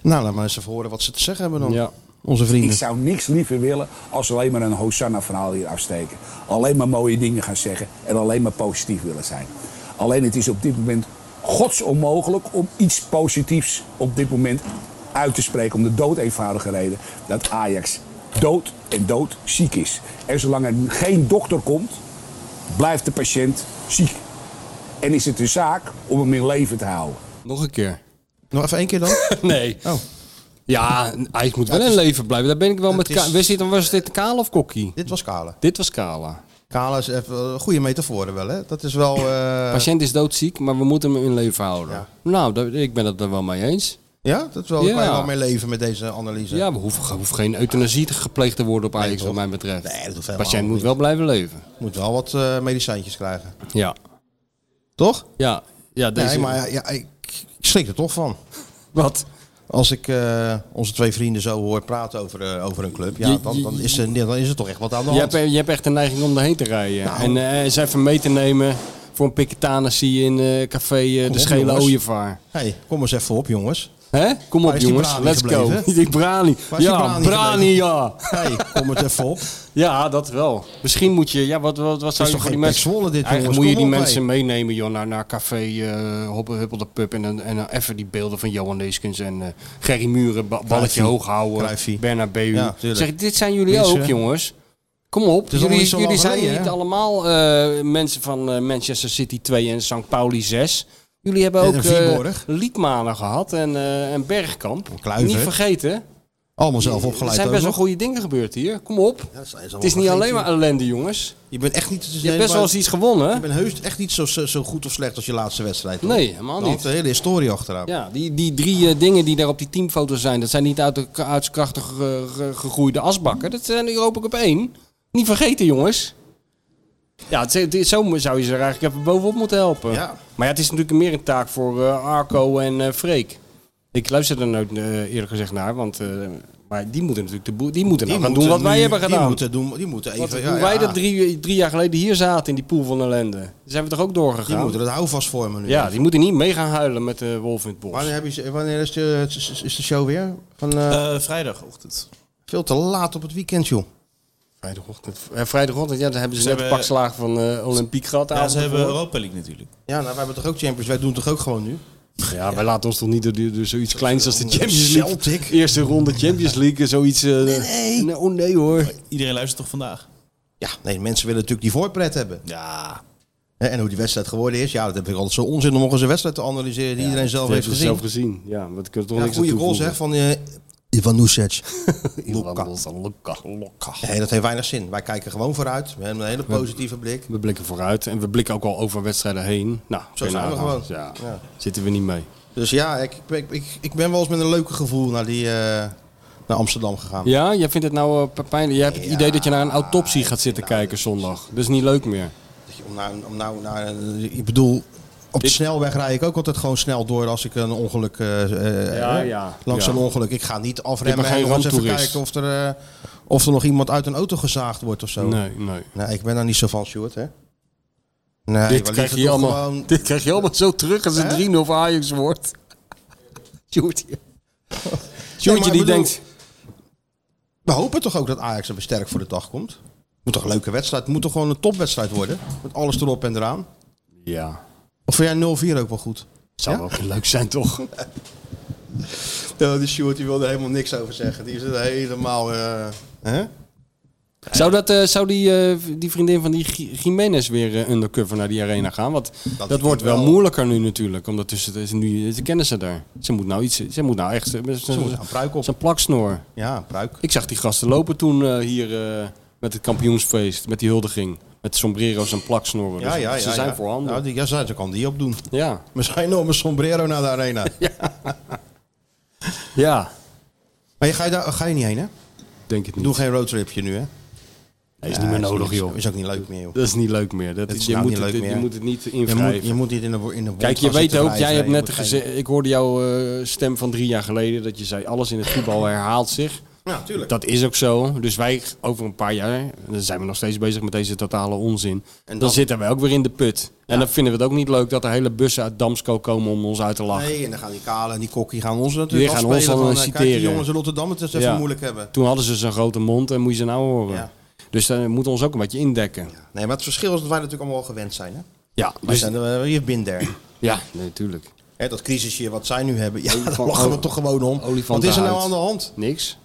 S9: nou, laat maar eens even horen wat ze te zeggen hebben dan.
S2: Ja.
S9: Onze
S6: Ik
S3: Dus-
S9: vrienden.
S6: zou niks liever willen als we alleen maar een Hosanna-verhaal hier afsteken. Alleen maar mooie dingen gaan zeggen en alleen maar positief willen zijn. Alleen het is op dit moment gods onmogelijk om iets positiefs op dit moment uit te spreken. Om de dood eenvoudige reden dat Ajax dood en dood ziek is. En zolang er geen dokter komt, blijft de patiënt ziek. En is het de zaak om hem in leven te houden.
S2: Nog een keer.
S9: Nog even één keer dan.
S2: Nee.
S9: Oh.
S2: Ja, Ajax moet wel in leven blijven. Daar ben ik wel met...
S9: is-
S2: Ka- was, dit, was dit Kale of Kokkie?
S9: Dit was Kale.
S2: Dit was Kala.
S3: Kalas, even, eh, goede metaforen wel, hè? Dat is wel... eh,
S2: patiënt is doodziek, maar we moeten hem in leven houden.
S3: Ja.
S2: Nou, daar- ik ben het er wel mee eens.
S3: Ja, dat is wel, kan je wel mee leven met deze analyse.
S2: Ja, we hoeven, hoeft geen euthanasie te gepleegd te worden op Ajax, wat mij betreft. de patiënt moet wel blijven leven.
S3: Moet wel wat eh, medicijntjes krijgen.
S2: Ja.
S3: Toch?
S2: Ja. ja deze...
S3: Nee, maar ja, ik, ik schrik er toch van.
S2: Wat?
S3: Als ik eh, onze twee vrienden zo hoor praten over, eh, over een club, ja,
S2: Je-
S3: dan,
S2: je-
S3: dan, is er, dan is er toch echt wat aan de
S2: Je
S3: hand.
S2: hebt, je hebt echt de neiging om erheen te rijden.
S3: Nou.
S2: En eh, eens even mee te nemen voor een piketanis zie je in eh, café eh,
S3: Kom
S2: De
S3: op,
S2: Schele
S3: jongens.
S2: Ooievaar.
S3: hey, kom eens even op, jongens.
S2: Hè? Kom
S3: Waar
S2: op
S3: is die
S2: jongens,
S3: Brani
S2: let's go.
S3: gebleven?
S2: Die Brani.
S3: Waar is die
S2: Ja,
S3: Brani
S2: Brani,
S3: gebleven?
S2: ja.
S3: hey, kom het even op.
S2: Ja, dat wel. Misschien moet je, ja, wat, wat, wat zou je
S3: toch
S2: voor die
S3: geen
S2: mensen...
S3: Pek Zwolle dit,
S2: Eigenlijk
S3: jongens,
S2: moet je
S3: kom
S2: die
S3: op,
S2: mensen meenemen, joh, naar, naar café eh Hoppe- Huppel de Pub. En, dan- en dan even die beelden van Johan Neeskens en eh, Gerry Muren, ba- balletje
S3: Cruijffie.
S2: hoog houden,
S3: Cruijffie.
S2: Bernabeu.
S3: Ja, tuurlijk.
S2: zeg, dit zijn jullie
S3: Mensen.
S2: ook, jongens. Kom op,
S3: is allemaal
S2: jullie,
S3: niet zo lang
S2: jullie zijn
S3: geleden,
S2: niet
S3: hè?
S2: allemaal eh, mensen van eh, Manchester City 2 en St. Pauli 6. Jullie hebben
S3: En
S2: ook
S3: een
S2: eh
S3: Vierborg.
S2: Liedmanen gehad en, eh, en Bergkamp.
S3: Kluivert.
S2: Niet vergeten.
S3: Allemaal zelf
S2: Er
S3: opgeleid.
S2: zijn
S3: ook
S2: best wel
S3: nog.
S2: goede dingen gebeurd hier. Kom op. Het is niet
S3: vergeten.
S2: alleen maar ellende, jongens.
S3: Je bent echt niet...
S2: Je hebt best wel eens iets gewonnen.
S3: Je
S2: hè?
S3: bent heus echt niet zo, zo, zo goed of slecht als je laatste wedstrijd. hoor.
S2: Nee, helemaal
S3: Dan
S2: niet.
S3: hangt de hele historie achteraan.
S2: Ja, die, die drie eh, dingen die daar op die teamfoto zijn, dat zijn niet uit de k- uit krachtig eh, ge- gegroeide asbakken. Dat zijn Europa Cup 1. Niet vergeten, jongens. Ja, het, is- het is- zo zou je ze er eigenlijk even bovenop moeten helpen.
S3: Ja.
S2: Maar ja, het is natuurlijk meer een taak voor eh, Arco en eh, Freek. Ik luister er nooit eh, eerlijk gezegd naar, want eh, maar die moeten natuurlijk de boel, die moeten nou
S3: Die
S2: gaan
S3: moeten
S2: doen wat wij
S3: nu-
S2: hebben
S3: Die
S2: gedaan.
S3: moeten, doen, die moeten even...
S2: Want
S3: ja,
S2: hoe
S3: ja,
S2: wij dat drie, drie jaar geleden hier zaten in die pool van ellende, daar zijn we toch ook doorgegaan?
S3: Die moeten dat houvast vormen nu.
S2: ja, die moeten niet mee gaan huilen met de wolf in het bos.
S3: Wanneer, heb je, wanneer is, de, is de show weer? Van, eh,
S1: Eh, vrijdagochtend.
S3: veel te laat op het weekend, joh.
S2: Vrijdagochtend. Ja, vrijdagochtend, ja, dan hebben ze,
S1: Ze
S2: net
S1: hebben-
S2: een pak slaag van eh, Olympiek gehad. de
S1: Ja,
S2: avond
S1: ze hebben
S2: ervoor.
S1: Europa League natuurlijk.
S3: Ja, nou, wij hebben toch ook Champions Wij doen het toch ook gewoon nu?
S2: Ja, wij laten ons toch niet door, door zoiets kleins als de Champions League.
S3: Celtic.
S2: Eerste ronde Champions League en zoiets. eh, nee, oh nee hoor.
S1: Iedereen luistert toch vandaag?
S3: Ja, nee, mensen willen natuurlijk die voorpret hebben.
S1: Ja.
S3: Hè, En hoe die wedstrijd geworden is, ja, dat heb ik altijd zo onzin om nog eens een wedstrijd te analyseren die iedereen zelf
S2: Dat
S3: heeft
S2: het
S3: gezien.
S2: zelf gezien. Ja, wat kunnen toch
S3: Ja,
S2: niks
S3: goede
S2: aan
S3: goal zeg van eh Ivan Nusic.
S2: toevoegen. Iwan Lokka. Lokka.
S3: Nee, dat heeft weinig zin. Wij kijken gewoon vooruit. We hebben een hele positieve blik.
S2: We blikken vooruit en we blikken ook al over wedstrijden heen. Nou,
S3: Zo
S2: kun je
S3: zijn we
S2: nagaan.
S3: gewoon.
S2: Ja,
S3: Ja.
S2: Zitten we niet mee.
S3: Dus ja, ik, ik, ik, ik ben wel eens met een leuke gevoel naar, die, eh, naar Amsterdam gegaan.
S2: Ja, jij vindt het nou eh pijnlijk. Jij hebt het idee dat je naar een autopsie gaat zitten kijken zondag. Dat is niet leuk meer.
S3: Dat je Om nou, om nou, naar een- ik bedoel, op de snelweg rijd ik ook altijd gewoon snel door als ik een ongeluk, eh, eh,
S2: Ja,
S3: eh,
S2: ja.
S3: langs
S2: Ja.
S3: een ongeluk. Ik ga niet
S2: Ik ben
S3: afremmen
S2: geen
S3: en nog eens even
S2: ramptoerist.
S3: kijken of er, eh, of er nog iemand uit een auto gezaagd wordt of zo.
S2: Nee, nee.
S3: Nee, ik ben daar niet zo van, Sjoerd, hè? Nee,
S2: dit,
S3: we
S2: krijg
S3: liever
S2: je
S3: toch
S2: allemaal,
S3: gewoon-
S2: dit krijg je allemaal zo terug als
S3: Hè?
S2: het 3-0 voor Ajax wordt. Sjoerdje. Sjoerdje
S3: ik
S2: die
S3: bedoel-
S2: denkt...
S3: We hopen toch ook dat Ajax er weer sterk voor de dag komt? Moet toch een leuke wedstrijd? Het moet toch gewoon een topwedstrijd worden? Met alles erop en eraan.
S2: Ja,
S3: Of vind jij 0-4 ook wel goed?
S2: zou wel leuk zijn toch?
S3: Ja, die Sjoerd die wil er helemaal niks over zeggen. Die is er helemaal... eh, hè?
S2: Zou, dat, eh, zou die, eh, die vriendin van die Gi- Jiménez weer eh, undercover naar die arena gaan? Want dat,
S3: denk
S2: wordt
S3: ik
S2: wel
S3: wel.
S2: moeilijker nu natuurlijk. Omdat tussen, is nu, ze kennen ze daar. Ze moet nou iets... Ze moet nou echt... Ze
S3: moet een pruik op.
S2: Zo'n plaksnoor.
S3: Ja, een pruik.
S2: Ik zag die gasten lopen toen eh, hier eh, met het kampioensfeest. Met die huldiging. Met sombrero's en plaksnoren.
S3: Ja,
S2: Dus
S3: ja, ja.
S2: ze zijn
S3: ja. Nou,
S2: voorhanden.
S3: Ja, die, ja, ze ze kan die opdoen.
S2: ja.
S3: Met zijn enorme sombrero naar de arena.
S2: ja.
S3: Maar je, ga, je daar, ga je niet heen, hè?
S2: Denk het niet.
S3: Doe geen roadtripje nu, hè?
S2: Hij is niet meer nodig,
S3: is,
S2: joh.
S3: Is ook niet leuk meer, joh.
S2: Dat is niet leuk meer. Dat,
S3: Het is
S2: je,
S3: nou
S2: moet
S3: niet
S2: het,
S3: leuk
S2: je
S3: meer.
S2: moet het niet
S3: Je
S2: invrijven.
S3: moet, je moet niet in de, wo- in de wond
S2: Kijk, je
S3: gaan
S2: weet
S3: zitten
S2: ook,
S3: wrijven.
S2: jij hebt
S3: Je
S2: net
S3: moet
S2: gezegd, ik hoorde jouw eh, stem van drie jaar geleden dat je zei, alles in het voetbal herhaalt zich.
S3: geen- Ja, tuurlijk.
S2: Dat is ook zo. Dus wij over een paar jaar, en dan zijn we nog steeds bezig met deze totale onzin. dan,
S3: dan-
S2: zitten wij ook weer in de put. En dan vinden we het ook niet leuk dat er hele bussen uit Damsko komen om ons uit te lachen.
S3: Nee, en dan gaan die Kale en die Kokkie gaan ons natuurlijk
S2: Die gaan
S3: afspelen.
S2: ons dan,
S3: van,
S2: eh,
S3: eh, Kijk, die
S2: citeren.
S3: jongens in Rotterdam het eens even
S2: Ja.
S3: moeilijk hebben.
S2: Toen hadden ze zo'n grote mond en moet je ze nou horen.
S3: Ja.
S2: Dus dan moeten we ons ook een beetje indekken. Ja,
S3: Nee, maar het verschil is dat wij natuurlijk allemaal wel gewend zijn. Hè? Wij
S2: dus-
S3: zijn er, eh, je bent daar.
S2: ja natuurlijk.
S3: Hè, dat crisisje wat zij nu hebben, ja, daar
S2: Olifant-
S3: lachen we
S2: oh,
S3: toch gewoon om. Wat
S2: olifantenhuid.
S3: is er nou aan de hand?
S2: Niks.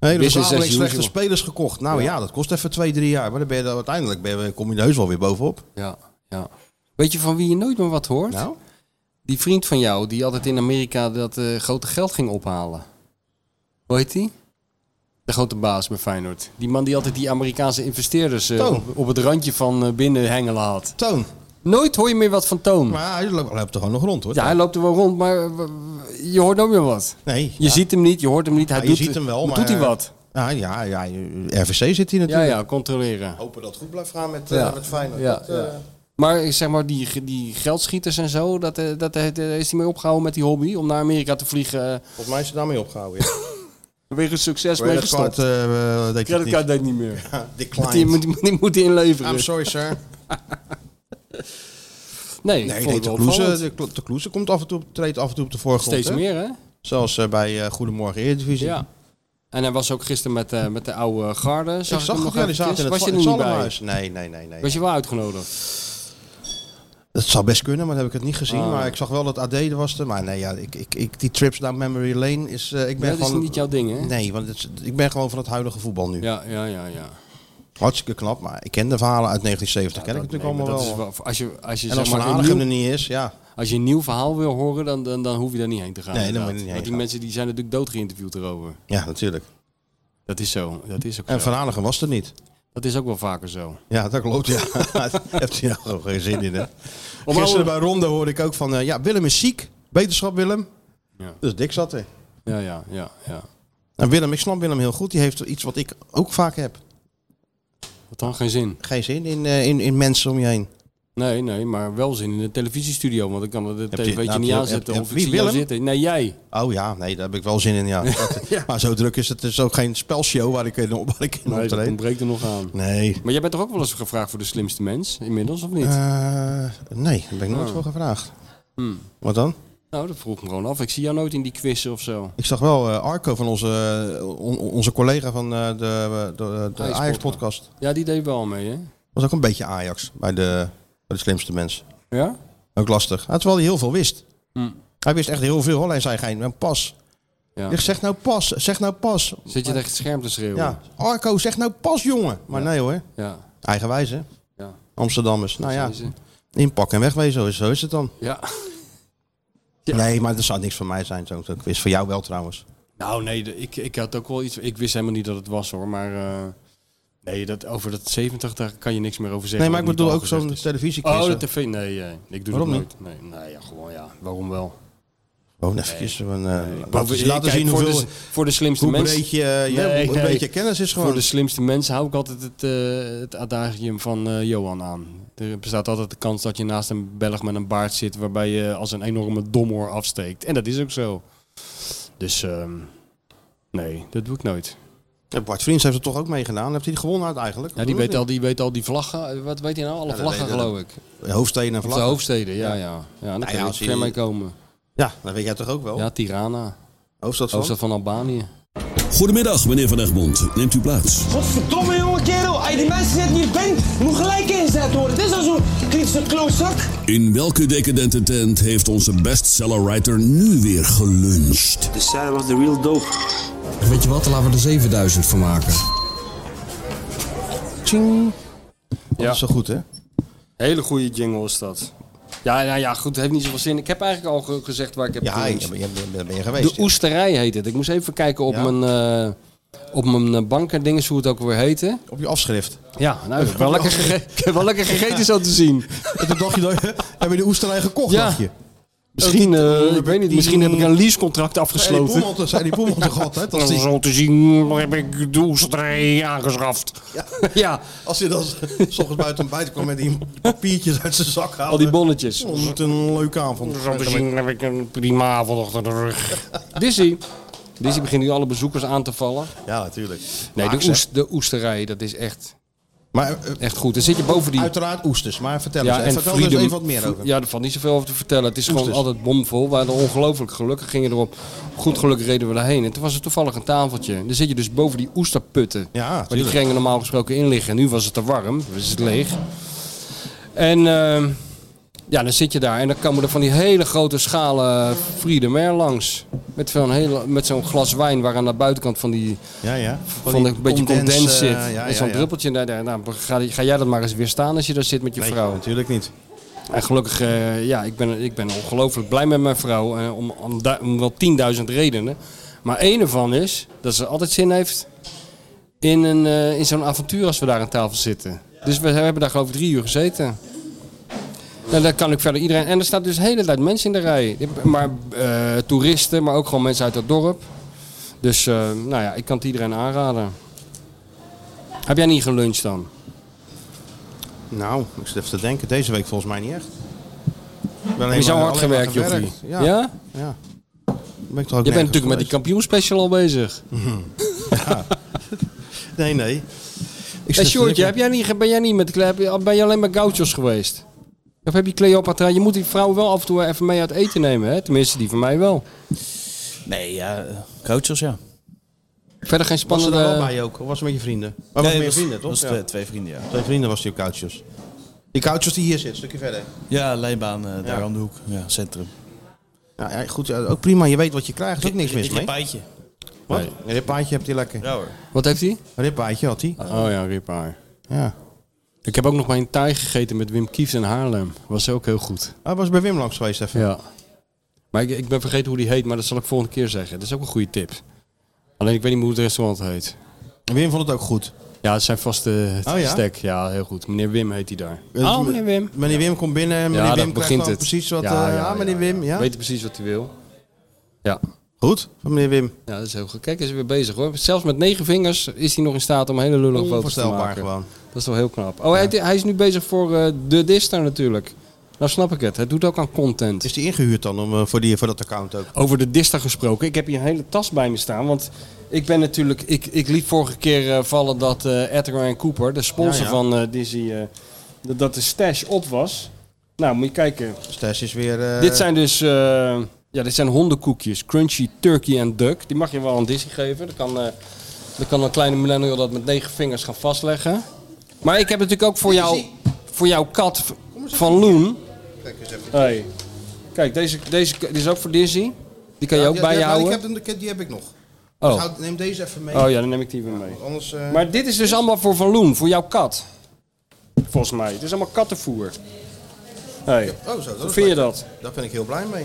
S3: Nee, er
S2: Business
S3: zijn
S2: as
S3: slechte
S2: usual.
S3: spelers gekocht. Nou ja. dat kost even twee, drie jaar. Maar dan ben je, dan- uiteindelijk ben je, kom je er heus wel weer bovenop.
S2: Ja, ja. Weet je van wie je nooit meer wat hoort?
S3: Nou?
S2: Die vriend van jou die altijd in Amerika dat eh, grote geld ging ophalen. Hoe heet die? De grote baas bij Feyenoord. Die man die altijd die Amerikaanse investeerders eh,
S3: Toon.
S2: op, op het randje van eh, binnen hengelen had.
S3: Toon.
S2: Nooit hoor je meer wat van Toon.
S3: Maar hij loopt, loopt er gewoon nog rond hoor.
S2: Ja, hij loopt er wel rond, maar w- w- je hoort nooit meer wat.
S3: Nee.
S2: Je ziet hem niet, je hoort hem niet. Hij
S3: Ja,
S2: doet,
S3: je ziet hem wel, maar...
S2: Doet hij wat?
S3: Ja, ja, ja, RVC zit hier natuurlijk.
S2: Ja, ja, controleren.
S3: Hopen dat het goed blijft gaan met,
S2: Ja.
S3: eh, met Feyenoord.
S2: Ja,
S3: Dat, eh,
S2: ja. Maar eh, zeg maar, die, ge- die geldschieters en zo, dat, eh, dat, eh, daar is hij mee opgehouden met die hobby om naar Amerika te vliegen. eh,
S3: Volgens mij is ze daarmee opgehouden. Ja.
S2: Wegen succes mee gestopt.
S3: Creditcard, eh, eh, deed het
S2: Creditcard
S3: niet.
S2: deed niet meer.
S3: Ja,
S2: Dat Die,
S3: declined.
S2: moet- die, moet- die moet hij inleveren.
S3: I'm sorry, sir.
S2: Nee,
S3: nee eh,
S2: nee
S3: nee, de, Kloeze, de, Klo- de Kloeze komt af en toe, op- treedt af en toe op de voorgrond.
S2: Steeds meer, hè?
S3: Zoals eh, bij eh, Goedemorgen Eredivisie.
S2: Ja. En hij was ook gisteren met, eh, met de oude garde. Zag ik
S3: Ik zag
S2: hem
S3: het,
S2: nog
S3: ja, die
S2: eventjes.
S3: zaten in het,
S2: Was
S3: va-
S2: je er
S3: in
S2: niet
S3: het
S2: bij?
S3: Zalmhuis. Nee, nee, nee. nee.
S2: Was je wel uitgenodigd?
S3: Dat zou best kunnen, maar dat heb ik het niet gezien.
S2: Ah.
S3: Maar ik zag wel dat AD er was. Er. Maar nee, ja, ik, ik, ik, die trips naar memory lane is... eh, ik ben
S2: Ja, dat is
S3: gewoon,
S2: niet jouw ding, hè?
S3: Nee, want het is- ik ben gewoon van het huidige voetbal nu.
S2: Ja, ja, ja, ja.
S3: Hartstikke knap, maar ik ken de verhalen uit 1970. ken
S2: Dat-
S3: ik
S2: nee,
S3: natuurlijk
S2: maar dat
S3: allemaal wel.
S2: is Dus wel- Als je, als je, zeg
S3: Oh. en als Van
S2: maar, een
S3: Hanegem
S2: nieuw-
S3: er niet is, ja.
S2: Als je een nieuw verhaal wil horen, dan, dan, dan hoef je daar niet heen te gaan.
S3: Nee, dan moet je
S2: inderdaad.
S3: niet heen
S2: Want die
S3: gaan.
S2: mensen die zijn natuurlijk dood geïnterviewd erover.
S3: Ja, natuurlijk.
S2: Dat is zo. Dat is ook
S3: En
S2: zo.
S3: Van Hanegem was er niet.
S2: Dat is ook wel vaker zo.
S3: Ja, dat klopt, ja. Heeft hij nou gewoon geen zin in, hè?
S2: Om
S3: Gisteren
S2: oude-
S3: bij Ronde hoorde ik ook van, eh, ja, Willem is ziek. Beterschap, Willem.
S2: Ja.
S3: Dus Dick zat er.
S2: Ja, ja, ja, ja.
S3: En Willem, ik snap Willem heel goed. Die heeft iets wat ik ook vaak heb.
S2: Wat dan? Geen zin.
S3: Geen zin in, eh, in, in mensen om je heen.
S2: Nee, nee, maar wel zin in de televisiestudio. Want ik kan de
S3: je-
S2: tv
S3: nou,
S2: niet
S3: heb je-
S2: aanzetten.
S3: heb-
S2: Of
S3: heb-
S2: ik
S3: wie,
S2: zie jou
S3: Willem?
S2: zitten. Nee, jij.
S3: Oh ja, nee, daar heb ik wel zin in, ja. Dat-
S2: Ja.
S3: Maar zo druk is het. Het is ook geen spelshow waar ik in, waar ik in
S2: Nee, dat
S3: optreed.
S2: ontbreekt er nog aan.
S3: Nee.
S2: Maar jij bent toch ook wel eens gevraagd voor de slimste mens? Inmiddels, of niet?
S3: Eh, nee, daar ben ik nooit
S2: Oh.
S3: voor gevraagd.
S2: Hmm.
S3: Wat dan?
S2: Nou, dat vroeg ik me gewoon af. Ik zie jou nooit in die quizzen of zo.
S3: Ik zag wel eh, Arco van onze, eh, on- onze collega van eh, de, de, de
S2: Ajax
S3: Ajax-podcast.
S2: Ja, die deed wel mee, hè?
S3: Was ook een beetje Ajax bij de, bij de slimste mens.
S2: Ja?
S3: Ook lastig. Ja, terwijl hij heel veel wist.
S2: Hm.
S3: Hij wist echt heel veel, alleen zei geen een pas.
S2: Ja.
S3: Ik zeg nou pas, zeg nou pas.
S2: Zit je tegen het scherm te schreeuwen?
S3: Ja, Arco, zeg nou pas, jongen. Maar nee hoor,
S2: Ja.
S3: eigenwijs hè.
S2: Ja.
S3: Amsterdammers. Nou ja,
S2: Zo is het.
S3: inpakken en wegwezen, zo is- zo is het dan.
S2: Ja.
S3: Nee, maar dat zou niks van mij zijn, zo'n zo'n quiz. Voor jou wel trouwens.
S2: Nou, nee, de- ik, ik had ook wel iets. Ik wist helemaal niet dat het was hoor, maar. eh, nee, dat, over dat 70, daar kan je niks meer over zeggen.
S3: Nee, maar ik
S2: wat niet
S3: bedoel
S2: al
S3: ook zo'n
S2: gezegd is.
S3: televisiequiz.
S2: Oh,
S3: hè.
S2: de tv. Nee, eh, ik doe
S3: Waarom
S2: dat
S3: niet?
S2: nooit. Nee, nou ja, gewoon ja. Waarom wel?
S3: Gewoon eventjes. een, eh,
S2: Maar
S3: laten
S2: ik-
S3: laten
S2: kijk,
S3: zien
S2: voor
S3: hoeveel,
S2: de, voor de slimste
S3: hoe
S2: mensen.
S3: breed je, eh, ja, hoe breed je kennis is gewoon.
S2: Voor de slimste mensen hou ik altijd het, eh, het adagium van eh, Johan aan. Er bestaat altijd de kans dat je naast een Belg met een baard zit... waarbij je als een enorme domhoor afsteekt. En dat is ook zo. Dus ehm, nee, dat doe ik nooit.
S3: Ja, Bart Vriends heeft het toch ook meegedaan. Heeft hij het gewonnen uit eigenlijk?
S2: Ja, die weet al die, weet al die vlaggen. Wat weet hij nou? Alle
S3: Ja, dat
S2: vlaggen,
S3: weet-
S2: geloof ik.
S3: Hoofdsteden en
S2: Of de
S3: vlaggen.
S2: hoofdsteden, ja, ja. Ja, daar
S3: Nou
S2: kan
S3: ja,
S2: je ook
S3: als Oh. je-
S2: ver mee komen.
S3: Ja, dat weet jij toch ook wel?
S2: Ja, Tirana.
S3: Hoofdstad van?
S2: Hoofdstad van Albanië.
S10: Goedemiddag, meneer Van Egmond. Neemt u plaats.
S11: Godverdomme jonge kerel, als je die mensen net niet bent, moet gelijk ingezet worden. Het is al zo'n kritische klootzak.
S10: In welke decadente tent heeft onze bestsellerwriter nu weer geluncht?
S12: De Sarah was de real dope.
S7: Weet je wat, laten we er 7000 van maken.
S3: Tjing.
S2: Ja.
S3: Dat is zo goed, hè?
S2: Hele goede jingle is dat. Ja, ja, ja, goed, het heeft niet zoveel zin. Ik heb eigenlijk al ge- gezegd waar ik heb
S3: Ja,
S2: geweest.
S3: je, je, je- daar ben je
S2: De
S3: geweest.
S2: Oesterij heet het. Ik moest even kijken op
S3: Ja.
S2: mijn, eh op mijn eh, bank en dingen, hoe het ook weer heette.
S3: Op je afschrift.
S2: Ja, nou, ik heb wel lekker, gege- ik heb wel lekker gegeten zo te zien.
S3: En toen dacht je, dat- hebben we de oesterij gekocht,
S2: Ja.
S3: dacht je?
S2: Misschien, eh,
S3: die-
S2: ik weet niet,
S3: die-
S2: misschien heb ik een leasecontract afgesloten.
S3: Zei die zei die Poelman toch altijd? Als
S2: En
S3: die,
S2: zo te zien heb ik de Oesterij aangeschaft. Ja,
S3: als hij dan s- s ochtends buiten buiten kwam met die papiertjes uit zijn zak halen.
S2: al die bonnetjes.
S3: Oh, wat een leuke avond.
S2: Zo te zien heb ik een prima avond achter de rug. Dizzy. Dizzy begint nu alle bezoekers aan te vallen.
S3: Ja, natuurlijk.
S2: Nee,
S3: Maar
S2: de,
S3: ik zeg-
S2: oest, de Oesterij, dat is echt,
S3: Maar eh,
S2: echt goed. Dan zit je boven die...
S3: uiteraard oesters, maar vertel eens. En vertel er eens
S2: Freedom-
S3: even wat meer over. dus.
S2: Ja, er valt niet zoveel over te vertellen. Het is gewoon
S3: Oesters.
S2: altijd bomvol. We hadden ongelooflijk geluk. We gingen erop. Goed geluk reden we daarheen. En toen was er toevallig een tafeltje. Dan zit je dus boven die oesterputten.
S3: Ja,
S2: waar die
S3: tuurlijk.
S2: grengen normaal gesproken in liggen. En nu was het te warm. Dus het leeg. En ehm, ja, dan zit je daar. En dan komen er van die hele grote schalen Friede Mer langs. Met zo'n, hele, met zo'n glas wijn waar aan de buitenkant van die
S3: Ja, ja.
S2: van, een beetje condens zit.
S3: eh, ja,
S2: en zo'n
S3: ja, ja.
S2: druppeltje. daar- daar- Nou, ga, ga jij dat maar eens weerstaan als je daar zit met je
S3: Nee,
S2: vrouw.
S3: natuurlijk niet.
S2: En gelukkig, eh, ja, ik ben, ik ben ongelooflijk blij met mijn vrouw. eh, om, om, du- om wel 10.000 redenen. Maar één ervan is dat ze altijd zin heeft in, een, eh, in zo'n avontuur als we daar aan tafel zitten. Dus we, we hebben daar geloof ik drie uur gezeten. Nou, daar kan ik verder iedereen. En er staat dus de hele tijd mensen in de rij. Maar eh, toeristen, maar ook gewoon mensen uit het dorp. Dus eh, nou ja, ik kan het iedereen aanraden. Heb jij niet geluncht dan?
S3: Nou, ik zit even te denken. Deze week volgens mij niet echt. Ik ben
S2: Heb je zo
S3: maar-
S2: hard
S3: alleen maar
S2: gewerkt, jochie?
S3: Ja.
S2: Ja?
S3: Ja.
S2: Ben ik
S3: toch ook
S2: je bent
S3: nergens
S2: natuurlijk met die kampioenspecial al bezig.
S3: Nee, nee. Ik
S2: en
S3: zit te
S2: Eh, Sjoerdje,
S3: denken.
S2: heb jij niet, ben jij niet met heb je- ben je alleen maar gauchos geweest? Of heb je Cleopatra? Je moet die vrouw wel af en toe even mee uit eten nemen, hè? Tenminste, die van mij wel.
S1: Nee, ja, eh, coaches, ja.
S2: Verder geen
S3: Was ze
S2: spannende...
S3: er wel bij ook? Of was ze met je vrienden? Maar was
S1: Nee,
S3: met je
S1: was-
S3: vrienden, toch?
S1: was twee- twee vrienden, ja.
S3: Twee vrienden was die op couches. Die couches die hier zit, een stukje verder.
S1: Ja, leibaan, eh, daar
S3: Ja.
S1: aan de hoek. Ja, centrum.
S3: Ja, ja, goed, ja, ook prima. Je weet wat je krijgt. Er is ook niks mis mee.
S1: Ripaatje.
S3: Wat? Een rippaatje hebt hij lekker.
S1: Ja hoor.
S2: Wat heeft hij?
S3: Een rippaatje had hij.
S2: Oh ja, ripaar.
S3: Ja.
S2: Ik heb ook nog mijn taai gegeten met Wim Kieft in Haarlem. Was ook heel goed.
S3: Hij was bij Wim langs geweest even.
S2: Ja. Maar ik, ik ben vergeten hoe die heet, maar dat zal ik volgende keer zeggen. Dat is ook een goede tip. Alleen ik weet niet meer hoe het restaurant heet.
S3: Wim vond het ook goed.
S2: Ja, het zijn vaste
S3: Oh ja?
S2: stek. Ja, heel goed. Meneer Wim heet hij daar.
S3: Dus
S2: oh,
S3: m-
S2: meneer Wim.
S3: Meneer Wim komt binnen en meneer
S2: ja,
S3: Wim
S2: dat
S3: krijgt
S2: begint
S3: dan
S2: het.
S3: precies wat... eh, Ja, meneer Wim, ja.
S2: Weet precies wat hij wil. Ja.
S3: Goed, van meneer Wim.
S2: Ja, dat is heel goed. Kijk, hij is weer bezig hoor. Zelfs met negen vingers is hij nog in staat om hele lullige foto's te
S3: Onvoorstelbaar
S2: maken.
S3: gewoon.
S2: Dat is wel heel knap. Oh, hij, hij is nu bezig voor eh, de Dister natuurlijk. Nou snap ik het. Hij doet ook aan content.
S3: Is die ingehuurd dan om, eh, voor, die, voor dat account ook?
S2: Over de Dista gesproken. Ik heb hier een hele tas bij me staan. Want ik ben natuurlijk. Ik, ik liet vorige keer eh, vallen dat eh Edgar en Cooper, de sponsor
S3: Ja, ja.
S2: van eh Dizzy, eh, dat- dat de stash op was. Nou, moet je kijken.
S3: Stas is weer... eh,
S2: Dit zijn dus. eh, ja, dit zijn hondenkoekjes. Crunchy Turkey en Duck. Die mag je wel aan Dizzy geven. Dan kan, eh, dan kan een kleine millennial dat met negen vingers gaan vastleggen. Maar ik heb natuurlijk ook voor, jou, voor jouw kat van Loen.
S3: Kijk eens even.
S2: Hey. Kijk, deze, deze, dit is ook voor Dizzy. Die kan je
S3: Ja,
S2: ook
S3: die-
S2: bij je
S3: die-
S2: houden.
S3: Ik heb hem- ik heb- die heb ik nog.
S2: Oh.
S3: Dus houd- neem deze even mee.
S2: Oh ja, dan neem ik die weer mee.
S3: Anders, eh,
S2: Maar dit is dus allemaal voor Van Loen, voor jouw kat. Volgens mij. Het is allemaal kattenvoer. Hey.
S3: Oh, zo, dat
S2: Hoe
S3: is
S2: vind je
S3: lekker.
S2: dat?
S3: Daar ben ik heel blij mee.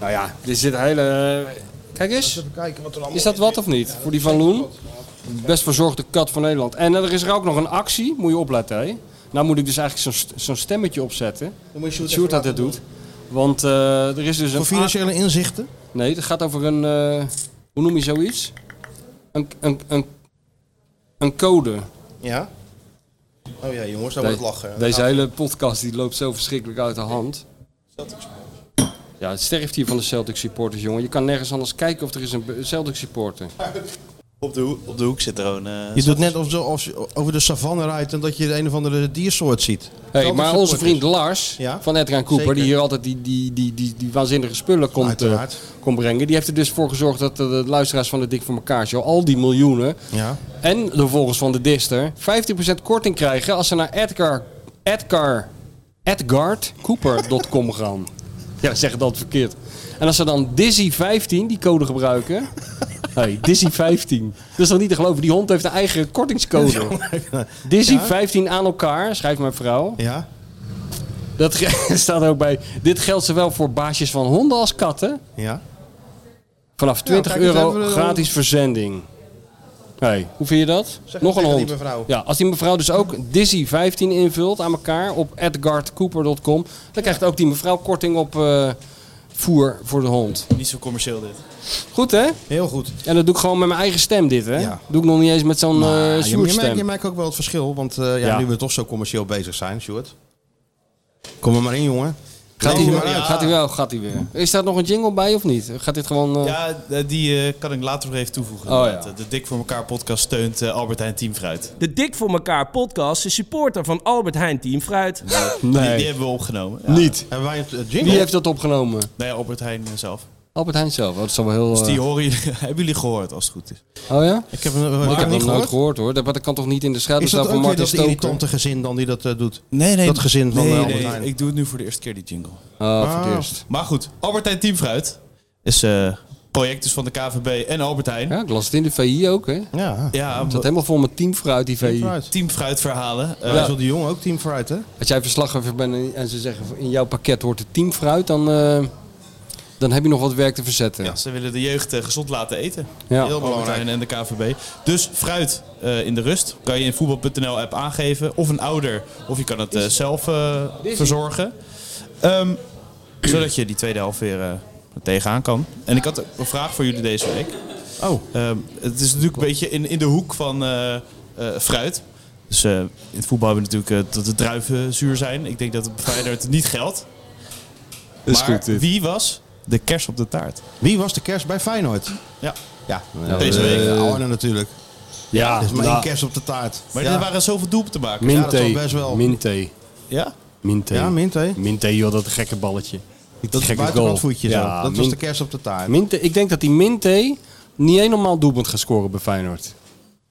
S2: Nou ja, dit zit een hele... eh, Kijk eens.
S3: Even kijken wat er allemaal
S2: Is dat
S3: in
S2: wat
S3: zit.
S2: of niet? Voor die Van Loen. Best verzorgde kat van Nederland. En eh, er is er ook nog een actie. Moet je opletten, hè. Nou moet ik dus eigenlijk zo'n st- zo'n stemmetje opzetten.
S3: Dan moet je Sjoerd
S2: Sjoerd
S3: even
S2: dat dit doet. Want eh, er is dus een...
S3: Voor financiële inzichten?
S2: Nee, het gaat over een. eh, hoe noem je zoiets? Een, een, een, een code.
S3: Ja. Oh ja, jongens, daar
S2: De-
S3: wordt lachen.
S2: Deze hele podcast die loopt zo verschrikkelijk uit de hand. Ja, het sterft hier van de Celtic supporters, jongen. Je kan nergens anders kijken of er is een be- Celtic supporter.
S1: Op de, hoek- op de hoek zit er gewoon... eh,
S3: Je doet net alsof alsof je over de savanne rijdt en dat je een of andere diersoort ziet.
S2: Hey, maar onze vriend Lars
S3: Ja?
S2: van Edgar Cooper,
S3: Zeker.
S2: die hier altijd die, die, die, die, die waanzinnige spullen komt, eh,
S3: Uiteraard.
S2: komt brengen, die heeft er dus voor gezorgd dat de, de luisteraars van de Dik voor elkaar show al die miljoenen
S3: Ja.
S2: en de volgers van de Dister 15% korting krijgen als ze naar Edgar, Edgar, edgardcooper.com gaan. Ja, we zeggen dat verkeerd. En als ze dan Dizzy15, die code gebruiken. Hey, Dizzy15. Dat is toch niet te geloven? Die hond heeft een eigen kortingscode. Dizzy15 aan elkaar, schrijft mijn vrouw.
S3: Ja.
S2: Dat ge- staat er ook bij. Dit geldt zowel voor baasjes van honden als katten.
S3: Ja.
S2: Vanaf 20
S3: Nou, kijk, eh, dat
S2: euro
S3: hebben we-
S2: gratis verzending. hey, hoe vind je dat?
S3: Zeg
S2: Nog een
S3: het tegen
S2: hond.
S3: die mevrouw.
S2: Ja, als die mevrouw dus ook Dizzy15 invult aan elkaar op edgardcooper.com, dan krijgt ook die mevrouw korting op eh, voer voor de hond.
S1: Niet zo commercieel dit.
S2: Goed hè?
S3: Heel goed.
S2: En dat doe ik gewoon met mijn eigen stem dit hè?
S3: Ja.
S2: Doe ik nog niet eens met zo'n eh
S3: Ah, je, je, merkt, je
S2: sjoerdstem.
S3: merkt ook wel het verschil, want eh, ja,
S2: Ja.
S3: nu we toch zo commercieel bezig zijn, Sjoerd. Kom er maar in, jongen.
S2: Gaat
S3: Lees
S2: hij
S3: er
S2: weer?
S3: maar uit.
S2: Gaat hij wel? Gaat hij weer? Is daar nog een jingle bij of niet? Gaat dit gewoon... eh,
S1: Ja, eh, die eh, kan ik later nog even toevoegen.
S2: Oh,
S1: inderdaad. De Dik voor elkaar podcast steunt eh, Albert Heijn Teamfruit.
S12: De Dik voor elkaar podcast is supporter van Albert Heijn Team Fruit.
S1: Die, die hebben we opgenomen. Ja.
S2: Niet.
S3: Hebben wij het eh, jingle?
S2: Wie heeft dat opgenomen?
S1: Nee, Albert Heijn eh, zelf.
S2: Albert Heijn zelf. Oh, dat zal wel heel...
S1: Dus die
S2: eh,
S1: horen jullie, hebben jullie gehoord als het goed is.
S2: Oh ja?
S3: Ik heb hem eh,
S2: ik
S3: ik
S2: heb
S3: heb
S2: nog nooit
S3: niet gehoord.
S2: gehoord hoor. Dat, maar dat kan toch niet in de schaduw
S3: Is dat
S2: staan van
S3: ook weer
S2: Martin
S3: dat
S2: Stoker?
S3: irritante gezin dan die dat eh, doet? Dat gezin van
S1: nee,
S3: eh,
S1: nee,
S3: Albert Heijn.
S1: Ik doe het nu voor de eerste keer, die jingle.
S2: Oh, voor
S1: Ah.
S2: het eerst.
S1: Maar goed, Albert Heijn Teamfruit is eh project dus van de KVB en Albert Heijn.
S2: Ja, ik las het in de VI ook hè.
S3: Ja.
S1: Ja,
S2: Het zat helemaal vol met teamfruit die VI.
S1: Teamfruit verhalen. Eh,
S3: Wij zullen die jongen ook team vooruit, hè?
S2: Als jij verslaggever bent en, en ze zeggen in jouw pakket hoort het teamfruit, dan... eh, Dan heb je nog wat werk te verzetten.
S1: Ja, ze willen de jeugd eh, gezond laten eten.
S2: Ja.
S1: Heel belangrijk. En de KVB. Dus fruit eh, in de rust kan je in voetbal.nl app aangeven. Of een ouder. Of je kan het eh, zelf eh, verzorgen. Ehm, zodat je die tweede helft weer eh, er tegenaan kan. En ik had ook een vraag voor jullie deze week. Ehm,
S2: Oh.
S1: het is natuurlijk een beetje in, in de hoek van eh, eh, fruit. Dus eh, in het voetbal hebben we natuurlijk eh, dat de druiven zuur zijn. Ik denk dat het bij Feyenoord niet geldt.
S3: Is
S1: maar
S3: goed, dit.
S1: wie was de kers op de taart?
S3: Wie was de kerst bij Feyenoord?
S1: Ja.
S3: Ja,
S1: Nou, Deze week.
S3: eh, Arne natuurlijk.
S2: Ja,
S3: Er is maar één
S2: nou.
S3: kerst op de taart.
S1: Maar
S3: ja.
S1: er waren zoveel doelpunten maken.
S3: Ja,
S2: Minté.
S3: dat was best wel.
S2: Minté.
S1: Ja?
S2: Minté.
S3: Ja, Minté.
S2: Minté, joh, dat gekke balletje.
S3: Dat
S2: gekke
S3: buitenkantvoetje
S2: goal.
S3: zo.
S2: Ja,
S3: Dat was
S2: Min-
S3: de kerst op de taart.
S2: Minté, ik denk dat die Minté niet één normaal doelpunt gaat scoren bij Feyenoord.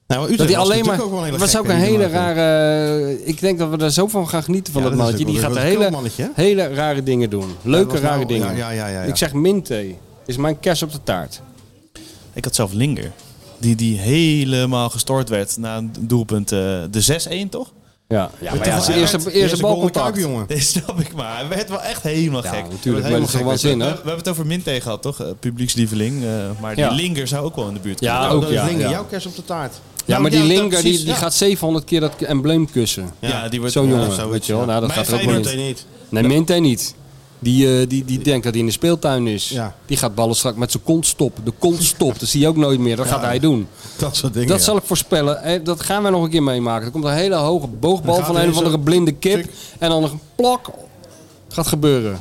S3: Nou, maar Utrecht
S2: dat die
S3: was
S2: alleen
S3: natuurlijk
S2: maar.
S3: ook wel een hele
S2: was ook
S3: gekke
S2: een
S3: die
S2: hele
S3: maakte.
S2: rare. eh, Ik denk dat we daar zo van gaan genieten van
S3: Ja,
S2: dat
S3: dat is
S2: mannetje.
S3: ook
S2: Die gaat
S3: wel een heel
S2: hele,
S3: mannetje, hè?
S2: hele rare dingen doen. Leuke
S3: was nou-
S2: rare dingen.
S3: ja, ja, ja, ja.
S2: Ik zeg Minté is mijn kers op de taart.
S1: Ik had zelf Linger. Die, die helemaal gestoord werd na een doelpunt. eh, de 6-1 toch?
S2: Ja, ja maar ja, zijn eerste, eerste balcontact.
S1: Dat snap ik maar. Hij werd wel echt helemaal
S2: Ja,
S1: gek.
S2: natuurlijk,
S1: Hij werd
S2: maar dat is
S1: helemaal
S2: toch wel
S1: gek.
S2: zin, hè?
S1: We, we hebben het over Minte gehad, toch? Eh, Publiekslieveling. eh, maar die
S2: Ja.
S1: Linger zou ook wel in de buurt
S2: Ja,
S1: komen.
S2: ook, ja,
S3: Linger,
S2: ja.
S3: jouw kerst op de taart.
S2: Ja,
S1: Nou,
S2: maar
S1: ja,
S2: die
S1: dat-
S2: Linger die,
S1: precies,
S2: die
S1: ja.
S2: gaat 700 keer dat embleem kussen.
S1: Ja, die wordt-
S2: Zo'n
S1: ja,
S2: jongen,
S1: zoiets,
S2: weet je wel.
S1: ja.
S2: Nou, dat
S1: Bij
S2: gaat er ook wel
S1: Feyenoord
S2: in.
S1: niet.
S2: Nee, Minté niet. Die, eh, die, die denkt dat hij in de speeltuin is. Die gaat ballen straks met zijn kont stoppen. De kont stopt, dat zie je ook nooit meer. Dat gaat hij doen.
S3: Dat soort dingen.
S2: Dat
S3: ja.
S2: zal ik voorspellen. Eh, Dat gaan wij nog een keer meemaken. Er komt een hele hoge boogbal
S3: Dan gaat
S2: van een
S3: er
S2: of andere
S3: zo-
S2: blinde kip. En dan een plak. Gaat gebeuren.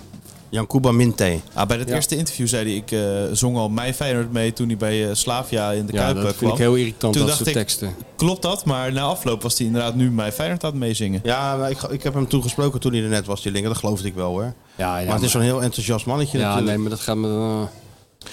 S3: Jan Kuba Minte.
S1: Ah, bij dat
S2: Ja.
S1: eerste interview zei hij, ik eh, zong al mijn Feyenoord mee toen hij bij eh, Slavia in de
S2: Ja,
S1: Kuip
S2: dat
S1: eh,
S2: vind
S1: kwam.
S2: ik heel irritant,
S1: Toen
S2: dat
S1: dacht
S2: soort
S1: ik,
S2: teksten.
S1: Klopt dat, maar na afloop was hij inderdaad nu mijn Feyenoord aan het meezingen.
S3: Ja, maar ik, ik heb hem toen gesproken toen hij er net was, die Linger. Dat geloofde ik wel hoor.
S2: Ja, ja,
S3: maar het is zo'n heel enthousiast mannetje
S2: Ja,
S3: natuurlijk.
S2: nee, maar dat gaan we, eh,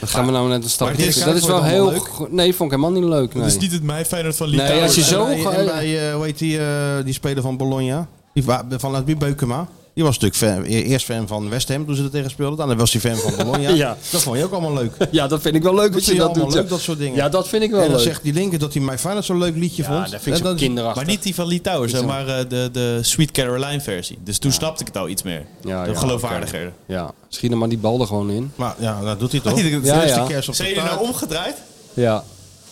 S2: dat gaan we nou net een stap.
S3: maar dit is-
S2: Dat is wel
S3: wordt allemaal
S2: heel. go- Nee, vond ik helemaal niet leuk.
S1: Het is
S2: nee.
S1: niet het mijn Feyenoord van Litouwen.
S2: Nee, als je zo.
S3: En bij,
S2: ge-
S3: en bij eh, hoe heet die, eh, die speler van Bologna? Die, wa- vanuit wie Beukema. Die was natuurlijk fan, e- eerst fan van West Ham toen ze er tegen speelden. Dan was hij fan van Bologna.
S2: Ja.
S3: Dat vond je ook allemaal leuk.
S2: Ja, dat vind ik wel leuk dat
S3: vind
S2: je
S3: je
S2: dat
S3: allemaal
S2: doet.
S3: leuk,
S2: ja.
S3: dat soort dingen.
S2: Ja, dat vind ik wel
S3: en dan
S2: leuk.
S3: zegt die linker dat hij My Finance zo'n leuk liedje
S2: dat
S3: vond.
S2: vind ik
S3: En
S2: zo
S3: dan-
S2: kinderachtig.
S1: eh, Maar niet die van Litouwers, hè, maar eh, de, de Sweet Caroline versie. Dus toen snapte ik het al iets meer.
S2: Ja,
S1: Ja,
S2: ja,
S1: geloofwaardiger.
S2: Ja, schiet er maar die bal er gewoon in.
S3: Maar ja, dat doet hij
S1: Ah,
S3: toch?
S1: die-
S3: De
S2: Ja,
S3: eerste
S2: ja.
S3: kerst op
S1: Zijn
S3: de
S1: jullie
S3: taart.
S1: nou omgedraaid?
S2: Ja,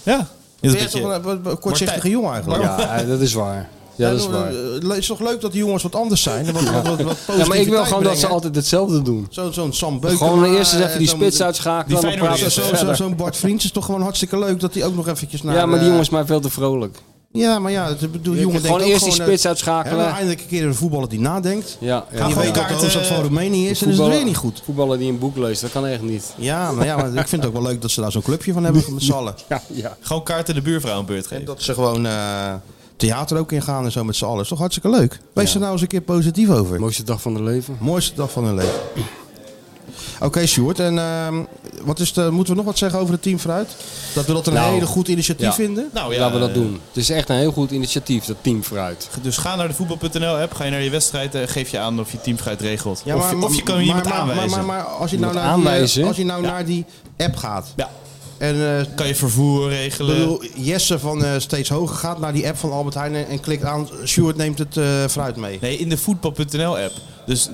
S1: Ja.
S3: Ben
S1: Is
S3: jij
S1: dat
S3: toch
S1: je...
S3: een eh, een- een kortzichtige jongen eigenlijk?
S2: ja eh, dat is waar. Ja, dat is waar.
S3: Het is toch leuk dat die jongens wat anders zijn? Wat, wat, wat, wat
S2: Ja, maar ik wil gewoon dat ze
S3: brengen.
S2: altijd hetzelfde doen.
S3: Zo- Zo'n Sam Beukema.
S2: Gewoon eerst
S9: eh,
S2: eens even die
S3: zo'n-
S2: spits uitschakelen.
S1: die
S2: dan praten we
S3: Zo-
S2: verder.
S3: zo- Zo'n Bart Vriends is toch gewoon hartstikke leuk dat hij ook nog eventjes naar...
S2: Ja, maar die
S3: eh,
S2: jongens maar veel te vrolijk.
S3: Ja, maar ja, dat bedoel, jongen
S2: gewoon
S3: denkt ook
S2: eerst die
S3: gewoon,
S2: spits
S3: eh,
S2: uitschakelen.
S3: ja, Eindelijk een keer een voetballer die nadenkt.
S2: Ja,
S3: Ja,
S2: ja.
S3: die weet dat de hoofdstad van Roemenië is en is het
S2: Voetballer-
S3: weer niet goed.
S2: Voetballer die een boek leest, dat kan echt niet.
S3: Ja, maar, ja, maar ik vind het ook wel leuk dat ze daar zo'n clubje van hebben met z'n allen.
S2: Ja, ja.
S1: Gewoon kaarten de buurvrouw een beurt geven.
S3: Dat ze gewoon eh, theater ook ingaan en zo met z'n allen. is toch hartstikke leuk. Wees er nou eens een keer positief over.
S2: Mooiste dag van de leven.
S3: Mooiste dag van hun leven. Oké, Sjoerd. En ehm, wat is de, moeten we nog wat zeggen over het team vooruit? Dat we dat een
S2: Nou,
S3: hele goed initiatief
S2: ja.
S3: vinden?
S1: Nou ja,
S2: Laten we dat
S1: eh,
S2: doen. Het is echt een heel goed initiatief, dat team vooruit.
S1: Dus ga naar de voetbal.nl app, ga je naar je wedstrijd en geef je aan of je teamfruit regelt.
S3: Ja,
S1: of, je- of je kan iemand
S3: maar,
S1: aanwijzen.
S3: Maar, maar, maar als je nou,
S2: Iemand
S3: naar die, eh,
S2: aanwijzen?
S3: als je nou naar die app gaat.
S1: Ja.
S3: En eh,
S1: Kan je vervoer
S3: ik
S1: regelen.
S3: bedoel, Jesse van eh, Steeds Hoger gaat naar die app van Albert Heijn en, en klikt aan. Sjoerd neemt het eh fruit mee.
S1: Nee, in de voetbal.nl app. Dus,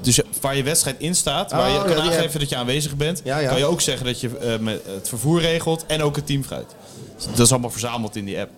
S1: dus je- waar je wedstrijd in staat, waar
S3: Oh,
S1: je
S3: ja,
S1: kan
S3: die
S1: aangeven
S3: app.
S1: dat je aanwezig bent,
S3: Ja, ja.
S1: kan je ook zeggen dat je eh, met het vervoer regelt en ook het teamfruit. Dus dat is allemaal verzameld in die app.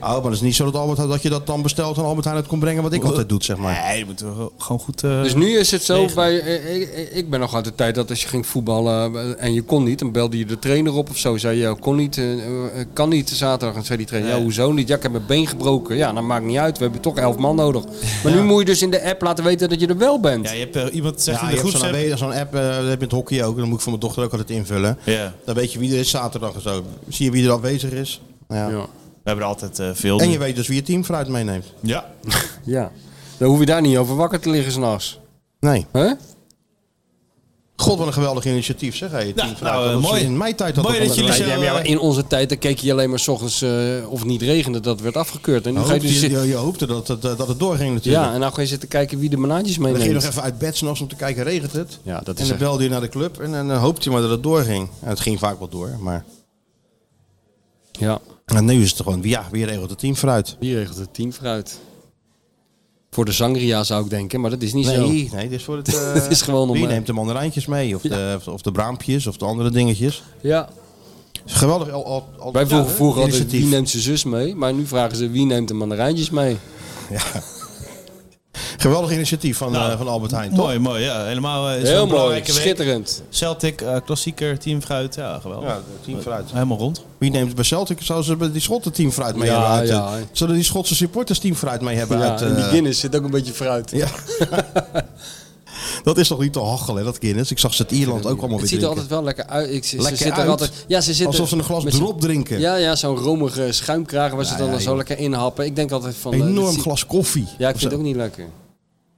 S3: Oh, maar dat is niet zo dat, Albert, dat je dat dan bestelt en Albert Heijn het kon brengen wat ik altijd doe, zeg maar.
S1: Nee, je moet er gewoon goed... eh,
S2: Dus nu is het zo,
S1: regelen.
S2: bij, eh, ik- ik- ik ben nog uit de tijd dat als je ging voetballen eh, en je kon niet, dan belde je de trainer op of zo. Zei je, kon niet, eh, eh, kan niet zaterdag. En zei die trainer, ja, hoezo niet? Ja, ik heb mijn been gebroken. Ja, dat maakt niet uit, we hebben toch elf man nodig. Maar nu moet je dus in de app laten weten dat je er wel bent.
S1: Ja, je hebt eh, iemand zegt
S3: Ja,
S1: in
S3: je
S1: de
S3: hebt zo'n
S1: groepsapp...
S3: aanwe- zo'n app, eh, dat heb je in het hockey ook. Dan moet ik voor mijn dochter ook altijd invullen.
S1: Ja,
S3: Dan weet je wie er is zaterdag en zo. Zie je wie er aanwezig is. Ja.
S2: ja.
S1: we hebben er altijd eh, veel.
S3: En je weet dus wie je team vooruit meeneemt.
S1: Ja.
S2: Ja. Dan hoef je daar niet over wakker te liggen s'nachts.
S3: Nee.
S2: hè?
S3: God, wat een geweldig initiatief zeg. Hey, je team
S1: nou,
S3: vooruit.
S1: eh,
S3: Dat was
S1: mooi.
S3: In mijn tijd had
S1: Mooi
S3: dat
S1: dat
S3: wel
S1: jullie
S3: een-
S1: zo- eh,
S2: Ja, maar ja, maar in onze tijd dan keek je alleen maar s ochtends eh, of het niet regende, dat werd afgekeurd. En nu
S9: Nou,
S3: Je
S2: ga je dus
S3: hoopte,
S2: zitten-
S3: je, je hoopte dat, het, eh, dat het doorging natuurlijk.
S2: ja, en nou ga je zitten kijken wie de banaantjes
S3: dan ging je nog
S2: meeneemt.
S3: even uit bed s'nachts om te kijken, regent het?
S2: Ja, dat
S3: en
S2: is
S3: dan
S2: echt...
S3: belde je naar de club en dan eh, hoopte je maar dat het doorging. En het ging vaak wel door, maar...
S2: Ja,
S3: En nu is het gewoon, ja, wie regelt het team vooruit?
S2: wie regelt het team vooruit? Voor de sangria zou ik denken, maar dat is niet
S9: nee,
S2: zo.
S9: Nee, dit is voor het... eh,
S2: Het is gewoon om,
S9: Je
S2: eh,
S9: neemt de mandarijntjes mee, of, de, of, de, of de braampjes, of de andere dingetjes.
S2: Ja.
S9: Geweldig. Al, al, al,
S2: Wij vroegen
S9: Ja,
S2: vroeger altijd
S9: initiatief.
S2: wie neemt zijn zus mee, maar nu vragen ze wie neemt de mandarijntjes mee.
S9: Ja. Geweldig initiatief van, eh, van Albert Heijn,
S1: Mooi,
S9: toch?
S1: mooi. Ja, helemaal. eh, is
S9: Heel
S1: wel een
S9: mooi,
S1: belangrijke week.
S9: schitterend.
S1: Celtic, eh, klassieker, team fruit. Ja, geweldig.
S9: Ja, team fruit.
S1: Helemaal rond.
S9: Wie neemt bij Celtic? Zouden ze bij die Schotten team fruit mee
S1: Ja,
S9: hebben? Uit,
S1: ja.
S9: eh, Zullen die Schotse supporters team fruit mee hebben?
S1: Ja,
S9: uit,
S1: en die
S2: Guinness zit ook een beetje fruit.
S9: eh, Ja. dat is toch niet te hachelen, dat Guinness? Ik zag ze het Ierland ook allemaal
S2: Het
S9: weer
S2: ziet er
S9: drinken.
S2: altijd wel lekker uit. Ik, ze, ze
S9: Lekker
S2: zitten
S9: uit.
S2: er altijd, ja, ze zitten
S9: Alsof ze een glas
S2: met zo'n-
S9: drop drinken.
S2: Ja, ja zo'n romige schuimkraag waar ze
S9: Ja,
S2: dan
S9: ja,
S2: zo
S9: joh.
S2: lekker inhappen. Ik denk altijd van... eh,
S9: Enorm
S2: dit zie-
S9: glas koffie.
S2: Ja, ik
S9: Of
S2: vind het
S9: zo.
S2: ook niet lekker.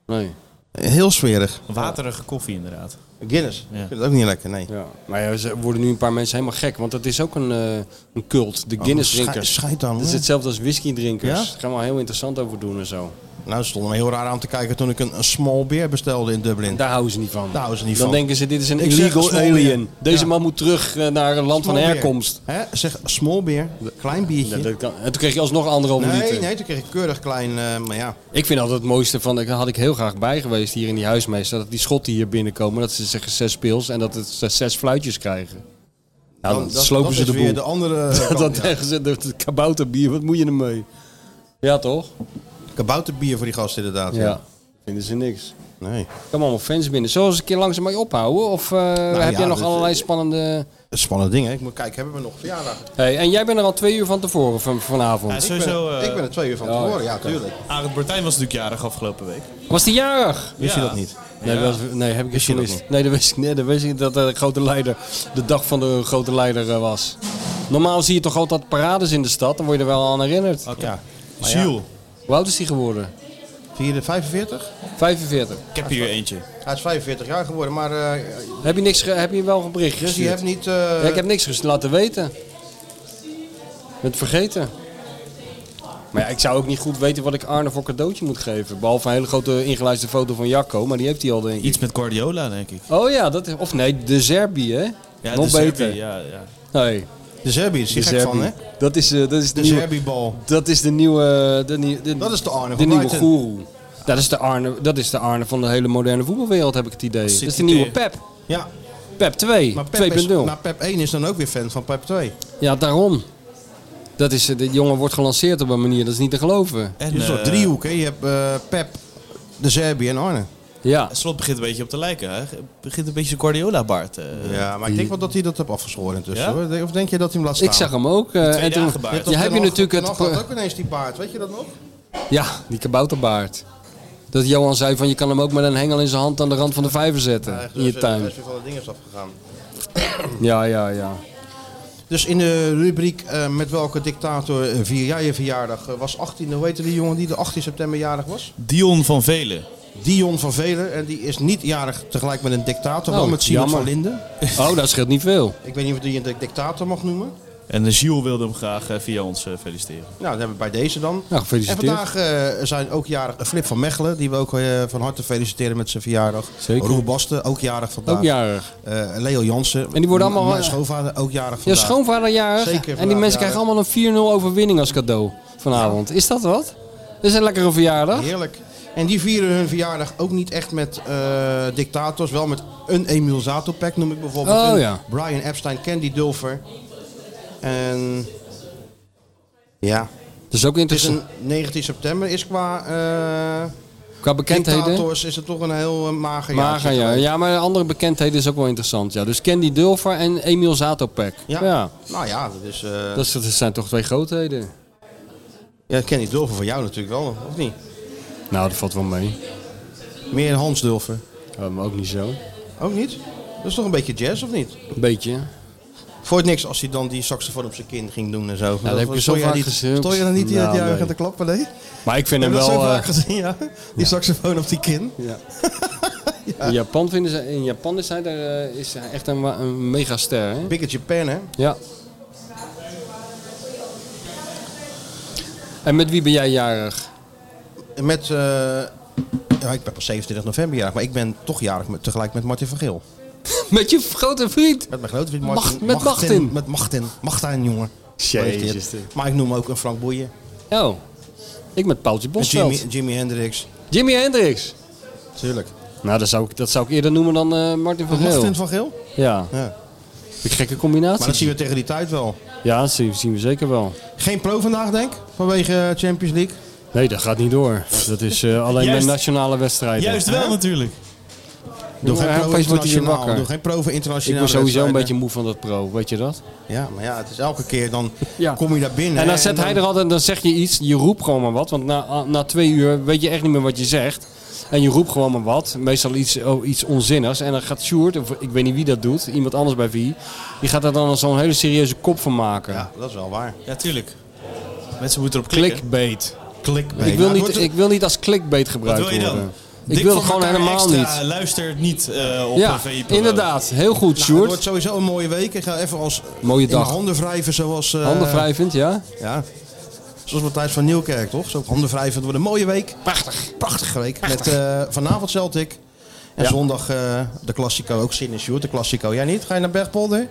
S2: Nee.
S9: Heel smerig.
S1: Waterige koffie inderdaad.
S9: Guinness.
S1: Ja.
S9: Ik vind het ook niet lekker, nee.
S2: Ja, maar ja, ze worden nu een paar mensen helemaal gek, want dat is ook een, eh, een cult. De
S9: Oh,
S2: Guinness-drinkers.
S9: schei- schijt dan,
S2: dat is
S9: hè?
S2: hetzelfde als whisky-drinkers.
S9: Ja?
S2: Daar gaan we heel interessant over doen en zo.
S9: Nou, ze stonden me heel raar aan te kijken toen ik een, een small beer bestelde in Dublin.
S2: Daar houden ze niet van.
S9: Daar houden ze niet
S2: Dan
S9: van.
S2: denken ze, dit is een
S9: Ik zeg
S2: illegal
S9: small beer.
S2: alien. Deze
S9: Ja.
S2: man moet terug eh, naar een land
S9: Small
S2: van
S9: beer.
S2: herkomst.
S9: Hè? Zeg small beer, klein biertje.
S2: Ja, dat kan. En toen kreeg je alsnog anderhalve
S9: nee,
S2: liter.
S9: nee, toen kreeg ik keurig klein, eh, maar ja.
S2: Ik vind altijd het mooiste van, daar had ik heel graag bij geweest hier in die huismeester, dat die schotten hier binnenkomen, dat ze zeggen zes pils en dat het zes fluitjes krijgen. Ja, dan,
S9: Dan- Nou, dat-
S2: slopen
S9: dat
S2: ze
S9: is
S2: de boel.
S9: weer de andere
S2: Dan
S9: kant, ja.
S2: zeggen ze, dat het kabouterbier, wat moet je ermee? Ja, toch?
S9: Kabouterbier voor die gast inderdaad.
S2: Ja.
S9: Ja.
S2: Vinden ze niks.
S9: Nee.
S2: Kom allemaal fans binnen. Zullen we eens een keer langzaam mee ophouden? Of eh, heb
S9: Nou ja,
S2: jij nog
S9: dat-
S2: allerlei spannende...
S9: Dat is spannend ding, hè? Ik moet kijken, hebben we nog verjaardag?
S2: Hey, en jij bent er al twee uur van tevoren van, vanavond.
S1: Ja,
S9: ik,
S1: sowieso,
S9: ben,
S1: eh,
S9: ik ben er twee uur van
S1: ja,
S9: tevoren, ja,
S1: oké.
S9: tuurlijk.
S1: Arend Bertijn was natuurlijk jarig afgelopen week.
S2: Was die jarig?
S1: Wist je Ja. dat niet?
S2: Nee,
S1: Ja.
S2: dat was- nee heb ik
S1: Wist
S2: niet
S1: je dat
S2: gewist. Nee, dat wist ik niet. Dat wist ik dat eh, de grote leider de dag van de grote leider eh, was. Normaal zie je toch altijd parades in de stad, dan word je er wel aan herinnerd.
S1: Ja.
S2: Maar ja.
S1: Jules.
S2: Hoe oud is die geworden?
S9: 45?
S2: 45.
S1: Ik heb hier eentje.
S9: eh, Hij is 45 jaar geworden, maar eh,
S2: Heb je, niks ge- heb je wel een bericht
S9: dus
S2: gestuurd?
S9: je hebt niet... eh,
S2: Ja, ik heb niks ges- laten weten. Ik ben het vergeten. Maar ja, ik zou ook niet goed weten wat ik Arne voor cadeautje moet geven. Behalve een hele grote ingeluisterde foto van Jacco, maar die heeft hij al denk ik.
S1: Iets met Guardiola, denk ik.
S2: Oh ja, dat is, of nee, de Zerbi hè?
S1: Ja,
S2: Nog
S1: de
S2: beter.
S1: Serbië, ja, ja.
S2: Nee.
S9: De Zerbi is hier gek van, hè?
S2: Dus Dat is, eh, dat is de,
S9: De
S2: nieuwe...
S9: Zerbi-bal.
S2: Dat is de nieuwe... eh, De, nieuw- de,
S9: Dat is de Arne
S2: De
S9: van
S2: nieuwe
S9: Brighton.
S2: goeroe. Dat is, de Arne, dat is de Arne van de hele moderne voetbalwereld, heb ik het idee. Dat is de nieuwe Pep.
S9: Ja.
S2: Pep 2.
S9: Maar Pep, is,
S2: 2.0.
S9: maar Pep 1 is dan ook weer fan van Pep 2.
S2: Ja, daarom. Dat is, eh, de jongen wordt gelanceerd op een manier, dat is niet te geloven.
S9: Het is
S1: Dus
S9: een soort driehoek, hè? Je hebt eh, Pep, de Zerbi en Arne.
S2: Ja.
S1: Slot begint een beetje op te lijken. Hij begint een beetje zijn Guardiola-baard. eh.
S9: Ja, maar ik denk wel dat hij dat heeft afgeschoren intussen.
S1: Ja?
S9: Hoor. Of denk je dat hij hem laat staan?
S2: Ik zag hem ook. eh, en toen,
S1: dagen baard.
S9: Je hebt
S2: ja, heb je natuurlijk het...
S9: Nog had ook ineens die baard, weet je dat nog?
S2: Ja, die kabouterbaard. Dat Johan zei van je kan hem ook met een hengel in zijn hand aan de rand van de vijver zetten. in je tuin.
S9: is weer van de dingen afgegaan.
S2: Ja, ja, ja.
S9: Dus in de rubriek eh, met welke dictator eh, vier jij je verjaardag eh, was 18. Hoe heette die jongen die de 18 september jarig was?
S1: Dion van Velen.
S9: Dion van Veler. En die is niet jarig tegelijk met een dictator,
S2: Oh,
S9: wel met Simon
S2: jammer.
S9: van Linden.
S2: Oh, dat scheelt niet veel.
S9: Ik weet niet of die een dictator mag noemen.
S1: En eh, Jules wilde hem graag eh, via ons eh, feliciteren.
S9: Nou, dat hebben we bij deze dan.
S2: Nou,
S9: En
S2: gefeliciteerd.
S9: vandaag eh, zijn ook jarig Flip van Mechelen, die we ook eh, van harte feliciteren met zijn verjaardag.
S2: Zeker.
S9: Roel Basten, ook jarig vandaag.
S2: Ook jarig.
S9: Eh, Leo Jansen.
S2: En die worden allemaal- eh,
S9: Mijn schoonvader, ook jarig
S2: Ja,
S9: vandaag.
S2: schoonvader jarig.
S9: Zeker
S2: en die
S9: vandaag
S2: mensen krijgen
S9: jarig.
S2: allemaal een 4-0 overwinning als cadeau vanavond. Is dat wat? Is dat een lekkere verjaardag?
S9: Heerlijk. En die vieren hun verjaardag ook niet echt met eh, dictators. Wel met een Emil Zatopek noem ik bijvoorbeeld.
S2: Oh,
S9: Een
S2: ja.
S9: Brian Epstein, Candy Dulfer. En ja,
S2: Dat is ook
S9: het is
S2: interessant.
S9: een 19 september is qua... eh,
S2: Qua bekendheden.
S9: Dictators is het toch een heel eh, mager jaar.
S2: Maga, ja. ja, maar andere bekendheden is ook wel interessant. Ja. Dus Candy Dulfer en Emil Zatopek. Ja.
S9: Nou ja, dat is... eh
S2: Dat, is- dat zijn toch twee grootheden?
S9: Ja, Kenny Dulfer voor jou natuurlijk wel, of niet?
S2: Nou, dat valt wel mee.
S9: Meer Hans Dulfer.
S2: Ja, maar ook niet zo.
S9: Ook niet? Dat is toch een beetje jazz, of niet?
S2: Een beetje.
S9: Voor het niks als hij dan die saxofoon op zijn kin ging doen en zo.
S2: dat heb ik
S9: stond
S2: zo
S9: jij
S2: vaak
S9: niet,
S2: gezien.
S9: Stond je dan niet
S2: Nou,
S9: nou, juichen
S2: nee.
S9: te klappen, nee?
S2: Maar ik vind hem
S9: Heb je dat
S2: wel...
S9: zo
S2: eh,
S9: vaak gezien, ja. Die saxofoon op die kin.
S2: Ja. In Japan vinden ze, in Japan is hij, daar, eh, is hij echt een, wa- een megaster. Hè?
S9: Big in Japan, hè?
S2: Ja. En met wie ben jij jarig?
S9: Met, eh, ja, ik ben pas 27 november jarig, maar ik ben toch jarig met, tegelijk met Martin van Geel.
S2: Met je grote vriend.
S9: Met mijn grote vriend
S2: Macht-
S9: Martin.
S2: met Machtin.
S9: Met Machtin. Machtin, jongen.
S2: Jezus.
S9: Maar ik noem ook een Frank Boeien.
S2: Oh, ik met Paultje
S9: En
S2: Bosveld.
S9: Jimmy, Jimi Hendrix.
S2: Jimi Hendrix.
S3: Tuurlijk.
S2: Nou, dat zou ik, dat zou ik eerder noemen dan eh, Martin van Geel.
S3: Martin van Geel?
S2: Ja. Een gekke combinatie.
S3: Maar dat zien we tegen die tijd wel.
S2: Ja, dat zien zien we zeker wel.
S3: Geen pro vandaag, denk ik, vanwege eh, Champions League.
S2: Nee, dat gaat niet door. Dat is eh, alleen
S3: Juist.
S2: bij nationale wedstrijden. Hè?
S1: natuurlijk.
S3: Doe geen
S2: Ja,
S3: pro
S2: opeens wordt hij weer
S3: internationaal.
S2: wakker.
S3: Doe geen pro voor
S2: Ik
S3: internationaal.
S2: word sowieso een beetje moe van dat pro, weet je dat?
S3: Ja, maar ja, het is elke keer dan kom je daar binnen.
S2: En dan
S3: hè,
S2: zet hij er altijd, dan zeg je iets, je roept gewoon maar wat. Want na, na twee uur weet je echt niet meer wat je zegt. En je roept gewoon maar wat. Meestal iets, oh, iets onzinnigs. En dan gaat Sjoerd, of ik weet niet wie dat doet, iemand anders bij wie. Die gaat er dan zo'n hele serieuze kop van maken.
S3: Dat is wel waar.
S1: Ja, tuurlijk. Mensen moeten erop klikken.
S2: clickbait.
S1: Clickbait.
S2: Ik wil,
S1: Nou, het
S2: niet,
S1: wordt-
S2: ik wil niet als clickbait
S1: Wat
S2: gebruikt
S1: wil je dan?
S2: worden.
S1: Dik
S2: Ik wil
S1: van
S2: gewoon
S1: elkaar
S2: helemaal
S1: extra,
S2: niet.
S1: Luister niet eh, op
S2: Ja,
S1: een VIP.
S2: inderdaad. Heel goed,
S3: Nou, het
S2: Sjoerd.
S3: wordt sowieso een mooie week. Ik ga even als
S2: Mooie
S3: in
S2: dag.
S3: handen wrijven zoals... eh,
S2: Handen wrijvend, ja.
S3: Ja. Zoals Matthijs van Nieuwkerk, toch? Zo handen wrijvend wordt een mooie week. Prachtig. Prachtige week. Met eh, vanavond Celtic. En
S2: Ja.
S3: zondag eh, de Classico. Ook zin in, Sjoerd. De Classico. Jij niet? Ga je naar Bergpolder?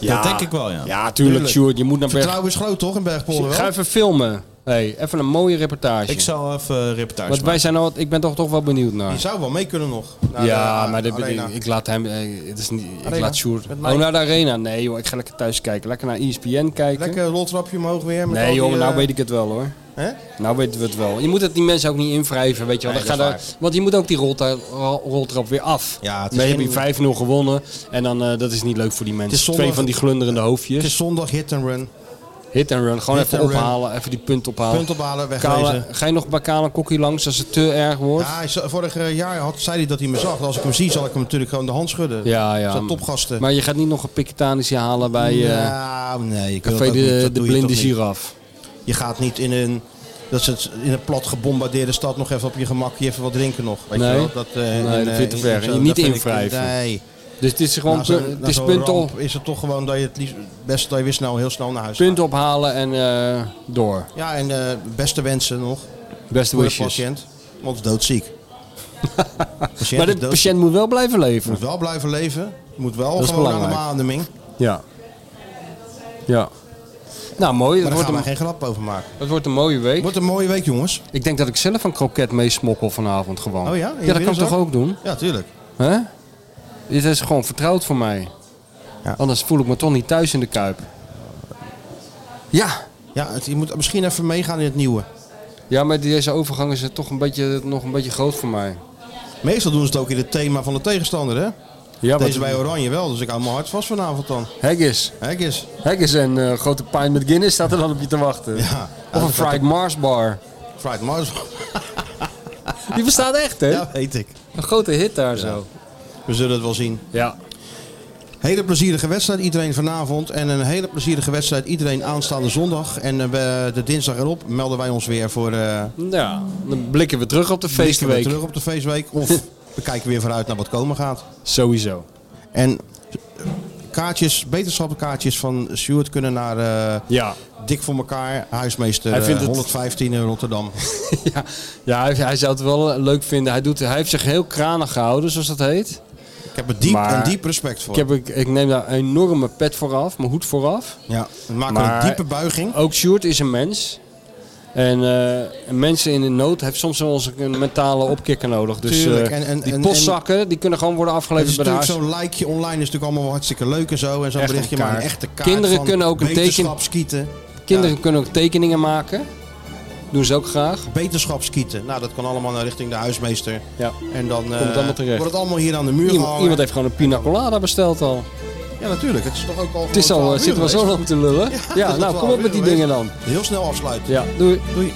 S1: Ja, dat denk ik wel, ja.
S2: Ja, tuurlijk, Sjoerd. Je moet naar Berg...
S3: Vertrouwen is groot, toch? In Bergpolder wel?
S2: Ga even filmen. Hey, even een mooie reportage.
S1: Ik zal even eh, reportage
S2: Want wij
S1: maken.
S2: zijn al, ik ben toch, toch wel benieuwd naar.
S3: Je zou wel mee kunnen nog. Naar
S2: ja,
S3: de, eh,
S2: maar dit-
S3: arena.
S2: ik laat hem. eh, Het is niet, ik
S3: Arena.
S2: laat Sjoerd.
S3: Met
S2: Oh,
S3: mij.
S2: naar de arena. Nee, joh, ik ga lekker thuis kijken. Lekker naar E ESPN kijken.
S3: Lekker roltrapje omhoog weer. Met
S2: nee,
S3: al die,
S2: joh, nou
S3: eh,
S2: weet ik het wel hoor.
S3: Hè?
S2: Nou weten we het wel. Je moet het die mensen ook niet invrijven, weet je wel.
S3: Nee,
S2: Dan
S3: dat
S2: gaat
S3: is
S2: er- want je moet ook die rolta- ro- roltrap weer af.
S3: Ja, het is
S2: Dan heb
S3: geen-
S2: je 5-0 gewonnen en dan, eh, dat is niet leuk voor die mensen.
S3: Het is zondag-
S2: Twee van die glunderende
S3: Het
S2: hoofdjes.
S3: is zondag hit and run.
S2: Hit and run, gewoon
S3: Hit
S2: even
S3: and run.
S2: ophalen, even die punt ophalen.
S3: Punt ophalen, wegwezen.
S2: Kale, ga je nog bij Kale Kokkie langs als het te erg wordt?
S3: Ja, hij z- vorig eh, jaar had, zei hij dat hij me zag. Als ik hem zie, zal ik hem natuurlijk gewoon de hand schudden.
S2: Ja, ja.
S3: Dat zijn topgasten.
S2: Maar je gaat niet nog een piketanisje halen bij eh,
S3: nou, nee. Ik wil
S2: Café
S3: dat ook niet.
S2: de,
S3: Dat
S2: de
S3: doe je
S2: Blinde
S3: toch niet.
S2: Giraf.
S3: Je gaat niet in een, dat ze het, in een plat gebombardeerde stad nog even op je gemakje even wat drinken nog. Weet je
S2: Nee.
S3: wel? Dat, eh,
S2: Nee,
S3: in,
S2: dat
S3: eh,
S2: vind ik te ver.
S3: in zo'n-
S2: Je niet
S3: dat vind ik-
S2: invrijven.
S3: Nee.
S2: Dus het is gewoon
S3: Na zo'n-
S2: pu-
S3: na
S2: het is
S3: zo'n
S2: punt,
S3: nou, ramp
S2: op-
S3: is het toch gewoon dat je het liefst, best dat je weer snel, heel snel naar huis
S2: punt ophalen en eh, door.
S3: gaat. Ja, en eh, beste wensen nog.
S2: Beste
S3: voor de
S2: wishes.
S3: patiënt. Want het is doodziek. patiënt
S2: maar de
S3: is dood.
S2: patiënt moet wel blijven leven.
S3: moet wel blijven leven. Moet wel
S2: Dat is
S3: gewoon aan de
S2: belangrijk.
S3: beademing.
S2: Ja. Ja. Nou, mooi.
S3: Maar
S2: Het
S3: daar
S2: wordt,
S3: gaan we
S2: een,
S3: geen grap over maken.
S2: het wordt een mooie week.
S3: Wordt een mooie week, jongens.
S2: Ik denk dat ik zelf een kroket meesmokkel vanavond gewoon.
S3: Oh ja? In
S2: Ja, dat
S3: je
S2: kan ik
S3: binnenzak?
S2: toch ook doen?
S3: Ja, tuurlijk.
S2: Hè? Dit is gewoon vertrouwd voor mij. Anders voel ik me toch niet thuis in de kuip. Ja.
S3: Ja, het- je moet misschien even meegaan in het nieuwe.
S2: Ja, maar deze overgang is toch een beetje, nog een beetje groot voor mij.
S3: Meestal doen ze het ook in het thema van de tegenstander, hè?
S2: Ja,
S3: Deze
S2: wat-
S3: bij Oranje wel, dus ik hou mijn hart vast vanavond dan.
S2: Haggis.
S3: Haggis.
S2: Haggis en eh, grote pijn met Guinness staat er dan op je te wachten.
S3: Ja.
S2: Of een fried Mars bar.
S3: Fried Mars.
S2: Die bestaat echt, hè?
S3: Ja, weet ik.
S2: Een grote hit daar zo.
S3: We zullen het wel zien.
S2: Ja.
S3: Hele plezierige wedstrijd iedereen vanavond. En een hele plezierige wedstrijd iedereen aanstaande zondag. En eh, we- de dinsdag erop melden wij ons weer voor... eh,
S2: Ja, dan blikken we terug op de
S3: blikken we
S2: feestweek.
S3: terug op de feestweek. Of we kijken weer vooruit naar wat komen gaat.
S2: Sowieso.
S3: En eh, kaartjes, beterschappenkaartjes van Stuart kunnen naar eh,
S2: Ja.
S3: Dik voor elkaar, huismeester
S2: Hij
S3: eh,
S2: vindt het-
S3: 115 in Rotterdam.
S2: ja, ja hij, hij zou het wel eh, leuk vinden. Hij, doet, hij heeft zich heel kranig gehouden, zoals dat heet.
S3: Ik heb er diep,
S2: Maar-
S3: een diep respect voor.
S2: Ik, heb, ik, ik neem daar een enorme pet voor af, mijn hoed vooraf.
S3: Ja, we maken een diepe buiging.
S2: Ook Sjoerd is een mens. En eh, mensen in de nood heeft soms wel eens een mentale opkikker nodig. Dus
S3: Tuurlijk,
S2: eh,
S3: en- en-
S2: die
S3: en-
S2: postzakken die kunnen gewoon worden
S3: Het is
S2: afgeleverd bij de
S3: natuurlijk
S2: huis.
S3: zo'n likeje online is natuurlijk allemaal wel hartstikke leuk en zo. En zo'n
S2: Echt een
S3: berichtje, maar een
S2: kaart.
S3: echte kaart
S2: Kinderen
S3: van
S2: kunnen ook een teken-
S3: beterschapskieten.
S2: Kinderen kunnen ook tekeningen maken. Doen ze ook graag.
S3: Beterschapskieten. Nou, dat kan allemaal naar richting de huismeester.
S2: Ja.
S3: En dan eh,
S2: Komt het allemaal terecht.
S3: wordt het allemaal hier aan de muur
S2: Iemand,
S3: gehangen.
S2: iemand heeft gewoon een pina colada besteld al.
S3: Ja, natuurlijk. Het is toch ook al
S2: Het is
S3: gewoon
S2: al, eh,
S3: 12
S2: zit er wel zo
S3: uur geweest.
S2: lang te lullen. Ja,
S3: het is
S2: nou
S3: wel
S2: kom op met die
S3: alweer
S2: dingen
S3: geweest.
S2: dan.
S3: Heel snel afsluiten.
S2: Ja, doei.
S3: Doei.